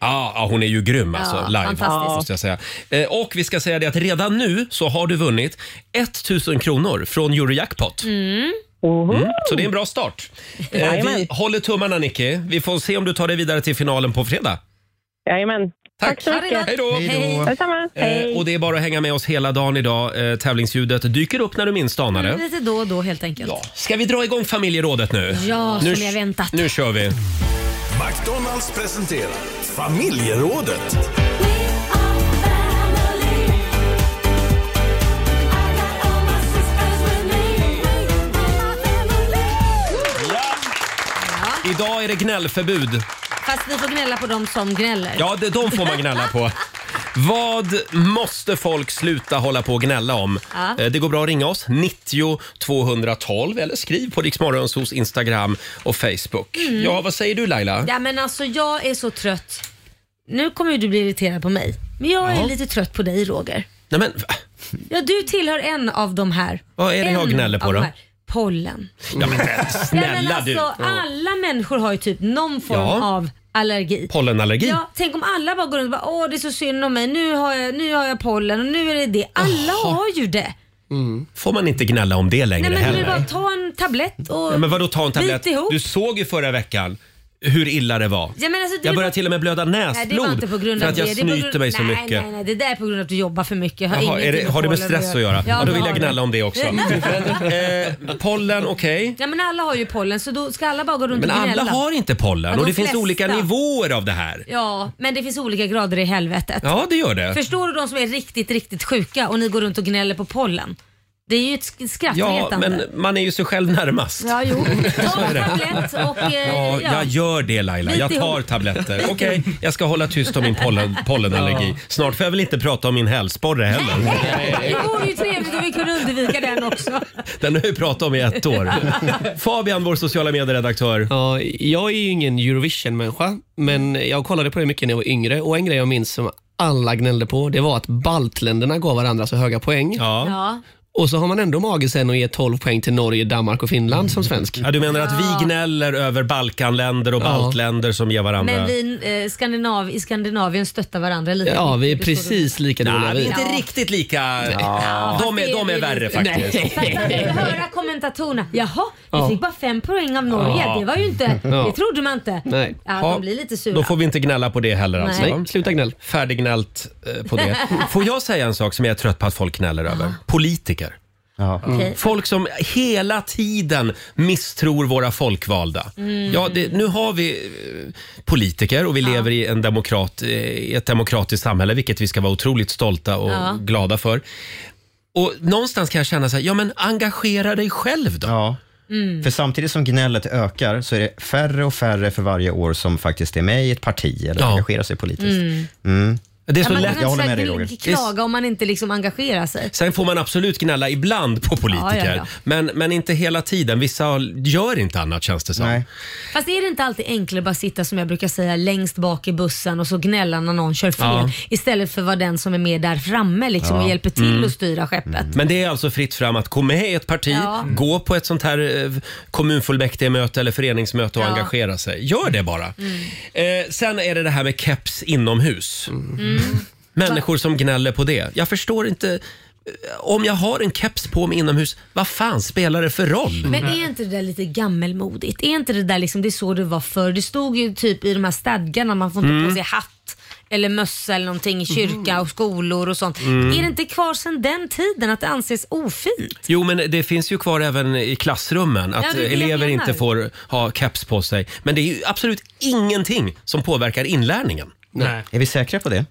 Speaker 1: Ja, ja, hon är ju grym alltså,
Speaker 10: Ja,
Speaker 1: live.
Speaker 10: fantastisk.
Speaker 1: Måste jag säga. Eh, Och vi ska säga det att redan nu så har du vunnit 1000 kronor från Eurojackpot. Mm, så det är en bra start. Eh,
Speaker 10: Jajamän.
Speaker 1: Vi håller tummarna Nicky. Vi får se om du tar dig vidare till finalen på fredag.
Speaker 10: Jajamän. Tack, så
Speaker 1: Ha det
Speaker 10: mycket.
Speaker 1: gott. Hej då. Hej då.
Speaker 10: Detsamma.
Speaker 1: Eh, och det är bara att hänga med oss hela dagen idag. Eh, tävlingsljudet dyker upp när du minst anar det.
Speaker 2: Lite då och då helt enkelt. Ja,
Speaker 1: Ska vi dra igång familjerådet nu?
Speaker 2: Ja, som
Speaker 1: nu,
Speaker 2: jag väntat.
Speaker 1: Nu kör vi.
Speaker 4: McDonalds presenterar Familjerådet.
Speaker 1: Idag är det gnällförbud.
Speaker 2: Fast vi får gnälla på dem som gnäller.
Speaker 1: Ja, det, de får man gnälla på. Vad måste folk sluta hålla på och gnälla om?
Speaker 2: Ja.
Speaker 1: Eh, Det går bra att ringa oss, 90 212 eller skriv på Riksmorgonsos Instagram och Facebook.
Speaker 2: Mm.
Speaker 1: Ja, vad säger du Laila?
Speaker 2: Ja, men alltså jag är så trött. Nu kommer ju du bli irriterad på mig. Men jag är
Speaker 1: Ja.
Speaker 2: lite trött på dig Roger.
Speaker 1: Nej, men, va?
Speaker 2: Ja, du tillhör en av de här.
Speaker 1: Vad är det
Speaker 2: en
Speaker 1: jag gnäller på
Speaker 2: av de
Speaker 1: då?
Speaker 2: här. Pollen. *laughs*
Speaker 1: ja, men,
Speaker 2: ja,
Speaker 1: snälla
Speaker 2: men alltså,
Speaker 1: du!
Speaker 2: Alla människor har ju typ någon form
Speaker 1: Ja.
Speaker 2: av allergi.
Speaker 1: Pollenallergi?
Speaker 2: Ja, tänk om alla bara går runt och bara åh det är så synd om mig, nu har jag, nu har jag pollen och nu är det det. Alla har ju det.
Speaker 1: Får man inte gnälla om det längre
Speaker 2: Nej men du
Speaker 1: heller?
Speaker 2: vill bara ta en tablett och
Speaker 1: Ja, men vadå ta en tablett?
Speaker 2: Bit ihop.
Speaker 1: Du såg ju förra veckan hur illa det var.
Speaker 2: Ja, men alltså, det
Speaker 1: jag
Speaker 2: var-
Speaker 1: började till och med blöda
Speaker 2: Nej, det var
Speaker 1: näsblod
Speaker 2: inte på grund
Speaker 1: för
Speaker 2: av
Speaker 1: att jag
Speaker 2: det. Det är på
Speaker 1: snyter
Speaker 2: grund-
Speaker 1: mig så
Speaker 2: nej,
Speaker 1: mycket.
Speaker 2: Nej, nej, det där är på grund av att du jobbar för mycket. Har,
Speaker 1: Jaha, är det,
Speaker 2: ingenting med
Speaker 1: har det med
Speaker 2: pollen
Speaker 1: stress att göra? Ja, då
Speaker 2: det
Speaker 1: vill jag
Speaker 2: har *laughs*
Speaker 1: gnälla
Speaker 2: det.
Speaker 1: om det också. Men, eh, pollen, okej.
Speaker 2: Ja, men alla har ju pollen så då ska alla bara gå runt
Speaker 1: Men
Speaker 2: och gnälla.
Speaker 1: alla har inte
Speaker 2: Ja,
Speaker 1: pollen
Speaker 2: de
Speaker 1: och det finns
Speaker 2: flesta.
Speaker 1: olika nivåer av det här.
Speaker 2: Ja, men det finns olika grader i helvetet.
Speaker 1: Ja, det gör det.
Speaker 2: Förstår du de som är riktigt, riktigt sjuka och ni går runt och gnäller på pollen? Det är ju ett sk-
Speaker 1: Ja,
Speaker 2: skrattretande.
Speaker 1: men man är ju sig själv närmast.
Speaker 2: Ja,
Speaker 1: *laughs*
Speaker 2: jo.
Speaker 1: Så är det.
Speaker 2: Lätt och, eh,
Speaker 1: Ja, jag gör det Laila.
Speaker 2: Bit
Speaker 1: Jag tar
Speaker 2: ihop.
Speaker 1: tabletter. Okej, jag ska hålla tyst om min
Speaker 2: *laughs*
Speaker 1: pollen, pollenallergi. Snart får jag väl inte prata om min
Speaker 2: *laughs*
Speaker 1: hälsporre heller.
Speaker 2: Det vore ju trevligt om vi kunde undvika den också.
Speaker 1: Den har jag ju pratat om i
Speaker 2: *laughs*
Speaker 1: ett år. Fabian, vår sociala medieredaktör.
Speaker 8: Ja, jag är ju ingen Eurovision-människa, men jag kollade på det mycket när jag var yngre och en grej jag minns som alla gnällde på, det var att baltländerna gav varandra så höga poäng.
Speaker 2: Ja.
Speaker 8: Och så har man ändå mage sen att ge 12 poäng till Norge, Danmark och Finland som svensk.
Speaker 1: Ja, du menar att vi gnäller över Balkanländer och
Speaker 8: Ja.
Speaker 1: baltländer som ger varandra...
Speaker 2: Men vi eh, Skandinav, i Skandinavien stöttar varandra lite.
Speaker 8: Ja, vi är
Speaker 2: Det står
Speaker 8: precis lika dåliga.
Speaker 1: Nej, vi är inte
Speaker 2: Ja.
Speaker 1: riktigt lika...
Speaker 8: Ja.
Speaker 1: De, är, de är värre faktiskt.
Speaker 2: Fast man vill höra kommentatorerna. Jaha, vi
Speaker 1: Ja.
Speaker 2: fick bara fem poäng av Norge.
Speaker 1: Ja.
Speaker 2: Det var ju inte,
Speaker 1: Ja.
Speaker 2: det trodde man inte.
Speaker 1: Nej.
Speaker 2: Ja,
Speaker 1: Ja,
Speaker 2: de blir lite sura.
Speaker 1: Då får vi inte gnälla på det heller
Speaker 2: Nej.
Speaker 1: alltså.
Speaker 2: Nej,
Speaker 8: sluta gnäll.
Speaker 1: Färdignällt eh, på det. Får jag säga en sak som jag är trött på att folk gnäller över? Politiker.
Speaker 2: Okej.
Speaker 1: Folk som hela tiden misstror våra folkvalda.
Speaker 4: Mm.
Speaker 1: Ja, det, nu har vi eh, politiker och vi lever i, en demokrat, eh, i ett demokratiskt samhälle, vilket vi ska vara otroligt stolta och
Speaker 4: Ja.
Speaker 1: glada för. Och någonstans kan jag känna så här, ja men engagera dig själv då.
Speaker 3: För samtidigt som gnället ökar så är det färre och färre för varje år som faktiskt är med i ett parti eller engagerar sig politiskt.
Speaker 2: Mm.
Speaker 3: Mm.
Speaker 1: Det är så
Speaker 2: ja,
Speaker 1: lätt.
Speaker 2: Man kan inte så här klaga om man inte liksom engagerar sig.
Speaker 1: Sen får man absolut gnälla ibland på politiker,
Speaker 2: Ja, ja, ja.
Speaker 1: Men, men inte hela tiden. Vissa har- gör inte annat känns det som.
Speaker 2: Fast är det inte alltid enklare att bara sitta som jag brukar säga längst bak i bussen och så gnälla när någon kör fel
Speaker 1: Ja.
Speaker 2: istället för att vara den som är med där framme liksom,
Speaker 1: Ja.
Speaker 2: och hjälper till
Speaker 1: Mm.
Speaker 2: att styra skeppet.
Speaker 1: Men det är alltså fritt fram att gå med i ett parti, Mm.
Speaker 2: Ja.
Speaker 1: gå på ett sånt här eh, kommunfullmäktigemöte eller föreningsmöte och
Speaker 2: Ja. Mm.
Speaker 1: engagera sig. Gör det bara. Eh, sen är det det här med keps inomhus.
Speaker 2: Mm.
Speaker 1: Människor som gnäller på det. Jag förstår inte. eh, Om jag har en keps på mig inomhus, vad fan spelar det för roll?
Speaker 2: Men är inte det där lite gammelmodigt? Är inte det där liksom, det är så det var förr? Det stod ju typ i de här stadgarna, man får inte
Speaker 1: Mm.
Speaker 2: på sig hatt eller mössa eller någonting i kyrka och skolor och sånt.
Speaker 1: Mm.
Speaker 2: Är det inte kvar sedan den tiden att det anses ofint?
Speaker 1: Jo, men det finns ju kvar även i klassrummen
Speaker 2: Ja,
Speaker 1: att
Speaker 2: det är det jag
Speaker 1: elever
Speaker 2: menar.
Speaker 1: inte får ha keps på sig. Men det är ju absolut ingenting som påverkar inlärningen.
Speaker 3: Nej. Är vi säkra på det?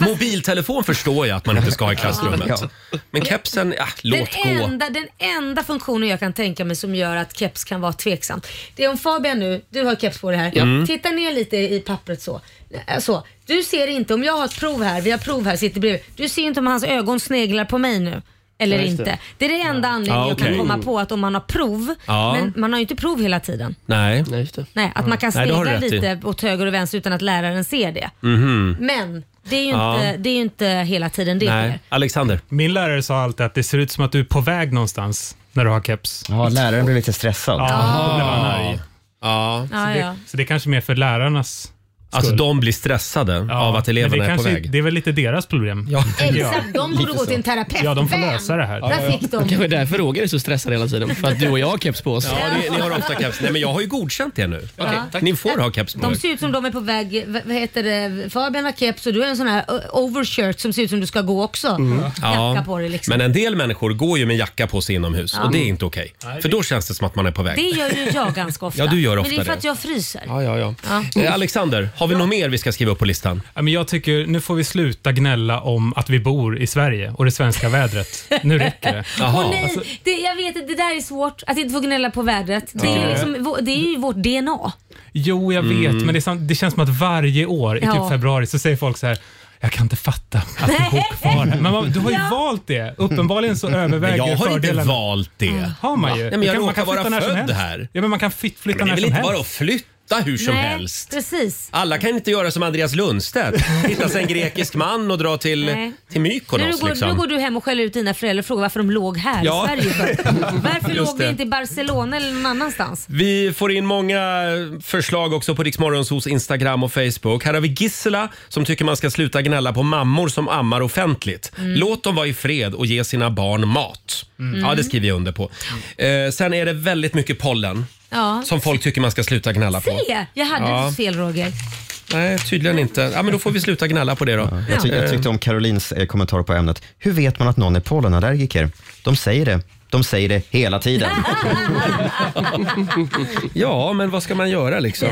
Speaker 1: Mobiltelefon förstår jag att man inte ska ha i klassrummet.
Speaker 3: Ja.
Speaker 1: Men kepsen, ja,
Speaker 2: Den
Speaker 1: låt gå.
Speaker 2: enda, den enda funktionen jag kan tänka mig som gör att keps kan vara tveksamt. Det är om Fabian nu, du har keps på det här.
Speaker 1: Ja. Mm.
Speaker 2: Titta ner lite i pappret så. Äh, så. Du ser inte, om jag har ett prov här, vi har prov här, sitter bredvid. Du ser inte om hans ögon sneglar på mig nu. Eller
Speaker 1: Ja, just
Speaker 2: inte.
Speaker 1: det.
Speaker 2: Det. är det enda anledningen
Speaker 1: Ja,
Speaker 2: jag
Speaker 1: okej.
Speaker 2: kan komma på att om man har prov,
Speaker 1: Ja.
Speaker 2: men man har ju inte prov hela tiden.
Speaker 1: Nej.
Speaker 8: Nej, just det.
Speaker 2: Nej, att man kan
Speaker 1: Nej, det har du
Speaker 2: snegla
Speaker 1: rätt i.
Speaker 2: lite åt höger och vänster utan att läraren ser det.
Speaker 16: Mhm.
Speaker 2: Men det är ju,
Speaker 16: Ja.
Speaker 2: inte, det är ju inte hela tiden det sker.
Speaker 1: Alexander.
Speaker 16: Min lärare sa alltid att det ser ut som att du är på väg någonstans när du har keps.
Speaker 3: Ja, läraren blir lite stressad.
Speaker 2: Ah.
Speaker 16: Ja, då blev han arg.
Speaker 1: Ja.
Speaker 16: Så, det, så det är kanske mer för lärarnas
Speaker 1: Att Alltså, de blir stressade av att eleverna
Speaker 16: men det
Speaker 1: är på
Speaker 16: kanske-
Speaker 1: väg.
Speaker 16: Det är väl lite deras problem. *laughs*
Speaker 2: Exakt, de borde gå till en terapeut.
Speaker 16: Ja, de får
Speaker 2: Vem?
Speaker 16: lösa det här.
Speaker 2: Där fick de.
Speaker 8: Kanske därför Roger är så stressad hela tiden. För att du och jag har keps på oss.
Speaker 1: Ja, ni, ni har ofta keps. Nej, men jag har ju godkänt det nu.
Speaker 2: Okej, tack.
Speaker 1: Ni får ha keps på
Speaker 2: De
Speaker 1: er.
Speaker 2: ser ut som de är på väg, vad vad heter det, Fabian har keps och du har en sån här ö, overshirt som ser ut som du ska gå också. Jacka på dig liksom.
Speaker 1: Mm. Men eh, en del människor går ju med jacka på sig inomhus
Speaker 2: Ja.
Speaker 1: och det är inte okej. För då känns det som att man är på väg.
Speaker 2: Det gör ju jag ganska ofta.
Speaker 1: Ja, du gör ofta
Speaker 2: Men det är för
Speaker 1: det.
Speaker 2: att jag fryser.
Speaker 1: Ja, ja, ja.
Speaker 2: Ja.
Speaker 1: Eh, Alexander, har vi något mer vi ska skriva upp på listan?
Speaker 16: Ja, men jag tycker nu får vi sluta gnälla om att vi bor i Sverige och det svenska vädret. Nu räcker det.
Speaker 2: Åh, nej,
Speaker 1: Alltså-
Speaker 2: det, jag vet att det där är svårt, att inte få gnälla på vädret. Det,
Speaker 16: Ja.
Speaker 2: är, liksom, vå- det är ju vårt DNA.
Speaker 16: Jo, jag
Speaker 1: Mm.
Speaker 16: vet, men det, är sant, det känns som att varje år i
Speaker 2: Ja.
Speaker 16: typ februari så säger folk så här jag kan inte fatta att du bor kvar här. Men man, du har ju valt det. Uppenbarligen så överväger
Speaker 1: Men jag har inte
Speaker 16: fördelarna. Mm.
Speaker 1: valt det.
Speaker 16: har man ju.
Speaker 1: Nej, men
Speaker 16: Du
Speaker 1: jag
Speaker 16: kan- man
Speaker 1: råkar
Speaker 16: kan flytta när
Speaker 1: vara
Speaker 16: som
Speaker 1: född
Speaker 16: helst.
Speaker 1: här.
Speaker 16: Ja, men man kan fit, flytta
Speaker 1: Men det
Speaker 16: när
Speaker 1: är väl
Speaker 16: som
Speaker 1: inte bara att
Speaker 16: helst.
Speaker 1: flytta hur som
Speaker 2: nej,
Speaker 1: helst?
Speaker 2: precis.
Speaker 1: Alla kan inte göra som
Speaker 2: *laughs*
Speaker 1: Andreas Lundstedt, hitta sig en grekisk man och dra till,
Speaker 2: Nej.
Speaker 1: till
Speaker 2: Nu
Speaker 1: Mykonos.
Speaker 2: går, nu går
Speaker 1: Liksom.
Speaker 2: du hem och skäller ut dina föräldrar och frågar varför de låg här
Speaker 1: Ja.
Speaker 2: i Sverige
Speaker 1: *laughs*
Speaker 2: för. Varför
Speaker 1: Just
Speaker 2: låg vi
Speaker 1: det.
Speaker 2: inte i Barcelona eller någon annanstans?
Speaker 1: Vi får in många förslag också på Riksmorgons hos Instagram och Facebook. Här har vi Gissela som tycker man ska sluta gnälla på mammor som ammar offentligt. Låt dem vara i fred och ge sina barn mat.
Speaker 2: Mm.
Speaker 1: Ja, det skriver jag under på. Eh, sen är det väldigt mycket pollen
Speaker 2: Ja.
Speaker 1: som folk tycker man ska sluta gnälla på.
Speaker 2: Se, jag hade
Speaker 1: Ja.
Speaker 2: inte fel Roger.
Speaker 1: Nej, tydligen inte. Ja, men då får vi sluta gnälla på det då.
Speaker 3: Jag, ty- jag
Speaker 1: Eh,
Speaker 3: tyckte om Carolins eh, kommentar på ämnet. Hur vet man att någon är pollenallergiker? De säger det. De säger det hela tiden.
Speaker 1: Ja, men vad ska man göra liksom?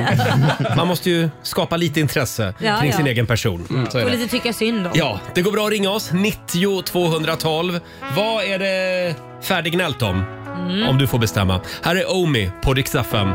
Speaker 1: Man måste ju skapa lite intresse
Speaker 2: Ja,
Speaker 1: kring
Speaker 2: ja.
Speaker 1: sin egen person. Så är
Speaker 2: Och
Speaker 1: det.
Speaker 2: lite tycka synd om.
Speaker 1: Ja, det går bra att ringa oss. 90 212. Vad är det färdiggnällt om?
Speaker 2: Mm.
Speaker 1: Om du får bestämma. Här är Omi på riksdag 5.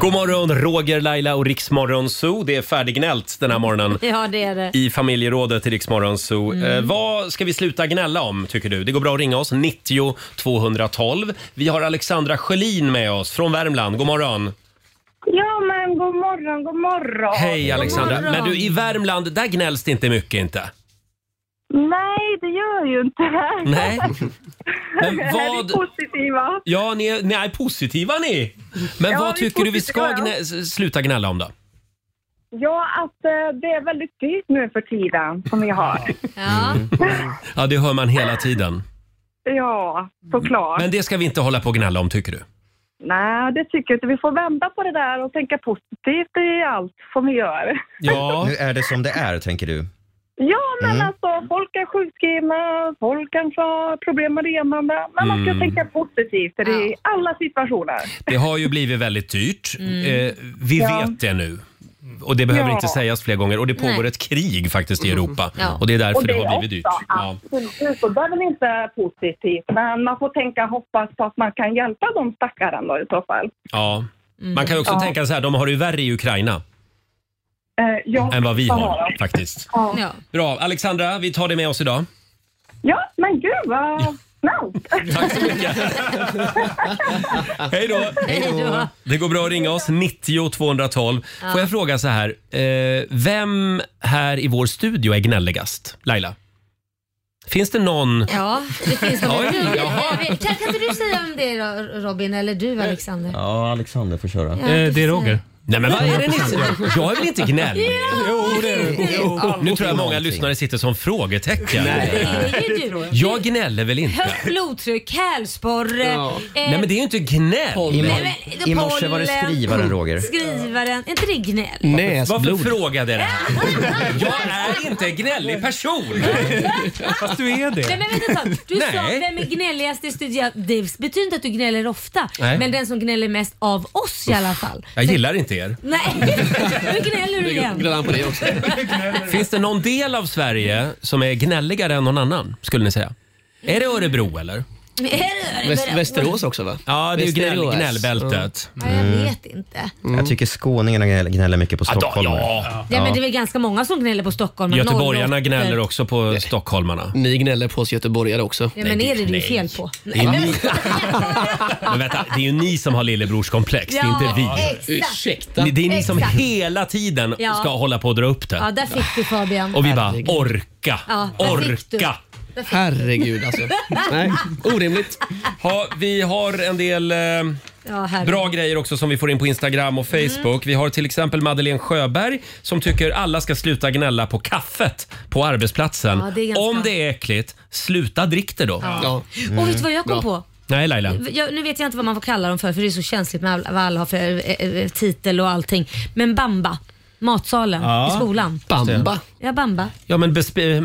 Speaker 1: God morgon, Roger, Laila och Riksmorgon Zoo. Det är färdiggnällt den här morgonen.
Speaker 2: Ja, det är det.
Speaker 1: I familjerådet i Riksmorgon Zoo.
Speaker 2: Mm.
Speaker 1: Eh, vad ska vi sluta gnälla om, tycker du? Det går bra att ringa oss, 90 212. Vi har Alexandra Sjölin med oss från Värmland. God morgon!
Speaker 17: Ja, men god morgon, god morgon.
Speaker 1: Hej Alexandra!
Speaker 17: God morgon.
Speaker 1: Men du, i Värmland, där gnälls det inte mycket inte.
Speaker 17: Nej, det gör ju inte.
Speaker 1: Nej. Men
Speaker 17: *laughs* Här är
Speaker 1: vad...
Speaker 17: vi positiva.
Speaker 1: Ja, ni är, ni är positiva ni! Men
Speaker 17: Ja,
Speaker 1: vad
Speaker 17: vi är
Speaker 1: tycker du vi ska
Speaker 17: positiva,
Speaker 1: gnä...
Speaker 17: ja.
Speaker 1: s- sluta gnälla om då?
Speaker 17: Ja, att eh, det är väldigt dyrt nu för tiden som vi har. Ja.
Speaker 1: Ja, det hör man hela tiden.
Speaker 17: Ja, såklart.
Speaker 1: Men det ska vi inte hålla på och gnälla om, tycker du?
Speaker 17: Nej, det tycker jag inte. Vi får vända på det där och tänka positivt i allt som vi gör.
Speaker 1: *laughs* Ja.
Speaker 3: Nu är det som det är, tänker du.
Speaker 17: Ja, men
Speaker 3: Mm.
Speaker 17: alltså folk är sjukskrivna, folk kanske har problem med renande. Men man ska
Speaker 1: Mm.
Speaker 17: tänka positivt i alla situationer.
Speaker 1: Det har ju blivit väldigt dyrt.
Speaker 17: Mm.
Speaker 1: Eh, vi
Speaker 17: Ja.
Speaker 1: vet det nu. Och det behöver
Speaker 17: Ja.
Speaker 1: inte sägas fler gånger. Och det pågår
Speaker 17: Nej.
Speaker 1: ett krig faktiskt i Europa.
Speaker 17: Ja.
Speaker 1: Och det är därför
Speaker 17: Och
Speaker 1: det,
Speaker 17: det
Speaker 1: har blivit dyrt.
Speaker 17: också.
Speaker 1: Ja.
Speaker 17: Absolut, och det är väl inte positivt. Men man får tänka hoppas på att man kan hjälpa de stackaren då i så fall.
Speaker 1: Ja. Man kan ju också
Speaker 17: Ja.
Speaker 1: tänka så här, de har det ju värre i Ukraina
Speaker 17: Eh, ja,
Speaker 1: än vad vi
Speaker 17: vad
Speaker 1: har
Speaker 17: de?
Speaker 1: faktiskt.
Speaker 17: Ja.
Speaker 1: Bra, Alexandra, vi tar det med oss idag.
Speaker 17: ja, men gud vad snällt.
Speaker 1: Tack så mycket. Hej då!
Speaker 17: Hej då.
Speaker 1: Det går bra att ringa oss, 90 212.
Speaker 2: Ja.
Speaker 1: Får jag fråga så här, eh, vem här i vår studio är gnälligast? Laila? Finns det någon?
Speaker 2: Ja, det finns någon.
Speaker 1: Oj, jaha.
Speaker 2: Kan, kan inte du säga om det är Robin eller du Alexander?
Speaker 18: Ja, Alexander får köra.
Speaker 2: Ja, Eh,
Speaker 1: det är Roger. Nej men vad är det ni
Speaker 18: säger?
Speaker 1: Jag är väl inte gnällig?
Speaker 2: Ja, Jo, det är du. Jo.
Speaker 1: Nu tror jag många lyssnare sitter som frågetecken.
Speaker 2: Det är ju du.
Speaker 1: Jag gnäller väl inte?
Speaker 2: Högt blodtryck, hälsporre. eh,
Speaker 1: Nej men det är ju inte gnäll.
Speaker 2: Nej,
Speaker 3: I, mor-
Speaker 2: men-
Speaker 3: I morse var det
Speaker 2: pollen.
Speaker 3: skrivaren, Roger.
Speaker 2: Skrivaren, är inte det gnäll?
Speaker 1: Mm. Varför frågade jag det här? Jag är inte en gnällig person. Fast du är
Speaker 2: Nej, men vänta ett tag. Du sa
Speaker 1: Nej.
Speaker 2: vem är gnälligast i studion? Det betyder inte att du gnäller ofta,
Speaker 1: Nej.
Speaker 2: men den som gnäller mest av oss i alla fall.
Speaker 1: Jag gillar inte er. *laughs*
Speaker 2: Nej, nu gnäller du igen.
Speaker 1: på det också. Finns det någon del av Sverige som är gnälligare än någon annan, skulle ni säga? Är det Örebro eller?
Speaker 2: Är det- är det-
Speaker 1: också va? Ja, det är ju gnäll,
Speaker 3: Västerås.
Speaker 1: gnällbältet.
Speaker 2: Ja, jag vet inte.
Speaker 3: Jag tycker skåningarna gnäller- gnäller mycket på Stockholm.
Speaker 1: Mm. Ja,
Speaker 2: Ja, men det är väl ganska många som gnäller på Stockholm.
Speaker 1: Göteborgarna
Speaker 2: Norrbotten.
Speaker 1: gnäller också på stockholmarna. Ni gnäller på oss göteborgare också.
Speaker 2: Ja, men är det det är fel på?
Speaker 1: Det
Speaker 2: *laughs*
Speaker 1: är ni. Men vänta, det är ju ni som har lillebrorskomplex, det är inte
Speaker 2: Ja,
Speaker 1: vi.
Speaker 2: exakt. Ursäkta.
Speaker 1: Ni- Det är ni som
Speaker 2: Exakt.
Speaker 1: hela tiden
Speaker 2: Ja.
Speaker 1: ska hålla på och dra upp det.
Speaker 2: Ja, där fick du Fabian.
Speaker 1: Och vi bara orka,
Speaker 2: Ja, där fick du.
Speaker 1: orka.
Speaker 2: Där fick du.
Speaker 1: Herregud
Speaker 3: *laughs*
Speaker 1: alltså.
Speaker 2: Nej,
Speaker 1: orimligt. Ha, vi har en del eh,
Speaker 2: Ja, herregud.
Speaker 1: bra grejer också som vi får in på Instagram och
Speaker 2: Mm.
Speaker 1: Facebook. Vi har till exempel Madeleine Sjöberg som tycker alla ska sluta gnälla på kaffet på arbetsplatsen.
Speaker 2: Ja, det är ganska-
Speaker 1: Om det är äckligt, sluta drick det då.
Speaker 2: Ja. Och vet du vad jag
Speaker 1: Mm.
Speaker 2: kom på?
Speaker 1: Nej Laila.
Speaker 2: Jag, nu vet jag inte vad man får kalla dem för, för det är så känsligt med all, vad alla har för eh, eh, titel och allting. Men bamba, matsalen
Speaker 1: Ja.
Speaker 2: i skolan.
Speaker 1: Bamba?
Speaker 2: Ja, bamba.
Speaker 1: Ja men besp-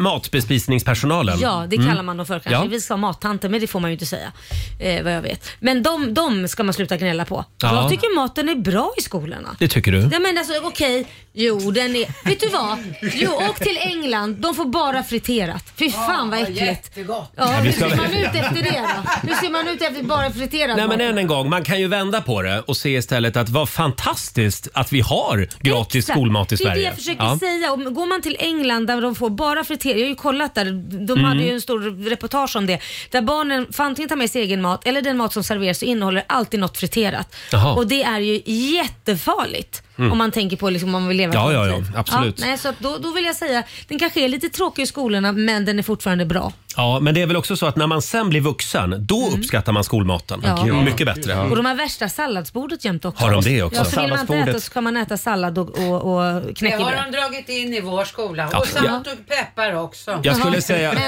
Speaker 1: matbespisningspersonalen.
Speaker 2: Ja, det
Speaker 1: Mm.
Speaker 2: kallar man dem för kanske.
Speaker 1: Ja.
Speaker 2: Vi ska ha mattanter, men det får man ju inte säga. Eh, vad jag vet. Men de, de ska man sluta gnälla på.
Speaker 1: Ja.
Speaker 2: Jag tycker maten är bra i skolorna.
Speaker 1: Det tycker du?
Speaker 2: Nej men alltså okej, jo den är... Vet du vad? Jo, åk till England. De får bara friterat. Fy fan vad äckligt.
Speaker 6: Jättegott.
Speaker 2: Ja,
Speaker 1: Ja, vi
Speaker 2: hur
Speaker 1: ska
Speaker 2: ser
Speaker 1: väl-
Speaker 2: man ut efter det då? Hur ser man ut efter bara friterad
Speaker 1: Nej men
Speaker 2: mat?
Speaker 1: än en gång, man kan ju vända på det och se istället att vad fantastiskt att vi har gratis
Speaker 2: Exakt.
Speaker 1: skolmat i Sverige.
Speaker 2: Det är det jag försöker
Speaker 1: Ja.
Speaker 2: säga. Om, går man till England där de får bara friterat, jag har ju kollat där, de
Speaker 1: Mm.
Speaker 2: hade ju en stor reportage om det, där barnen får antingen ta med sig egen mat eller den mat som serveras så innehåller alltid något friterat.
Speaker 1: Jaha.
Speaker 2: Och det är ju jättefarligt
Speaker 1: Mm.
Speaker 2: om man tänker på liksom, om man vill leva ett
Speaker 1: Ja,
Speaker 2: långt
Speaker 1: ja, ja.
Speaker 2: liv.
Speaker 1: Absolut.
Speaker 2: nej, så att då, då vill jag säga, den kanske är lite tråkig i skolorna men den är fortfarande bra.
Speaker 1: Ja, men det är väl också så att när man sen blir vuxen, då uppskattar man skolmaten.
Speaker 2: Ja. Ja.
Speaker 1: Mycket bättre.
Speaker 2: Och de har värsta salladsbordet jämt också.
Speaker 1: Har de det också?
Speaker 2: Ja, så vill man inte äta
Speaker 1: Salladsbordet.
Speaker 2: så kan man äta sallad och, och, och
Speaker 6: Det har
Speaker 2: knäckebröd.
Speaker 6: de dragit in i vår skola.
Speaker 1: Ja.
Speaker 6: Och salt och peppar också.
Speaker 1: Jag skulle säga-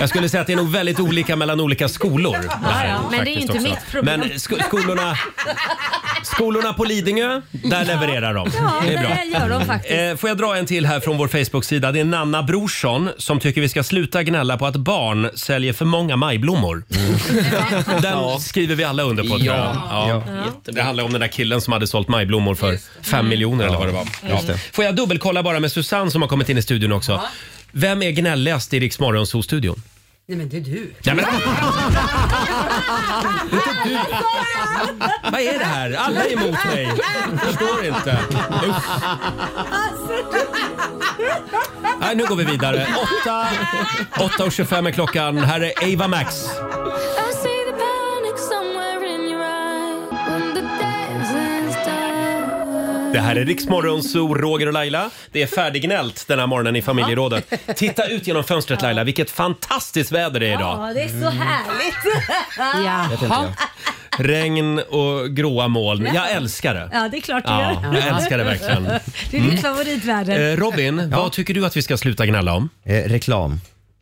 Speaker 1: Jag skulle säga att det är nog väldigt olika mellan olika skolor.
Speaker 6: ja. Men det är
Speaker 1: Faktiskt
Speaker 6: ju inte
Speaker 1: också.
Speaker 6: mitt problem.
Speaker 1: Men sko- skolorna, skolorna på Lidingö, där levererar de.
Speaker 2: Ja,
Speaker 1: det är
Speaker 2: det
Speaker 1: bra.
Speaker 2: gör de faktiskt.
Speaker 1: Eh, Får jag dra en till här från vår Facebook-sida. Det är Nanna Brorsson som tycker vi ska sluta gnälla på att barn säljer för många majblommor. *laughs* Den skriver vi alla under på. tror jag.
Speaker 4: Ja.
Speaker 1: Ja. Det handlar om den där killen som hade sålt majblommor för fem miljoner eller vad det var. Ja.
Speaker 4: Just det.
Speaker 1: Får jag dubbelkolla bara med Susanne som har kommit in i studion också. Vem är gnälligast i Rix Morgonzoo-studion?
Speaker 6: Nej men det är du.
Speaker 1: Ja, men, vad är det här? Alla är emot mig. Jag förstår inte. Usch. Nej, nu går vi vidare. 8.25 är klockan. Här är Ava Max.
Speaker 7: I see the panic somewhere in your eyes when the dancing's done.
Speaker 1: Det här är Riksmorgon, Zoo, Roger och Laila. Det är färdiggnällt den här morgonen i familjerådet. Titta ut genom fönstret Laila, vilket fantastiskt väder det är idag.
Speaker 2: Ja, det är så härligt.
Speaker 1: Vet inte jag. Regn och gråa moln. Jag älskar det.
Speaker 2: *laughs* Ja, det är klart du
Speaker 1: Ja,
Speaker 2: gör.
Speaker 1: jag älskar det verkligen.
Speaker 2: Det är
Speaker 1: Mm.
Speaker 2: ditt favoritväder.
Speaker 1: Eh, Robin, vad tycker du att vi ska sluta gnälla om?
Speaker 3: Eh, reklam.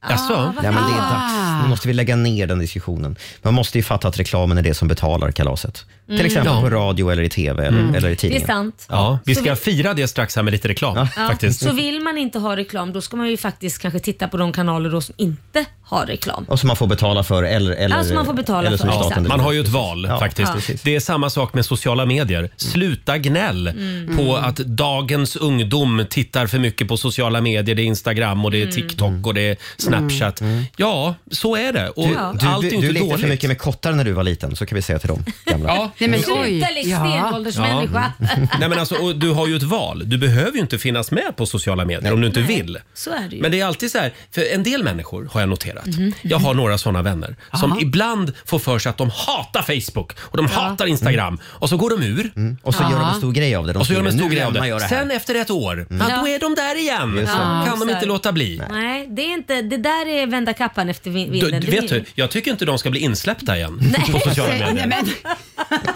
Speaker 1: Jaså?
Speaker 3: Ja, men det är dags.
Speaker 1: Ah.
Speaker 3: Nu måste vi lägga ner den diskussionen. Man måste ju fatta att reklamen är det som betalar kalaset.
Speaker 2: Mm.
Speaker 3: Till exempel
Speaker 2: Ja.
Speaker 3: på radio eller i tv
Speaker 1: Mm.
Speaker 3: eller, eller i
Speaker 2: Det är
Speaker 3: tidningen.
Speaker 2: sant.
Speaker 1: Ja, vi
Speaker 2: Så
Speaker 1: ska
Speaker 2: vi-
Speaker 1: fira det strax här med lite reklam
Speaker 2: Ja,
Speaker 1: faktiskt.
Speaker 2: Så vill man inte ha reklam då ska man ju faktiskt kanske titta på de kanaler då som inte har reklam.
Speaker 3: Och som man får betala för eller... eller
Speaker 2: Ja, som man får betala
Speaker 3: eller som
Speaker 2: för,
Speaker 3: Staten
Speaker 2: exakt.
Speaker 1: Man har ju ett val
Speaker 3: Ja,
Speaker 1: faktiskt.
Speaker 3: precis. Mm.
Speaker 1: Det är samma sak med sociala medier. Sluta gnäll
Speaker 2: Mm.
Speaker 1: på
Speaker 2: Mm.
Speaker 1: att dagens ungdom tittar för mycket på sociala medier. Det är Instagram och det är
Speaker 2: Mm.
Speaker 1: TikTok och det är Snapchat. Ja, så är det. Och
Speaker 3: Mm. Du,
Speaker 1: allt
Speaker 3: du,
Speaker 1: är
Speaker 3: du,
Speaker 1: inte
Speaker 3: du lekte
Speaker 1: dåligt.
Speaker 3: för mycket med kottar när du var liten, så kan vi säga till
Speaker 1: *laughs*
Speaker 3: dem gamla.
Speaker 1: Ja.
Speaker 6: Nej men
Speaker 1: Sluta,
Speaker 6: oj.
Speaker 2: Lik stenåldersmänniska.
Speaker 1: Nej, men alltså, och du har ju ett val. Du behöver ju inte finnas med på sociala medier om du inte vill.
Speaker 2: Så är det ju.
Speaker 1: Men det är alltid så här, för en del människor har jag noterat.
Speaker 2: Mhm.
Speaker 1: Jag har några sådana vänner som
Speaker 2: Aha.
Speaker 1: ibland får för sig att de hatar Facebook och de hatar Instagram
Speaker 2: Mm.
Speaker 1: och så går de ur.
Speaker 3: Och så gör de en stor grej av det. De
Speaker 1: och så gör de en
Speaker 3: skriver,
Speaker 1: stor
Speaker 3: "Nu
Speaker 1: grej av
Speaker 3: lämnar jag det
Speaker 1: det.
Speaker 3: här."
Speaker 1: Sen efter ett år, ja, då är de där igen.
Speaker 3: Just det.
Speaker 2: Ja,
Speaker 1: kan
Speaker 2: så
Speaker 1: de
Speaker 2: är
Speaker 1: inte
Speaker 2: Mm. det.
Speaker 1: låta bli.
Speaker 2: Nej, det, är inte, det där är vända kappan efter vi-
Speaker 1: Du,
Speaker 2: vinden.
Speaker 1: du,
Speaker 2: Det är
Speaker 1: vet
Speaker 2: ju-
Speaker 1: du, jag tycker inte de ska bli insläppta igen på sociala medier.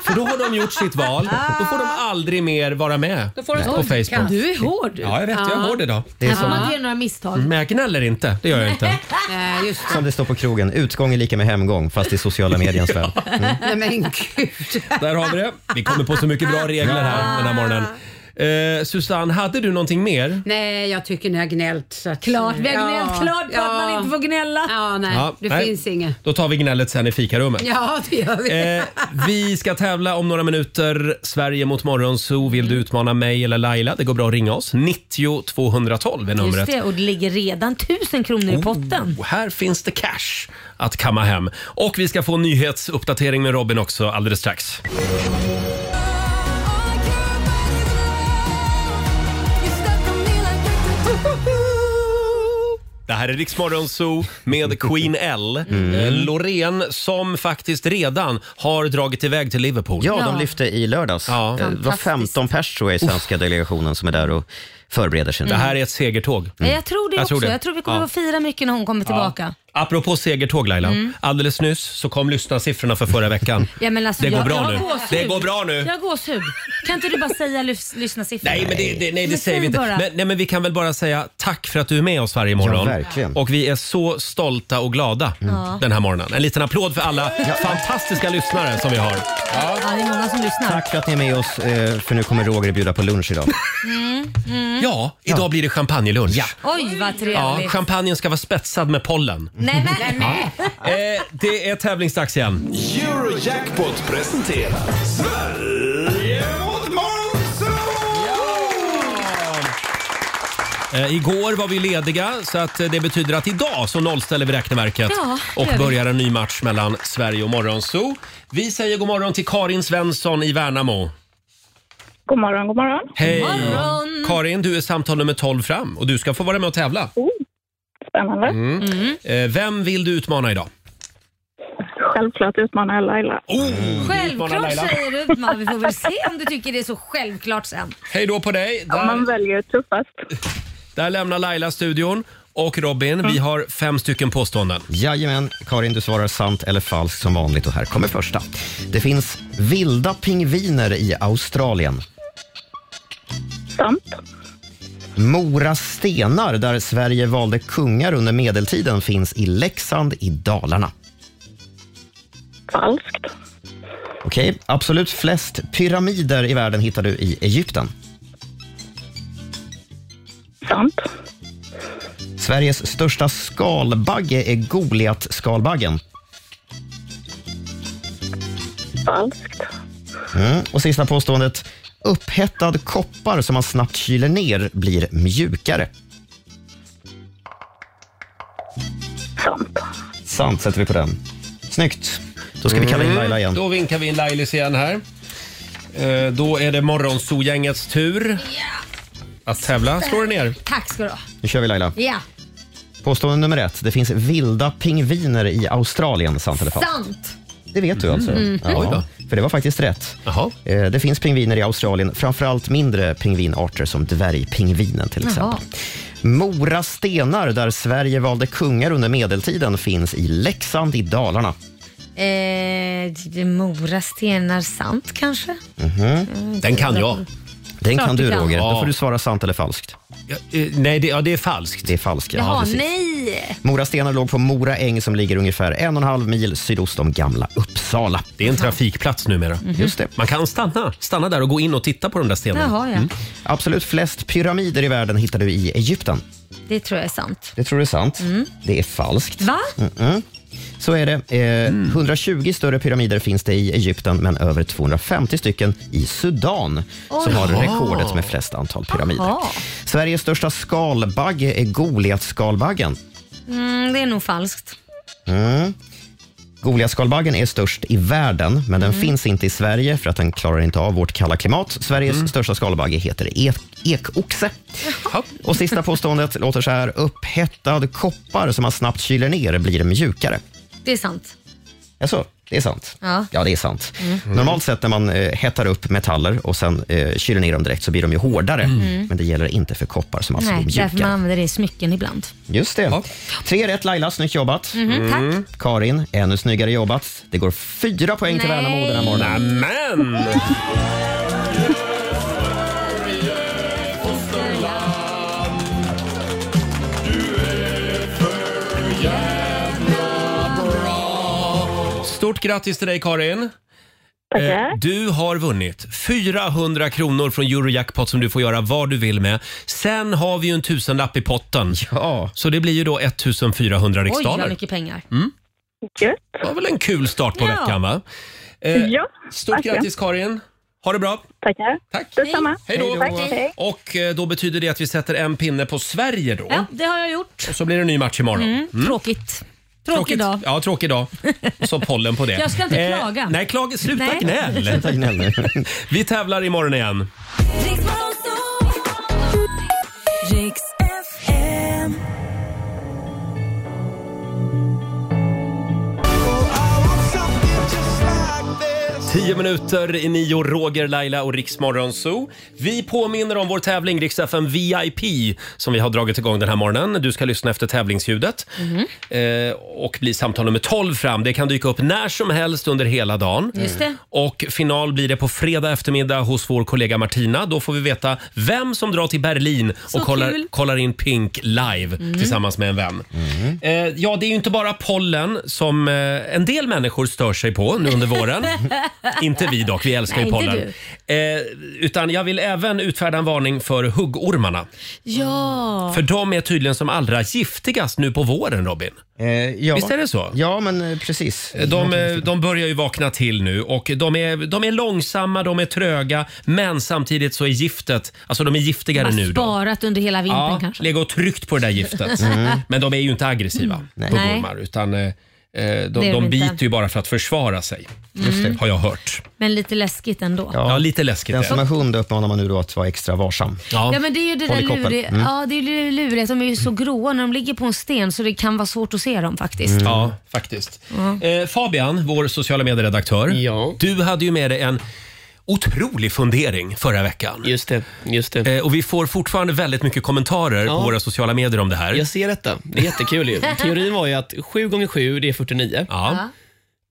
Speaker 1: För då har de gjort sitt val. Då får de aldrig mer vara med
Speaker 2: Ah. Då får de-
Speaker 1: på
Speaker 2: Oj,
Speaker 1: Facebook.
Speaker 2: Du är hård. du.
Speaker 1: Ja, jag vet. Jag är hård idag.
Speaker 3: Det är
Speaker 2: Här får
Speaker 3: som-
Speaker 2: man inte göra några misstag.
Speaker 1: Men jag gnäller inte. Det gör jag inte.
Speaker 6: Nej, just
Speaker 3: Som det står på krogen, utgång är lika med hemgång fast i
Speaker 1: *laughs*
Speaker 3: sociala mediens värld.
Speaker 6: Nej men gud.
Speaker 1: Där har vi det. Vi kommer på så mycket bra regler här den här morgonen. Eh, Susanne, hade du någonting mer?
Speaker 6: Nej, jag tycker ni har gnällt. Så att, eh,
Speaker 2: Klart, vi har gnällt klart på att man inte får gnälla.
Speaker 6: Ja, nej,
Speaker 1: Ja,
Speaker 6: det
Speaker 1: nej.
Speaker 6: finns inget.
Speaker 1: Då tar vi gnället sen i fikarummet.
Speaker 6: Ja, det gör vi.
Speaker 1: Eh, vi ska tävla om några minuter. Sverige mot Morgonzoo. Vill du utmana mig eller Laila? Det går bra att ringa oss. 90 212 är
Speaker 2: Just
Speaker 1: numret. Oh. Mm.
Speaker 2: det, och det ligger redan tusen kronor i potten.
Speaker 1: Och här finns det cash att kamma hem. Och vi ska få en nyhetsuppdatering med Robin också alldeles strax. Det här är Riksmorgon Zoo
Speaker 3: *laughs*
Speaker 1: med Queen L.
Speaker 3: Mm.
Speaker 1: Eh, Loreen som faktiskt redan har dragit iväg till Liverpool.
Speaker 3: Ja, de lyfte i lördags.
Speaker 1: Ja.
Speaker 3: Det var 15 pers tror jag i svenska delegationen som är där och förbereder sig.
Speaker 1: Det här är ett segertåg.
Speaker 2: Ja, Jag tror det
Speaker 1: Jag
Speaker 2: också.
Speaker 1: tror det.
Speaker 2: Jag tror vi kommer
Speaker 1: Ja.
Speaker 2: att fira mycket när hon kommer tillbaka.
Speaker 1: Apropå segertåg Laila,
Speaker 2: Mm.
Speaker 1: alldeles nyss så kom lyssnarsiffrorna för
Speaker 2: *laughs*
Speaker 1: förra veckan.
Speaker 2: Ja, men alltså,
Speaker 1: det går
Speaker 2: jag,
Speaker 1: bra
Speaker 2: jag har
Speaker 1: nu.
Speaker 2: gåshud.
Speaker 1: Det går bra nu.
Speaker 2: Jag har gåshud. Kan inte du bara säga lys, lyssnarsiffror?
Speaker 1: Nej, men det, det, nej, det
Speaker 2: Men
Speaker 1: säger
Speaker 2: säg
Speaker 1: vi inte.
Speaker 2: bara.
Speaker 1: Men, nej, men vi kan väl bara säga tack för att du är med oss varje morgon.
Speaker 3: Ja, verkligen.
Speaker 1: Och vi är så stolta och glada
Speaker 2: Mm. Ja.
Speaker 1: den här morgonen. En liten applåd för alla fantastiska lyssnare som vi har.
Speaker 2: Ja. det är många som lyssnar.
Speaker 3: Tack för att ni är med oss, eh, för nu kommer Roger bjuda på lunch idag.
Speaker 2: Mm, mm.
Speaker 1: Ja, idag blir det champagnelunch. Ja.
Speaker 2: Oj, vad trevligt.
Speaker 1: Ja, champagnen ska vara spetsad med pollen.
Speaker 2: Nej, men, nej.
Speaker 1: Eh, det är tävlingsdags igen.
Speaker 4: Eurojackpot presenterar Sverige mot Morgonzoo!
Speaker 1: Eh, igår var vi lediga så att eh, det betyder att idag så nollställer vi räkneverket
Speaker 4: Ja, det
Speaker 1: och
Speaker 4: gör vi.
Speaker 1: börjar en ny match mellan Sverige och Morgonzoo. Vi säger god morgon till Karin Svensson i Värnamo.
Speaker 17: God morgon, god morgon.
Speaker 1: Hej! Karin, du är samtal nummer 12 fram och du ska få vara med och tävla.
Speaker 17: Spännande.
Speaker 1: Mm. Eh, Vem vill du utmana idag?
Speaker 17: Självklart utmanar jag Laila.
Speaker 1: Mm.
Speaker 2: Självklart säger du Utman. Vi får väl se om du tycker det är så självklart sen.
Speaker 1: Hej då på dig!
Speaker 17: Om man väljer tuffast.
Speaker 1: Där lämnar Laila studion. Och Robin, vi har fem stycken påståenden.
Speaker 3: Jajamän, Karin du svarar sant eller falskt som vanligt och här kommer första. Det finns vilda pingviner i Australien.
Speaker 17: Sant.
Speaker 3: Mora stenar där Sverige valde kungar under medeltiden finns i Leksand i Dalarna.
Speaker 17: Falskt.
Speaker 3: Okej, absolut flest pyramider i världen hittar du i Egypten.
Speaker 17: Sant.
Speaker 3: Sveriges största skalbagge är Goliat-skalbaggen.
Speaker 17: Falskt.
Speaker 3: Mm. Och sista påståendet. Upphettad koppar som man snabbt kyler ner blir mjukare.
Speaker 17: Sant.
Speaker 3: Sant sätter vi på den. Snyggt. Då ska vi kalla in
Speaker 2: Mm.
Speaker 3: Laila igen.
Speaker 1: Mm. Då vinkar vi in Lailis igen här. Eh, Då är det Morgonzoo-gängets tur att tävla. Slå dig ner.
Speaker 2: Tack ska du ha.
Speaker 3: Nu kör vi Laila.
Speaker 2: Ja,
Speaker 3: Påstående nummer ett. Det finns vilda pingviner i Australien, sant eller falskt?
Speaker 2: sant.
Speaker 3: Det vet du alltså?
Speaker 2: Mm.
Speaker 3: Ja,
Speaker 2: Oj då.
Speaker 3: För det var faktiskt rätt. Eh, Det finns pingviner i Australien, framförallt mindre pingvinarter som dvärgpingvinen till exempel. Mora stenar där Sverige valde kungar under medeltiden finns i Leksand i Dalarna.
Speaker 2: Eh, det är Mora stenar, sant kanske?
Speaker 3: Mhm.
Speaker 2: Den kan jag.
Speaker 3: Den
Speaker 2: Klart
Speaker 3: kan
Speaker 2: du
Speaker 3: du
Speaker 2: kan.
Speaker 3: Roger.
Speaker 2: Ja.
Speaker 3: Då får du svara sant eller falskt.
Speaker 1: nej, det, ja, det är falskt.
Speaker 3: Det är falskt, ja.
Speaker 2: Jaha,
Speaker 3: precis.
Speaker 2: nej.
Speaker 3: Mora stenar låg på Mora äng som ligger ungefär en och en halv mil sydost om gamla Uppsala.
Speaker 1: Det är en trafikplats numera.
Speaker 3: Just det.
Speaker 1: Man kan stanna, stanna där och gå in och titta på de där stenarna.
Speaker 2: Jaha, ja.
Speaker 3: Absolut flest pyramider i världen hittar du i Egypten.
Speaker 2: Det tror jag är sant.
Speaker 3: Det tror du är sant. Det är falskt.
Speaker 2: Va?
Speaker 3: Mm-mm. Så är det. Eh, 120 större pyramider finns det i Egypten, men över 250 stycken i Sudan,
Speaker 4: Oj.
Speaker 3: som har
Speaker 4: Jaha.
Speaker 3: rekordet med flest antal pyramider.
Speaker 2: Jaha.
Speaker 3: Sveriges största skalbagge är Goliatskalbaggen.
Speaker 2: Mm, det är nog falskt.
Speaker 3: Mm. Goliatskalbaggen är störst i världen, men den
Speaker 2: Mm.
Speaker 3: finns inte i Sverige för att den klarar inte av vårt kalla klimat. Sveriges
Speaker 2: Mm.
Speaker 3: största skalbagge heter ek- ekoxe. Och sista påståendet låter så här. Upphettad koppar som man snabbt kyler ner blir mjukare.
Speaker 2: Det är sant.
Speaker 3: Jaså, det är sant?
Speaker 2: Ja.
Speaker 3: Ja, det är sant.
Speaker 2: Mm.
Speaker 3: Normalt sett när man eh, hettar upp metaller och sen eh, kyler ner dem direkt så blir de ju hårdare.
Speaker 2: Mm.
Speaker 3: Men det gäller inte för koppar som alltså
Speaker 2: nej,
Speaker 3: blir mjukare.
Speaker 2: därför man använder det i smycken ibland.
Speaker 3: Just det. Tre rätt Laila, snyggt jobbat.
Speaker 2: Mhm, tack. Mm.
Speaker 3: Karin, ännu snyggare jobbat. Det går fyra poäng till
Speaker 2: Nej.
Speaker 3: Värnamo den här *laughs* morgonen.
Speaker 1: Nämen! Stort grattis till dig Karin! Eh, Du har vunnit 400 kronor från Eurojackpot som du får göra vad du vill med. Sen har vi ju en tusenlapp i potten.
Speaker 3: Ja.
Speaker 1: Så det blir ju då 1400
Speaker 2: Oj, vad
Speaker 1: riksdaler.
Speaker 2: mycket pengar.
Speaker 1: Mm. Det var väl en kul start på
Speaker 2: Ja.
Speaker 1: veckan va? Eh.
Speaker 2: Ja,
Speaker 1: Stort
Speaker 2: verkligen.
Speaker 1: grattis Karin! Ha det bra!
Speaker 2: Tackar.
Speaker 1: Tack.
Speaker 2: Detsamma.
Speaker 1: Hej då! Och eh, då betyder det att vi sätter en pinne på Sverige då.
Speaker 2: Ja, det har jag gjort.
Speaker 1: Och så blir det en ny match imorgon.
Speaker 2: Mm.
Speaker 1: Mm.
Speaker 2: Tråkigt. Tråkig dag.
Speaker 1: Ja, tråkig dag. Och så pollen på det. Eh,
Speaker 2: Jag ska inte klaga.
Speaker 1: Nej, klaga. Sluta
Speaker 2: Nej.
Speaker 1: gnäll.
Speaker 2: Sluta
Speaker 1: *laughs* Vi tävlar imorgon igen.
Speaker 7: Riks FM.
Speaker 1: Tio minuter i nio, Roger, Laila och Riksmorgon Zoo. Vi påminner om vår tävling Rix FM VIP som vi har dragit igång den här morgonen. Du ska lyssna efter tävlingsljudet
Speaker 2: Mhm.
Speaker 1: eh, och bli samtal nummer 12 fram. Det kan dyka upp när som helst under hela dagen.
Speaker 2: Just det.
Speaker 1: Och final blir det på fredag eftermiddag hos vår kollega Martina. Då får vi veta vem som drar till Berlin och kollar,
Speaker 4: kul.
Speaker 1: kollar in Pink live
Speaker 4: Mm.
Speaker 1: tillsammans med en vän. Eh, ja, det är ju inte bara pollen som eh, en del människor stör sig på nu
Speaker 2: *laughs*
Speaker 1: under våren. inte vi dock, vi älskar
Speaker 2: Nej,
Speaker 1: ju
Speaker 2: inte
Speaker 1: pollen. Eh, utan jag vill även utfärda en varning för huggormarna.
Speaker 2: Ja.
Speaker 1: För de är tydligen som allra giftigast nu på våren, Robin.
Speaker 3: Eh, Ja.
Speaker 1: Visst är det så?
Speaker 3: Ja, men eh, precis.
Speaker 1: De, eh, de börjar ju vakna till nu och de är, de är långsamma, de är tröga, men samtidigt så är giftet, alltså de är giftigare
Speaker 2: Man
Speaker 1: nu då.
Speaker 2: sparat under hela vintern
Speaker 1: Ja,
Speaker 2: kanske.
Speaker 1: lägga och tryckt på det där giftet.
Speaker 2: Mm.
Speaker 1: Men de är ju inte aggressiva,
Speaker 2: Mm. Nej.
Speaker 1: huggormar, utan eh, eh, de,
Speaker 2: är de
Speaker 1: de
Speaker 2: inte. Mm.
Speaker 1: biter ju bara för att försvara sig.
Speaker 2: Just det.
Speaker 1: Har jag hört.
Speaker 2: Men lite läskigt ändå.
Speaker 1: lite läskigt.
Speaker 3: Den
Speaker 1: är
Speaker 3: som
Speaker 1: det.
Speaker 3: är hund uppmanar man nu då att vara extra varsam.
Speaker 2: Ja, men det är ju det där
Speaker 3: Håll i koppen.
Speaker 2: luriga,
Speaker 3: Mm.
Speaker 2: ja, det är ju det luriga att de är ju så gråa när de ligger på en sten så det kan vara svårt att se dem faktiskt.
Speaker 1: Ja, faktiskt. Eh, Fabian, vår sociala medieredaktör, du hade ju med dig en otrolig fundering förra veckan.
Speaker 8: Just det. Just det.
Speaker 1: Eh, och vi får fortfarande väldigt mycket kommentarer på
Speaker 8: Ja.
Speaker 1: våra sociala medier om det här.
Speaker 8: Jag ser detta. Det är jättekul ju. Teorin var ju att 7 gånger 7 det är 49.
Speaker 1: Ja.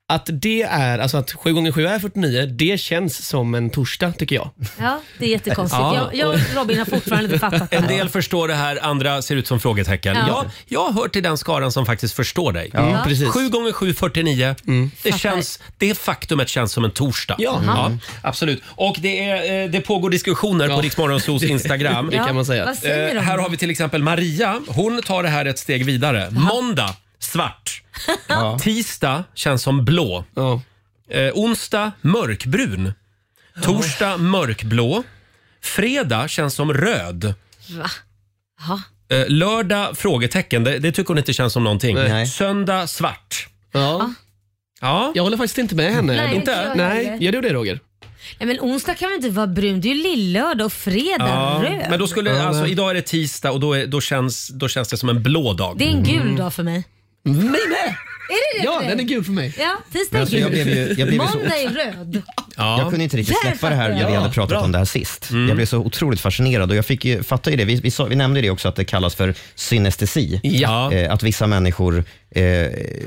Speaker 8: Att det är, alltså att 7 gånger 7 är 49, det känns som en torsdag tycker jag.
Speaker 2: Ja, det är jättekonstigt.
Speaker 1: Ja.
Speaker 2: Jag, jag och Robin har fortfarande inte fattat det
Speaker 1: En
Speaker 2: här.
Speaker 1: del förstår det här, andra ser ut som frågetecken.
Speaker 2: Ja.
Speaker 1: Jag, jag hör till den skaran som faktiskt förstår dig.
Speaker 8: Ja. Mm, precis. Mm.
Speaker 1: 7 gånger 7, 49. Det, känns, det faktumet känns som en torsdag.
Speaker 8: Ja. Mm.
Speaker 1: absolut. Och det, är, eh, det pågår diskussioner på Rix Morgonzoos Instagram.
Speaker 8: *laughs* Det kan man säga. Vad säger de?
Speaker 1: Eh, här har vi till exempel Maria. Hon tar det här ett steg vidare. Måndag, svart. Tisdag känns som blå. Eh, onsdag, mörkbrun. Torsdag, mörkblå. Fredag känns som röd.
Speaker 2: Va? Ja.
Speaker 1: Eh, Lördag? Frågetecken. Det, det tycker hon inte känns som någonting.
Speaker 8: Nej.
Speaker 1: Söndag? Svart.
Speaker 8: Ja.
Speaker 1: ja.
Speaker 8: Jag håller faktiskt inte med henne.
Speaker 2: Nej, inte jag
Speaker 8: Nej,
Speaker 2: heller.
Speaker 8: gör du det Roger?
Speaker 2: Nej, men onsdag kan väl inte vara brun? Det är ju lillördag och fredag röd.
Speaker 1: Men då skulle, alltså, idag är det tisdag och då, är, då, känns, då känns det som en blå dag.
Speaker 2: Det är en gul dag för mig.
Speaker 8: Mig med!
Speaker 2: Är det det för dig?
Speaker 8: gul för mig.
Speaker 2: Ja, tisdag
Speaker 3: Men
Speaker 2: är
Speaker 3: alltså,
Speaker 2: gul.
Speaker 3: jag blev ju- jag blev ju så-
Speaker 2: Måndag är röd.
Speaker 3: Jag kunde inte riktigt
Speaker 2: Där
Speaker 3: släppa det här
Speaker 2: fattar
Speaker 3: när vi
Speaker 2: jag.
Speaker 3: hade pratat om det här sist.
Speaker 8: Mm.
Speaker 3: Jag blev så otroligt fascinerad och jag fick ju, fattar ju det. Vi, vi, sa, vi nämnde ju det också att det kallas för synestesi. Eh, att vissa människor, eh,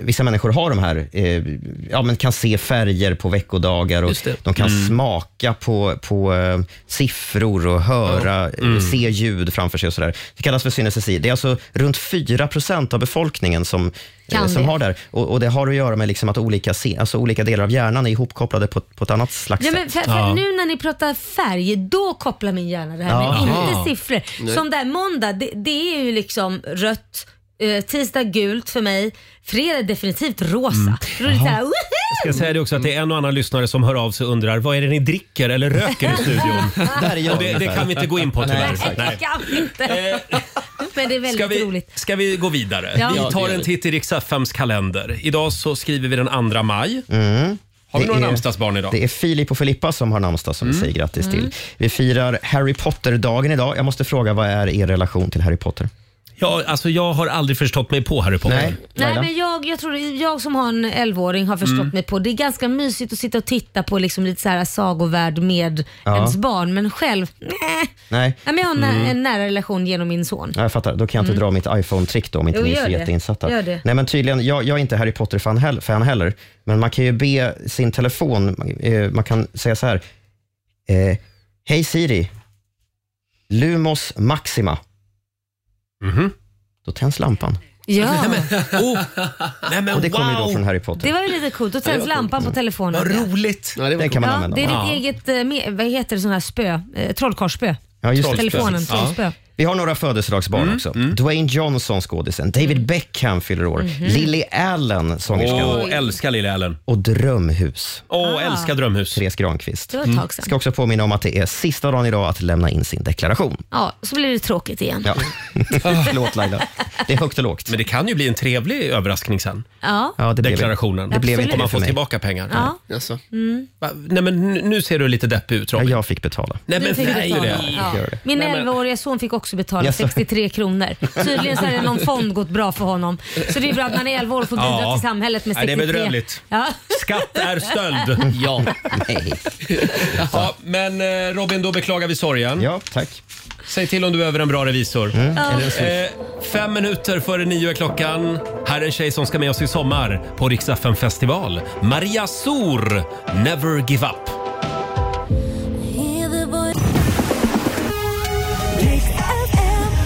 Speaker 3: vissa människor har de här, eh, ja men kan se färger på veckodagar och
Speaker 8: Just det.
Speaker 3: de kan
Speaker 8: Mm.
Speaker 3: smaka på, på eh, siffror och höra,
Speaker 8: Ja. Mm.
Speaker 3: se se ljud framför sig och sådär. Det kallas för synestesi. Det är alltså runt 4 av befolkningen som,
Speaker 2: Kan
Speaker 3: eh, som
Speaker 2: det.
Speaker 3: har det. här. Och, och det har att göra med liksom att olika, se, alltså olika delar av hjärnan är ihopkopplade på, på ett annat slags
Speaker 2: Ja,
Speaker 3: sätt.
Speaker 2: men för, för Nu när ni pratar färg, då kopplar min hjärna det här.
Speaker 3: Ja.
Speaker 2: Men
Speaker 3: Aha.
Speaker 2: inte siffror.
Speaker 3: Nej.
Speaker 2: Som där måndag, det, det är ju liksom rött, eh, tisdag gult för mig, fredag är definitivt rosa. Då är det så här, "Woho!"
Speaker 1: Ska jag säga det också att det är en och annan lyssnare som hör av sig och undrar vad är det ni dricker eller röker i studion?
Speaker 3: Där är jag
Speaker 1: och det, det
Speaker 3: ungefär.
Speaker 1: kan vi inte gå in på tyvärr.
Speaker 2: Nej, jag kan inte. *laughs* Men det är väldigt
Speaker 1: Ska vi,
Speaker 2: roligt.
Speaker 1: ska vi gå vidare?
Speaker 2: Ja. Ja,
Speaker 1: Vi
Speaker 2: det gör
Speaker 1: tar en
Speaker 2: vi.
Speaker 1: titt i riks kalender. Idag så skriver vi den 2 maj. Har vi
Speaker 3: Det
Speaker 1: några
Speaker 3: är-
Speaker 1: namnsdagsbarn idag?
Speaker 3: Det är Filip och Filippa som har namnsdag som vi säger grattis
Speaker 1: Mm.
Speaker 3: till. Vi firar Harry Potter-dagen idag. Jag måste fråga, vad är er relation till Harry Potter?
Speaker 1: Ja, alltså jag har aldrig förstått mig på Harry Potter.
Speaker 3: Nej.
Speaker 2: Nej, men jag, jag, tror, jag som har en 11-åring har förstått
Speaker 1: Mm.
Speaker 2: mig på det. är ganska mysigt att sitta och titta på liksom lite så här sagovärld med
Speaker 3: Ja.
Speaker 2: ens barn, men själv, nej.
Speaker 3: Nej.
Speaker 2: Nej, men jag har en,
Speaker 3: Mm.
Speaker 2: nä- en nära relation genom min son.
Speaker 3: Ja, jag fattar. Då kan jag inte
Speaker 2: Mm.
Speaker 3: dra mitt iPhone-trick då om inte
Speaker 2: Jo,
Speaker 3: ni är
Speaker 2: gör
Speaker 3: så
Speaker 2: det.
Speaker 3: jätteinsatta.
Speaker 2: Gör det.
Speaker 3: Nej, men tydligen, jag, jag är inte Harry Potter-fan hell- fan heller, men man kan ju be sin telefon, eh, man kan säga så här. Eh, Hej Siri, Lumos Maxima.
Speaker 2: Mhm.
Speaker 3: Då tänds lampan.
Speaker 2: Ja.
Speaker 3: och det kommer ju då från Harry Potter.
Speaker 2: Det var ju lite coolt. Då
Speaker 3: Ja, det
Speaker 2: tänds
Speaker 3: var
Speaker 2: lampan på telefonen.
Speaker 3: Vad
Speaker 1: roligt!
Speaker 3: det Den kan man
Speaker 2: Ja,
Speaker 3: använda.
Speaker 2: det är ditt
Speaker 3: Ja.
Speaker 2: eget, eh, me- vad heter det, sån här spö? Eh, trollkarlsspö.
Speaker 3: Ja, just det.
Speaker 2: Telefonen, trollspö.
Speaker 3: Vi har några födelsedagsbarn
Speaker 2: Mm,
Speaker 3: också. Dwayne Johnson, skådisen. David Beckham fyller år.
Speaker 2: Mhm.
Speaker 3: Lily Allen, sångerskan.
Speaker 1: Åh, älskar Lily Allen.
Speaker 3: Och Drömhus.
Speaker 1: Åh,
Speaker 2: Ah.
Speaker 1: älskar Drömhus.
Speaker 3: Therese Granqvist.
Speaker 2: Det var ett tag sedan.
Speaker 3: Mm. Ska också påminna om att det är sista dagen idag att lämna in sin deklaration.
Speaker 2: Ja, så blir det tråkigt igen.
Speaker 1: *laughs*
Speaker 3: Ja. Förlåt Laila. Det är högt och lågt.
Speaker 1: Men det kan ju bli en trevlig överraskning sen.
Speaker 2: Ja.
Speaker 1: Deklarationen.
Speaker 2: det blev inte
Speaker 1: Om man
Speaker 2: det för
Speaker 1: får
Speaker 2: mig.
Speaker 1: tillbaka pengar.
Speaker 2: Ja. Mm.
Speaker 1: Va? Nej, men nu- nu ser du lite deppig ut Robin.
Speaker 3: jag fick betala.
Speaker 1: Nej, men
Speaker 2: Du fick
Speaker 1: nej,
Speaker 2: betala.
Speaker 1: det.
Speaker 2: Ja. Min 11-åriga son fick också betala
Speaker 1: Jaså?
Speaker 2: 63 kronor. Tydligen så har
Speaker 1: *laughs*
Speaker 2: det någon fond gått bra för honom. Så det är bra att man är 11 år och får bidra
Speaker 1: Ja.
Speaker 2: till samhället med
Speaker 1: Nej,
Speaker 2: 63.
Speaker 1: det är bedrövligt.
Speaker 2: Ja.
Speaker 1: Skatt är stöld. ja.
Speaker 3: Nej.
Speaker 1: ja. Men eh, Robin, då beklagar vi sorgen.
Speaker 3: Ja, tack.
Speaker 1: Säg till om du behöver en bra revisor.
Speaker 2: Ja. Eller en
Speaker 1: Eh, fem minuter före nio är klockan. Här är en tjej som ska med oss i sommar på Rix FM festival. Maria Sor, Never Give Up.